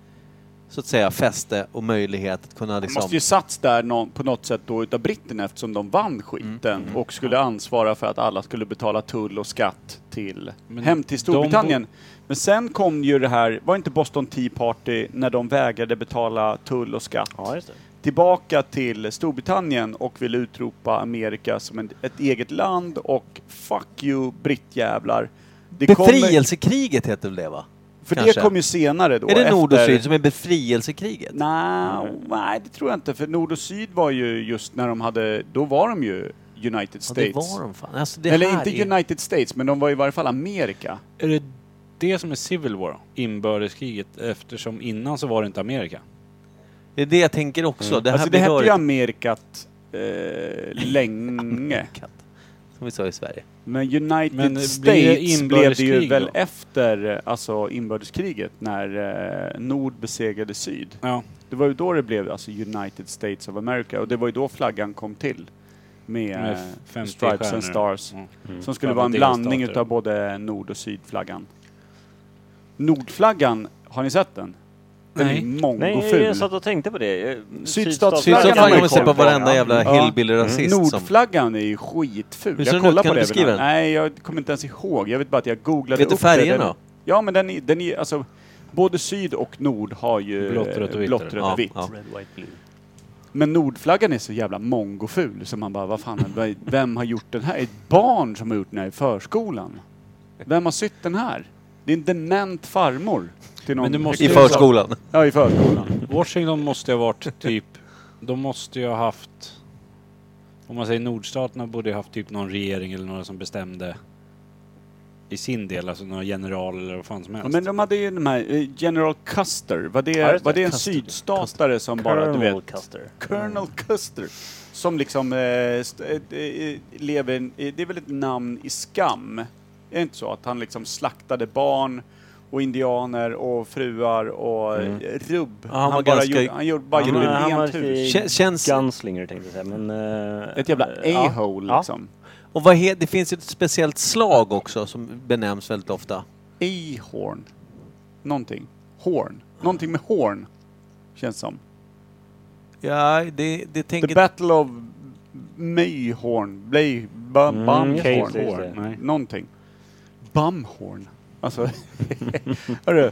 Speaker 2: så att säga fäste och möjlighet att kunna
Speaker 3: De
Speaker 2: liksom...
Speaker 3: måste ju satts där någon, på något sätt då utav britterna eftersom de vann skiten
Speaker 2: Mm.
Speaker 3: och skulle ansvara för att alla skulle betala tull och skatt till,
Speaker 1: Men
Speaker 3: hem till
Speaker 1: de
Speaker 3: Storbritannien. Men sen kom ju det här, var inte Boston Tea Party när de vägrade betala tull och skatt
Speaker 4: Ja, just det.
Speaker 3: tillbaka till Storbritannien och ville utropa Amerika som en, ett eget land och fuck you brittjävlar. Det kommer-
Speaker 2: Befrielsekriget heter väl det va?
Speaker 3: För
Speaker 2: Kanske.
Speaker 3: det kom ju senare då.
Speaker 2: Är det nord och
Speaker 3: efter-
Speaker 2: syd som är befrielsekriget?
Speaker 3: Nej, nej, det tror jag inte. För Nord och Syd var ju just när de hade, då var de ju United
Speaker 2: Ja, det
Speaker 3: States.
Speaker 2: var de fan. Alltså, det
Speaker 3: Eller
Speaker 2: här
Speaker 3: inte
Speaker 2: är ju-
Speaker 3: United States, men de var i varje fall Amerika.
Speaker 1: Är det det som är Civil War? Inbördeskriget eftersom innan så var det inte Amerika.
Speaker 2: Det är det jag tänker också. Det här
Speaker 3: alltså det hette ju
Speaker 2: berör
Speaker 3: Amerikat eh, länge.
Speaker 2: som vi sa i Sverige.
Speaker 3: Men United
Speaker 1: Men blir det
Speaker 3: States blev det ju
Speaker 1: inbördeskrig
Speaker 3: väl
Speaker 1: då?
Speaker 3: efter eh, alltså inbördeskriget när eh, Nord besegade Syd.
Speaker 1: Ja.
Speaker 3: Det var ju då det blev alltså United States of America och det var ju då flaggan kom till. Med,
Speaker 1: Med
Speaker 3: eh,
Speaker 1: 50
Speaker 3: Stripes and
Speaker 1: stjärnor.
Speaker 3: Stars.
Speaker 1: Mm.
Speaker 3: Som skulle
Speaker 1: Alla
Speaker 3: vara en blandning
Speaker 1: delstater.
Speaker 3: utav både nord och sydflaggan. Nordflaggan, har ni sett den? Den
Speaker 1: Nej.
Speaker 3: är
Speaker 4: Nej,
Speaker 3: mongo-ful.
Speaker 4: jag satt och tänkte på det. Eh,
Speaker 3: Sydstatsflaggan
Speaker 4: har man
Speaker 2: Sydstatsflaggan
Speaker 4: ju
Speaker 2: har vi sett på
Speaker 4: koll
Speaker 2: varenda
Speaker 4: ja.
Speaker 2: jävla
Speaker 3: Ja. Mm.
Speaker 2: hillbilly-rasist som...
Speaker 3: Nordflaggan är ju skitful.
Speaker 2: Hur ser
Speaker 3: Jag
Speaker 2: den
Speaker 3: kollade
Speaker 2: ut? Kan
Speaker 3: på
Speaker 2: du
Speaker 3: det.
Speaker 2: beskriva
Speaker 3: ibland.
Speaker 2: den?
Speaker 3: Nej, jag kommer inte ens ihåg. Jag vet bara att jag googlade
Speaker 2: Vet du
Speaker 3: upp det.
Speaker 2: färgerna
Speaker 3: Den-
Speaker 2: då?
Speaker 3: Ja, men den är, den är alltså... Både syd och nord har ju
Speaker 1: Blått, rött och
Speaker 3: eh,
Speaker 1: vitt,
Speaker 3: blått,
Speaker 1: eller?
Speaker 3: rött
Speaker 2: Ja,
Speaker 3: och vitt.
Speaker 2: ja.
Speaker 3: Men nordflaggan är så jävla mongoful så man bara, vad fan, vad- vem har gjort den här? Ett barn som har gjort den här i förskolan. Vem har sytt den här? Det är en dement farmor. Till någon
Speaker 1: Men du måste
Speaker 2: I
Speaker 1: ju-
Speaker 2: förskolan.
Speaker 3: Ja, i förskolan.
Speaker 1: Washington måste ju ha varit typ... De måste ju ha haft... Om man säger nordstaterna borde ju ha haft typ någon regering eller några som bestämde i sin del, alltså några general eller vad fan som
Speaker 3: Ja,
Speaker 1: helst.
Speaker 3: men de hade ju de här, eh, General Custer. Var det,
Speaker 4: Ja, just
Speaker 3: var
Speaker 4: det.
Speaker 3: det en
Speaker 4: Custer.
Speaker 3: sydstatare som bara, du
Speaker 4: Colonel
Speaker 3: vet,
Speaker 4: Custer.
Speaker 3: Colonel Custer. Som liksom eh, st- eh, eh, lever, en- eh, det är väl ett namn i skam? Är det inte så? Att han liksom slaktade barn och indianer och fruar och eh, rubb.
Speaker 2: Ja, han var
Speaker 3: bara
Speaker 2: ganska-
Speaker 3: gjorde, han gjorde, bara
Speaker 4: Han-
Speaker 3: gjorde
Speaker 4: han var
Speaker 3: rent hus.
Speaker 4: riktig
Speaker 2: Kän- känns-
Speaker 4: Gunslinger tänkte jag säga, men... eh,
Speaker 3: Ett jävla
Speaker 4: ja.
Speaker 3: a-hole
Speaker 4: Ja.
Speaker 3: liksom.
Speaker 2: Och vad he- det finns ju ett speciellt slag också som benämns väldigt ofta.
Speaker 3: A-horn. Någonting. Horn. Någonting med horn. Känns som.
Speaker 2: Ja, det, det
Speaker 3: The
Speaker 2: tänker...
Speaker 3: Battle of Mayhorn. Blay...
Speaker 4: Mm,
Speaker 3: Bum, Bumhorn.
Speaker 4: just det, just det.
Speaker 1: Nej.
Speaker 3: Någonting. Bumhorn. Alltså... [LAUGHS] Hörru.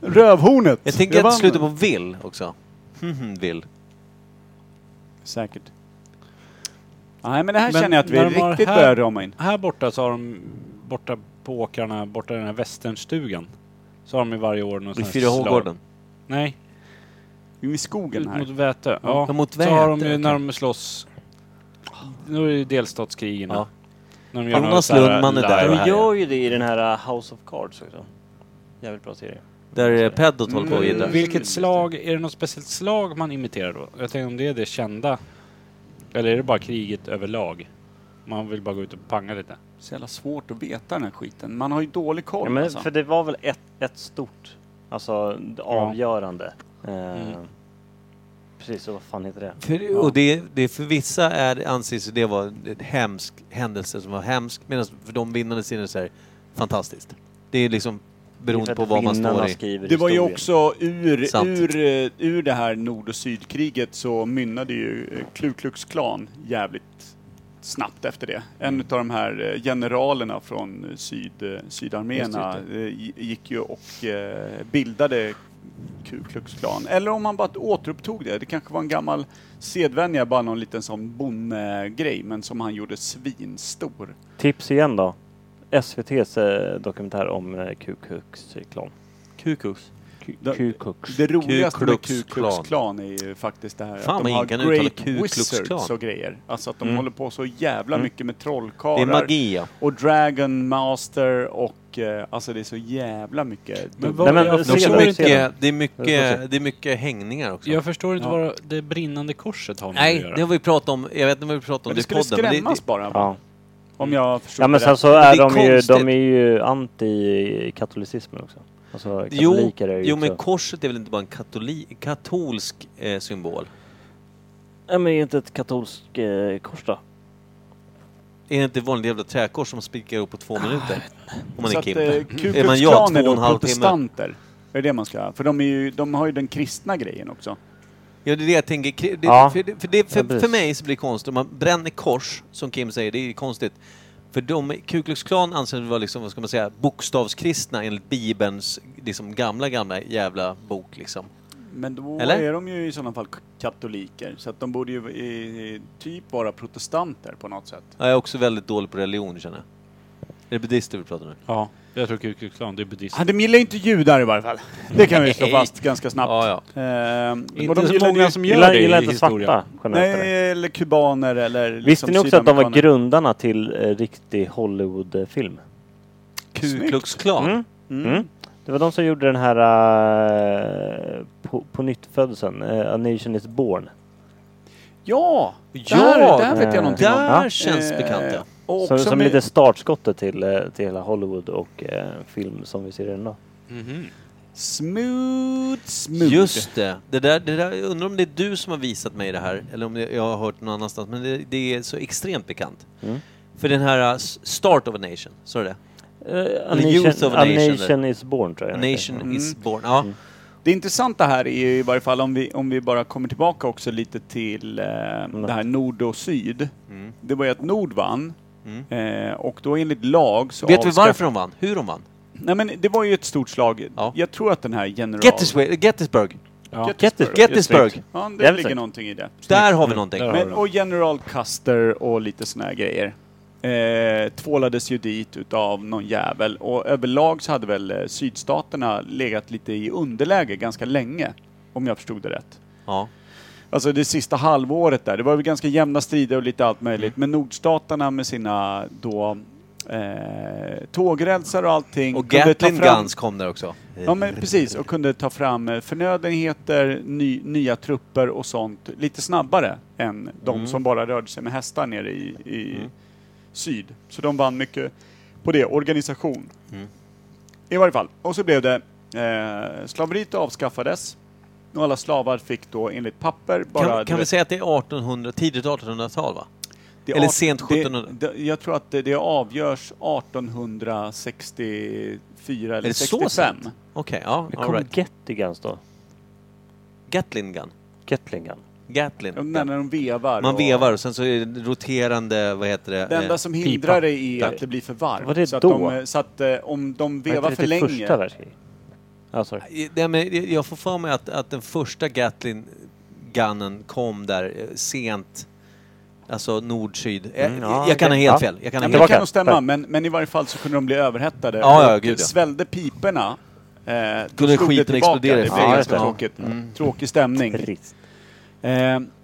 Speaker 3: Rövhornet!
Speaker 2: Jag tänker
Speaker 3: Jag
Speaker 2: att det
Speaker 3: vann
Speaker 2: slutar på
Speaker 3: den.
Speaker 2: vill också. [LAUGHS] Mhm, vill.
Speaker 3: Säkert. Nej men det här
Speaker 1: Men
Speaker 3: känner jag att vi
Speaker 1: när de har
Speaker 3: riktigt
Speaker 1: här-
Speaker 3: börjar rama in.
Speaker 1: Här borta så har de, borta på åkrarna, borta i den här västernstugan, så har de i varje år något
Speaker 2: I
Speaker 1: sånt här
Speaker 2: 4H-gården.
Speaker 1: Nej,
Speaker 3: I skogen
Speaker 1: ut mot
Speaker 3: här.
Speaker 1: Vätö. Ja,
Speaker 2: Ja, mot
Speaker 1: så har de ju
Speaker 2: Vätö,
Speaker 1: när
Speaker 2: okej.
Speaker 1: de slåss. Nu är det ju delstatskrigen.
Speaker 2: Ja.
Speaker 1: När de
Speaker 2: Jonas
Speaker 1: något så här
Speaker 2: Lundman är där.
Speaker 1: live.
Speaker 2: Ja,
Speaker 4: De
Speaker 2: ja.
Speaker 4: gör ju det i den här uh, House of Cards också. Jävligt bra serie.
Speaker 2: Där är Peddot håller på och
Speaker 1: Men
Speaker 2: jiddrar.
Speaker 1: vilket slag, är det något speciellt slag man imiterar då? Jag tänker om det är det kända. Eller är det bara kriget överlag? Man vill bara gå ut och panga lite.
Speaker 3: Så jävla svårt att veta den här skiten. Man har ju dålig koll
Speaker 4: Ja, men,
Speaker 3: alltså.
Speaker 4: För det var väl ett, ett stort, alltså avgörande. Eh,
Speaker 3: Mm.
Speaker 4: Precis, och vad fan heter det?
Speaker 2: För, och det, det för vissa är, anses det vara en hemsk händelse som var hemsk medan för de vinnande sidan så är det fantastiskt. Det är liksom
Speaker 4: Det
Speaker 2: beroende
Speaker 4: är
Speaker 2: på
Speaker 4: för att
Speaker 2: vad man
Speaker 4: vinnarna
Speaker 2: står i.
Speaker 4: skriver
Speaker 3: Det var ju
Speaker 4: historien.
Speaker 3: också ur,
Speaker 2: Sant.
Speaker 3: ur, eh, ur det här nord och sydkriget så mynnade ju eh, Ku Klux Klan jävligt snabbt efter det.
Speaker 4: Mm.
Speaker 3: En av de här eh, generalerna från eh, syd, eh, sydarméerna
Speaker 2: Just
Speaker 3: eh, gi- gick ju och eh, bildade Ku Klux Klan. Eller om man bara återupptog det. Det kanske var en gammal sedvänja, bara någon liten sån bondgrej, men som han gjorde svinstor.
Speaker 4: Tips igen då. SVT's eh, dokumentär om eh, Ku Klux Klan.
Speaker 2: Kukus.
Speaker 4: Ku-
Speaker 3: Da-
Speaker 4: Ku Klux.
Speaker 3: Det roligaste med
Speaker 2: Klux
Speaker 3: Ku
Speaker 2: Klan.
Speaker 3: Klux Klan är ju faktiskt det här
Speaker 2: Fan,
Speaker 3: att
Speaker 2: vad
Speaker 3: de har
Speaker 2: ingen kan uttala
Speaker 3: Great
Speaker 2: Ku Klux
Speaker 3: Wizards
Speaker 2: Klan.
Speaker 3: och grejer. Alltså att de
Speaker 4: Mm.
Speaker 3: håller på så jävla mycket
Speaker 2: Mm.
Speaker 3: med
Speaker 2: Det är
Speaker 3: trollkarlar
Speaker 2: magi ja.
Speaker 3: och Dragon Master och eh, alltså det är så jävla mycket.
Speaker 1: Men
Speaker 3: dubbla-
Speaker 1: vad-
Speaker 4: Nej, men,
Speaker 1: jag
Speaker 4: eh,
Speaker 2: Det är
Speaker 1: förstår
Speaker 4: se
Speaker 2: också
Speaker 4: den, se den.
Speaker 2: mycket, det, är
Speaker 4: Jag
Speaker 2: mycket, det är mycket hängningar också.
Speaker 1: Jag förstår inte
Speaker 3: Ja.
Speaker 1: vad det brinnande korset har med att
Speaker 2: Nej,
Speaker 1: göra.
Speaker 2: det har vi pratat om. Jag vet inte vad vi pratade om
Speaker 3: men
Speaker 2: det
Speaker 3: det
Speaker 2: i
Speaker 3: skulle
Speaker 2: podden. men det-
Speaker 3: skrämmas bara,
Speaker 4: Ja.
Speaker 3: om jag förstod
Speaker 4: Ja men
Speaker 3: det
Speaker 4: sen
Speaker 3: rätt.
Speaker 4: så är,
Speaker 2: det är
Speaker 4: de ju,
Speaker 2: konstigt.
Speaker 4: de är ju anti katolicismen också. Alltså
Speaker 2: Jo,
Speaker 4: katoliker är ju
Speaker 2: Jo, men
Speaker 4: också-
Speaker 2: korset är väl inte bara en katoli- katolsk eh, symbol?
Speaker 4: Nej men är inte ett katolskt eh, kors då?
Speaker 2: Är det inte ett vanligt jävla träkors som spikar upp på två
Speaker 4: Ah,
Speaker 2: minuter? Om man är
Speaker 3: så att eh,
Speaker 2: Kim. Mm.
Speaker 3: Ku
Speaker 2: Är man
Speaker 3: Klux
Speaker 2: jag,
Speaker 3: Klan
Speaker 2: två
Speaker 3: är
Speaker 2: och
Speaker 3: då
Speaker 2: en halv timme?
Speaker 3: protestanter. Är det det man ska För de, är ju, de har ju den kristna grejen också.
Speaker 2: Ja, det är det jag tänker. Kri- Det,
Speaker 4: Ja.
Speaker 2: för, det, för, det,
Speaker 4: Ja,
Speaker 2: för,
Speaker 4: precis.
Speaker 2: för mig så blir det konstigt. Om man bränner kors, som Kim säger, det är ju konstigt. För de, Ku Klux Klan anses vara liksom, vad ska man säga, bokstavskristna enligt Bibelns liksom, gamla, gamla jävla bok liksom.
Speaker 3: Men då
Speaker 2: Eller?
Speaker 3: är de ju i sådana fall k- katoliker. Så att de borde ju eh, typ vara protestanter på något sätt.
Speaker 2: Ja, Jag är också väldigt dålig på religion känner jag. Är det buddister vi pratar nu?
Speaker 1: Ja. Jag tror Ku Klux Klan, det är buddhist.
Speaker 3: Ja, de gillar ju inte judar i varje fall. Det kan vi slå fast ganska snabbt.
Speaker 2: Ja, ja.
Speaker 3: Ehm, och
Speaker 1: Inte
Speaker 3: de
Speaker 1: så
Speaker 3: gillade
Speaker 1: många
Speaker 3: ju-
Speaker 1: som gör
Speaker 4: Gillar,
Speaker 1: det
Speaker 4: gillar
Speaker 1: i
Speaker 4: inte
Speaker 1: historia.
Speaker 4: svarta generellt? eller?
Speaker 3: Nej, liksom eller kubaner eller
Speaker 4: Visste
Speaker 3: liksom
Speaker 4: ni också att de var
Speaker 3: sydamerikaner.
Speaker 4: grundarna till eh, riktig Hollywoodfilm?
Speaker 2: Ku
Speaker 3: Snyggt.
Speaker 2: Klux Klan.
Speaker 4: Mm.
Speaker 3: Mm.
Speaker 4: Mm. Det var de som gjorde den här uh, på, på nyttfödseln, eh, A Nation Is Born.
Speaker 3: Ja!
Speaker 2: Ja,
Speaker 3: där, där vet jag
Speaker 4: eh,
Speaker 3: någonting om.
Speaker 2: Där
Speaker 4: Ja.
Speaker 2: känns
Speaker 3: Eh,
Speaker 2: bekant ja.
Speaker 3: Och
Speaker 4: Som,
Speaker 3: också
Speaker 4: som är
Speaker 3: med-
Speaker 4: lite startskottet till, eh, till hela Hollywood och eh, film som vi ser den då.
Speaker 3: Smooth, smooth.
Speaker 2: Just det. det, där, det där, jag undrar om det är du som har visat mig det här eller om jag jag har hört någon annanstans. Men det, det är så extremt bekant.
Speaker 4: Mm.
Speaker 2: För den här uh, s- Start of a Nation, sa du det?
Speaker 4: Eh, a,
Speaker 2: Eller
Speaker 4: nation,
Speaker 2: Youth of a
Speaker 4: a
Speaker 2: Nation,
Speaker 4: Nation,
Speaker 2: eller?
Speaker 4: Is Born tror jag den heter.
Speaker 2: Nation
Speaker 3: Mm.
Speaker 2: is born. Ja.
Speaker 3: Det intressanta här är ju i varje fall om vi, om vi bara kommer tillbaka också lite till eh, det här nord och syd.
Speaker 2: Mm.
Speaker 3: Det var ju att nord vann.
Speaker 2: Mm.
Speaker 3: Eh, och då enligt lag så
Speaker 2: Vet vi
Speaker 3: avskaff-
Speaker 2: varför de vann? Hur de vann?
Speaker 3: Nej men det var ju ett stort slag.
Speaker 2: Ja.
Speaker 3: Jag tror att den här general...
Speaker 2: Gettysburg. Gettysburg.
Speaker 1: Ja.
Speaker 4: Gettysburg.
Speaker 2: Gettysburg.
Speaker 3: Ja, det
Speaker 4: Jävligt
Speaker 3: ligger
Speaker 4: snyggt.
Speaker 3: någonting i det.
Speaker 2: Där har vi någonting.
Speaker 1: Där har vi
Speaker 3: Men,
Speaker 1: det.
Speaker 3: och general Custer och lite såna här grejer. Eh, tvålades ju dit utav någon jävel och överlag så hade väl eh, sydstaterna legat lite i underläge ganska länge. Om jag förstod det rätt.
Speaker 2: Ja.
Speaker 3: Alltså det sista halvåret där, det var väl ganska jämna strider och lite allt möjligt. Men nordstaterna med sina då eh, tågrälsar och allting.
Speaker 2: Och
Speaker 3: kunde ta
Speaker 2: Gatling
Speaker 3: fram-
Speaker 2: Guns kom där också.
Speaker 3: Ja men precis, och kunde ta fram eh, förnödenheter, ny, nya trupper och sånt lite snabbare än
Speaker 2: Mm.
Speaker 3: de som bara rörde sig med hästar nere i, i syd. Så de vann mycket på det, organisation.
Speaker 2: Mm.
Speaker 3: I varje fall. Och så blev det, eh, slaveriet avskaffades och alla slavar fick då enligt papper bara...
Speaker 2: Kan,
Speaker 3: du
Speaker 2: kan vi
Speaker 3: vet,
Speaker 2: säga att det är 1800, tidigt 1800-tal va?
Speaker 3: det
Speaker 2: eller
Speaker 3: art-
Speaker 2: sent
Speaker 3: det-
Speaker 2: 1700?
Speaker 3: Det, jag tror att det, det avgörs 1864
Speaker 2: Är
Speaker 3: eller
Speaker 2: det så
Speaker 3: 65.
Speaker 2: sent? Okej, ja.
Speaker 4: Det
Speaker 2: All
Speaker 4: kom
Speaker 2: right.
Speaker 4: Gettygans då.
Speaker 2: Gatling Gun.
Speaker 4: Gatlingan.
Speaker 2: Gatling.
Speaker 3: Ja,
Speaker 2: Gun.
Speaker 3: När de vevar.
Speaker 2: Man
Speaker 3: och-
Speaker 2: vevar och sen så är det roterande, vad heter det?
Speaker 3: Det enda
Speaker 2: Eh,
Speaker 3: som
Speaker 2: pipa.
Speaker 3: hindrar det är att det blir för varmt.
Speaker 4: Var det
Speaker 3: så att,
Speaker 4: då?
Speaker 3: de, så att eh, om de vevar för länge.
Speaker 4: Typ Första världskriget. Ah, sorry.
Speaker 2: Nej, men jag får för mig att, att den första Gatling gunnen kom där eh, sent. Alltså nord-syd. Eh,
Speaker 4: Mm, ja,
Speaker 2: jag kan ha
Speaker 4: okej.
Speaker 2: helt
Speaker 4: Ja.
Speaker 2: fel. Jag kan ha helt
Speaker 3: Nej, men det kan nog
Speaker 4: Tack.
Speaker 3: stämma, men, men i varje fall så kunde de bli överhettade.
Speaker 2: Ja, ja,
Speaker 3: Och
Speaker 2: gud, ja.
Speaker 3: Svällde piporna. Eh, då
Speaker 2: Kunde
Speaker 3: slog
Speaker 2: skiten
Speaker 3: det tillbaka.
Speaker 2: explodera
Speaker 3: Det
Speaker 2: i
Speaker 3: blev
Speaker 2: fejan.
Speaker 3: ganska
Speaker 2: Ja.
Speaker 3: tråkigt. Tråkig stämning.
Speaker 4: Trist.
Speaker 3: Eh,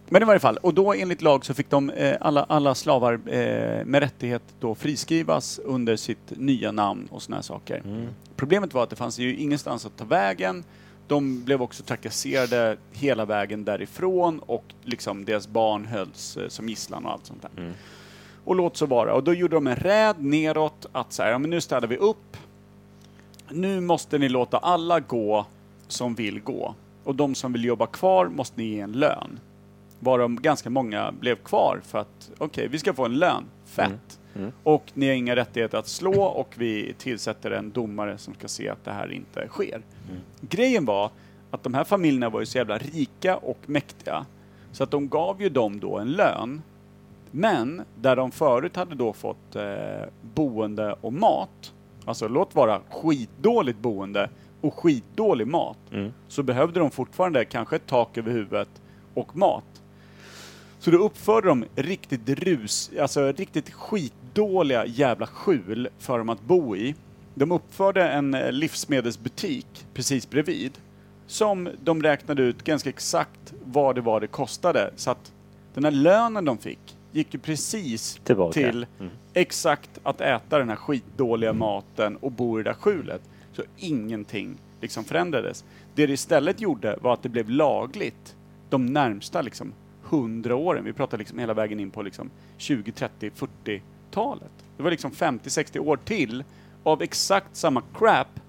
Speaker 3: men i varje fall, och då enligt lag så fick de eh, alla, alla slavar eh, med rättighet då friskrivas under sitt nya namn och såna här saker. Problemet var att det fanns ju ingenstans att ta vägen. De blev också trakasserade hela vägen därifrån och liksom deras barn hölls eh, som gisslan och allt sånt där. Och låt så vara. Och då gjorde de en räd neråt att så här, ja men nu städar vi upp. Nu måste ni låta alla gå som vill gå. Och de som vill jobba kvar måste ni ge en lön. Varav ganska många blev kvar för att, okej, vi ska få en lön. Fett. Och ni har inga rättigheter att slå och vi tillsätter en domare som ska se att det här inte sker. Grejen var att de här familjerna var ju så jävla rika och mäktiga. Så att de gav ju dem då en lön. Men där de förut hade då fått eh, boende och mat, alltså låt vara skitdåligt boende och skitdålig mat, så behövde de fortfarande kanske ett tak över huvudet och mat. Så då uppförde de riktigt rus, alltså riktigt skitdåliga jävla skjul för dem att bo i. De uppförde en eh, livsmedelsbutik precis bredvid som de räknade ut ganska exakt vad det var det kostade. Så att den här lönen de fick gick ju precis
Speaker 4: Tillbaka.
Speaker 3: till exakt att äta den här skitdåliga maten och bo i det där skjulet. Så ingenting liksom förändrades. Det det istället gjorde var att det blev lagligt de närmsta liksom hundra åren. Vi pratar liksom hela vägen in på liksom 20, 30, 40-talet. Det var liksom 50, 60 år till av exakt samma crap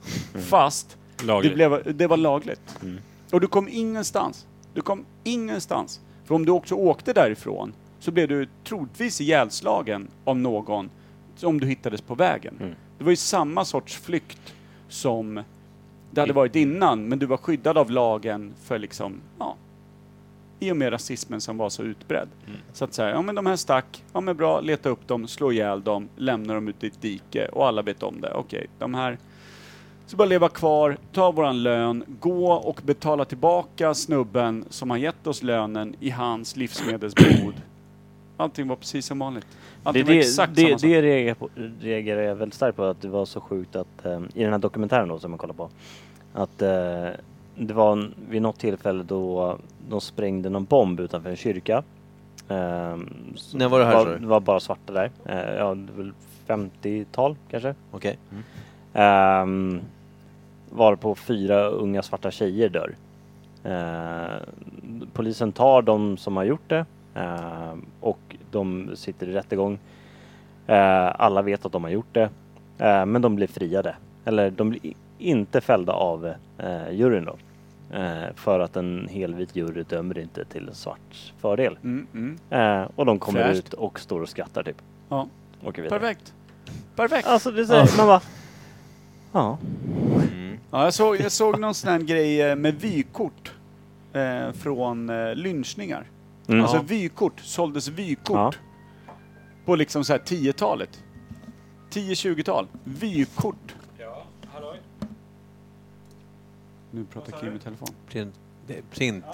Speaker 3: fast det,
Speaker 1: Lagligt.
Speaker 3: blev, det var lagligt. Och du kom ingenstans. Du kom ingenstans. För om du också åkte därifrån så blev du troligtvis ihjälslagen av någon om du hittades på vägen. Det var ju samma sorts flykt som det hade varit innan, men du var skyddad av lagen för liksom, ja, i och med rasismen som var så utbredd.
Speaker 4: Mm.
Speaker 3: Så att säga, ja men de här stack, ja men bra, leta upp dem, slå ihjäl dem, lämna dem ute i ett dike och alla vet om det. Okej, de här så bara leva kvar, ta våran lön, gå och betala
Speaker 4: [CLEARS THROAT]
Speaker 3: tillbaka snubben som har gett oss lönen i hans livsmedelsbod Allting var precis som vanligt.
Speaker 4: Det,
Speaker 3: Allting var
Speaker 4: det,
Speaker 3: exakt samma
Speaker 4: det,
Speaker 3: sak.
Speaker 4: det reagerar på- reagerar jag väldigt starkt på, att det var så sjukt att eh, i den här dokumentären då som man kollar på, att eh, det var en, vid något tillfälle då de sprängde någon bomb utanför en kyrka. Ehm, så
Speaker 2: När var det här, sa
Speaker 4: Var,
Speaker 2: du?
Speaker 4: det var bara svarta där. Eh, ja, det var väl 50-tal kanske.
Speaker 2: Okej.
Speaker 4: Ehm, varpå fyra unga svarta tjejer dör. Ehm, polisen tar de som har gjort det ehm, och de sitter i rättegång. Ehm, alla vet att de har gjort det, ehm, men de blir friade. Eller de blir i- inte fällda av uh, juryn då. Ehm, för att en helvit jury dömer inte till en svarts fördel.
Speaker 3: Mm, mm.
Speaker 4: Ehm, och de kommer
Speaker 3: Fräscht.
Speaker 4: ut och står och skrattar typ.
Speaker 3: Ja.
Speaker 4: Åker vidare.
Speaker 3: Perfekt. Perfekt.
Speaker 4: Alltså det säger man bara... Ja.
Speaker 3: Ja, jag, såg, jag såg någon sån här grej eh, med vykort eh, från eh, lynchningar.
Speaker 4: Mm.
Speaker 3: Alltså vykort, såldes vykort
Speaker 4: Ja.
Speaker 3: på liksom så här 10-talet. 10-20-tal. Vykort.
Speaker 10: Ja, halloj.
Speaker 3: Nu pratar Kim i telefon.
Speaker 2: Print. Det- Print.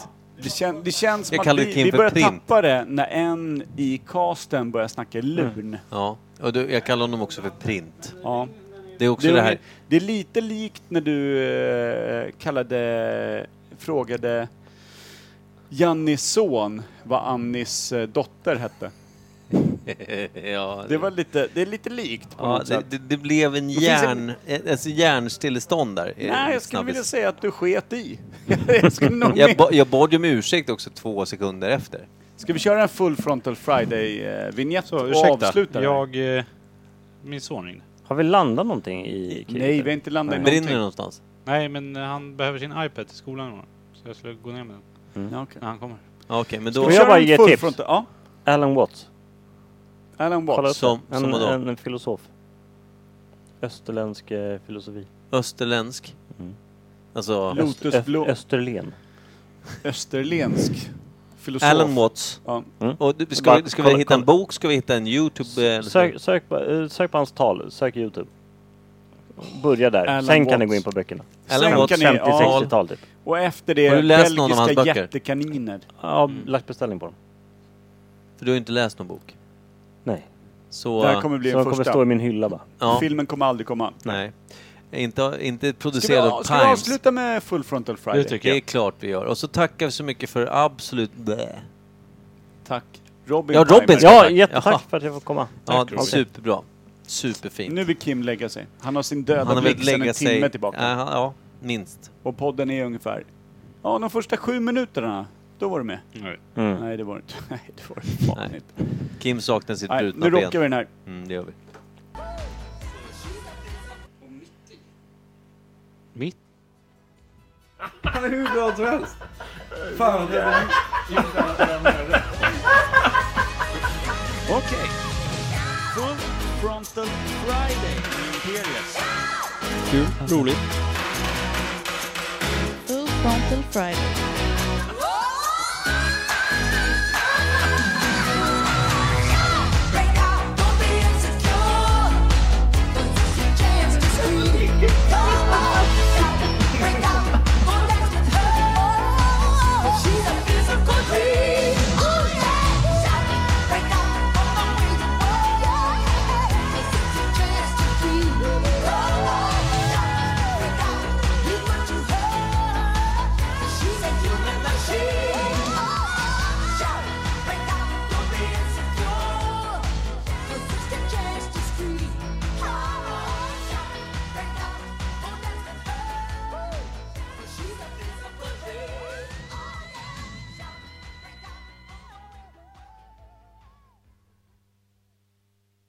Speaker 3: Det, kän, det känns som
Speaker 2: Jag
Speaker 3: att
Speaker 2: kallar
Speaker 3: vi,
Speaker 2: det Kim
Speaker 3: vi
Speaker 2: för
Speaker 3: börjar
Speaker 2: print.
Speaker 3: tappa det när en i casten börjar snacka
Speaker 2: Mm.
Speaker 3: lun.
Speaker 2: Ja. Och du, jag kallar honom också för print.
Speaker 3: Ja.
Speaker 2: Det är också
Speaker 3: Det,
Speaker 2: det,
Speaker 3: är,
Speaker 2: här.
Speaker 3: det är lite likt när du eh, kallade, frågade Jannis son vad Annis eh, dotter hette.
Speaker 2: [LAUGHS] ja,
Speaker 3: Det, var lite, det är lite likt på
Speaker 2: ja,
Speaker 3: något
Speaker 2: det,
Speaker 3: sätt.
Speaker 2: det, det blev en
Speaker 3: finns
Speaker 2: järn, ett, ett järnstillestånd där. i
Speaker 3: Nej, jag skulle
Speaker 2: snabbis.
Speaker 3: vilja säga att du sket i. [LAUGHS] jag skulle nog
Speaker 2: jag,
Speaker 3: med.
Speaker 2: ba, jag bad ju om ursäkt också två sekunder efter.
Speaker 3: Ska vi köra en full frontal friday-vinjett
Speaker 1: Så,
Speaker 3: och avsluta
Speaker 1: ursäkta.
Speaker 3: det här?
Speaker 1: Jag... Eh, min son ringde.
Speaker 4: Har vi landat någonting i kriget?
Speaker 3: Nej, vi har inte landat i
Speaker 2: Brinner det
Speaker 3: någonting.
Speaker 2: någonstans?
Speaker 1: Nej, men eh, han behöver sin iPad till skolan i morgon. Så jag skulle gå ner med den
Speaker 3: Ja, okej.
Speaker 1: när han kommer.
Speaker 2: Ja, Okej, men
Speaker 3: Ska
Speaker 2: då
Speaker 3: vi
Speaker 4: jag
Speaker 3: köra
Speaker 4: bara
Speaker 3: en
Speaker 4: ge
Speaker 3: full
Speaker 4: tips?
Speaker 3: frontal- Ja,
Speaker 4: Alan Watts.
Speaker 3: Alan
Speaker 4: Kolla upp
Speaker 3: Watts.
Speaker 2: Som-
Speaker 4: det. en,
Speaker 2: som vadå?
Speaker 4: en, en filosof. Österländsk eh, filosofi.
Speaker 2: österländsk.
Speaker 4: Mm.
Speaker 2: Alltså
Speaker 3: Lotus
Speaker 4: Öst-
Speaker 3: blå.
Speaker 4: Österlen.
Speaker 3: Österlensk filosof.
Speaker 2: Alan Watts.
Speaker 3: Ja.
Speaker 1: Mm.
Speaker 2: Och du, ska,
Speaker 4: Bara
Speaker 2: vi- ska
Speaker 4: kolla-
Speaker 2: vi hitta en
Speaker 4: kolla.
Speaker 2: bok? Ska vi hitta en Youtube? eh, eller så?
Speaker 4: Sök, sök, på- eh, sök på hans tal. Sök Youtube. Börja där.
Speaker 3: Alan
Speaker 4: Sen kan ni
Speaker 3: Watts.
Speaker 4: gå in på böckerna.
Speaker 2: Alan
Speaker 3: Sen
Speaker 2: Watts
Speaker 3: kan ni- ja.
Speaker 4: 50-60-tal typ.
Speaker 3: Och efter det,
Speaker 2: Har du läst någon av hans
Speaker 3: belgiska
Speaker 2: böcker?
Speaker 3: jättekaniner.
Speaker 4: Ja, lagt beställning på dem.
Speaker 2: För du har ju inte läst någon bok.
Speaker 4: Nej.
Speaker 2: Så...
Speaker 3: Det här kommer bli
Speaker 4: Så de
Speaker 3: den
Speaker 4: kommer
Speaker 3: första.
Speaker 4: stå i min hylla bara.
Speaker 2: ja,
Speaker 3: Filmen kommer aldrig komma.
Speaker 2: nej. Inte, inte
Speaker 3: Ska vi,
Speaker 2: producerad av
Speaker 3: ska vi
Speaker 2: Times.
Speaker 3: avsluta med Full Frontal Friday?
Speaker 1: Det tycker
Speaker 2: Det är
Speaker 1: jag.
Speaker 2: klart vi gör. Och så tackar vi så mycket för absolut blä.
Speaker 3: Tack. Robin
Speaker 2: Ja,
Speaker 3: Timer.
Speaker 2: Robin ska-
Speaker 4: Ja,
Speaker 2: tack.
Speaker 4: jättetack
Speaker 2: Jaha.
Speaker 4: för att jag får komma.
Speaker 2: Ja,
Speaker 4: Tack.
Speaker 2: superbra. Superfint.
Speaker 3: Nu vill Kim lägga sig. Han har sin döda
Speaker 2: Han har
Speaker 3: blick
Speaker 2: velat
Speaker 3: sedan
Speaker 2: lägga
Speaker 3: en
Speaker 2: sig...
Speaker 3: timme tillbaka.
Speaker 2: Ja, han- ja, minst.
Speaker 3: Och podden är ungefär... Ja, de första sju minuterna, då var du med.
Speaker 1: Nej.
Speaker 4: Mm.
Speaker 3: Nej, det var du inte. [LAUGHS] Nej, det var du fan
Speaker 2: Nej.
Speaker 3: inte.
Speaker 2: Kim saknar sitt
Speaker 3: Nej,
Speaker 2: brutna
Speaker 3: nu rockar vi
Speaker 2: ben.
Speaker 3: den här.
Speaker 2: Mm, det gör vi.
Speaker 1: Mitt?
Speaker 3: Okej. Full Frontal Friday. Imperius.
Speaker 6: Full frontal Friday.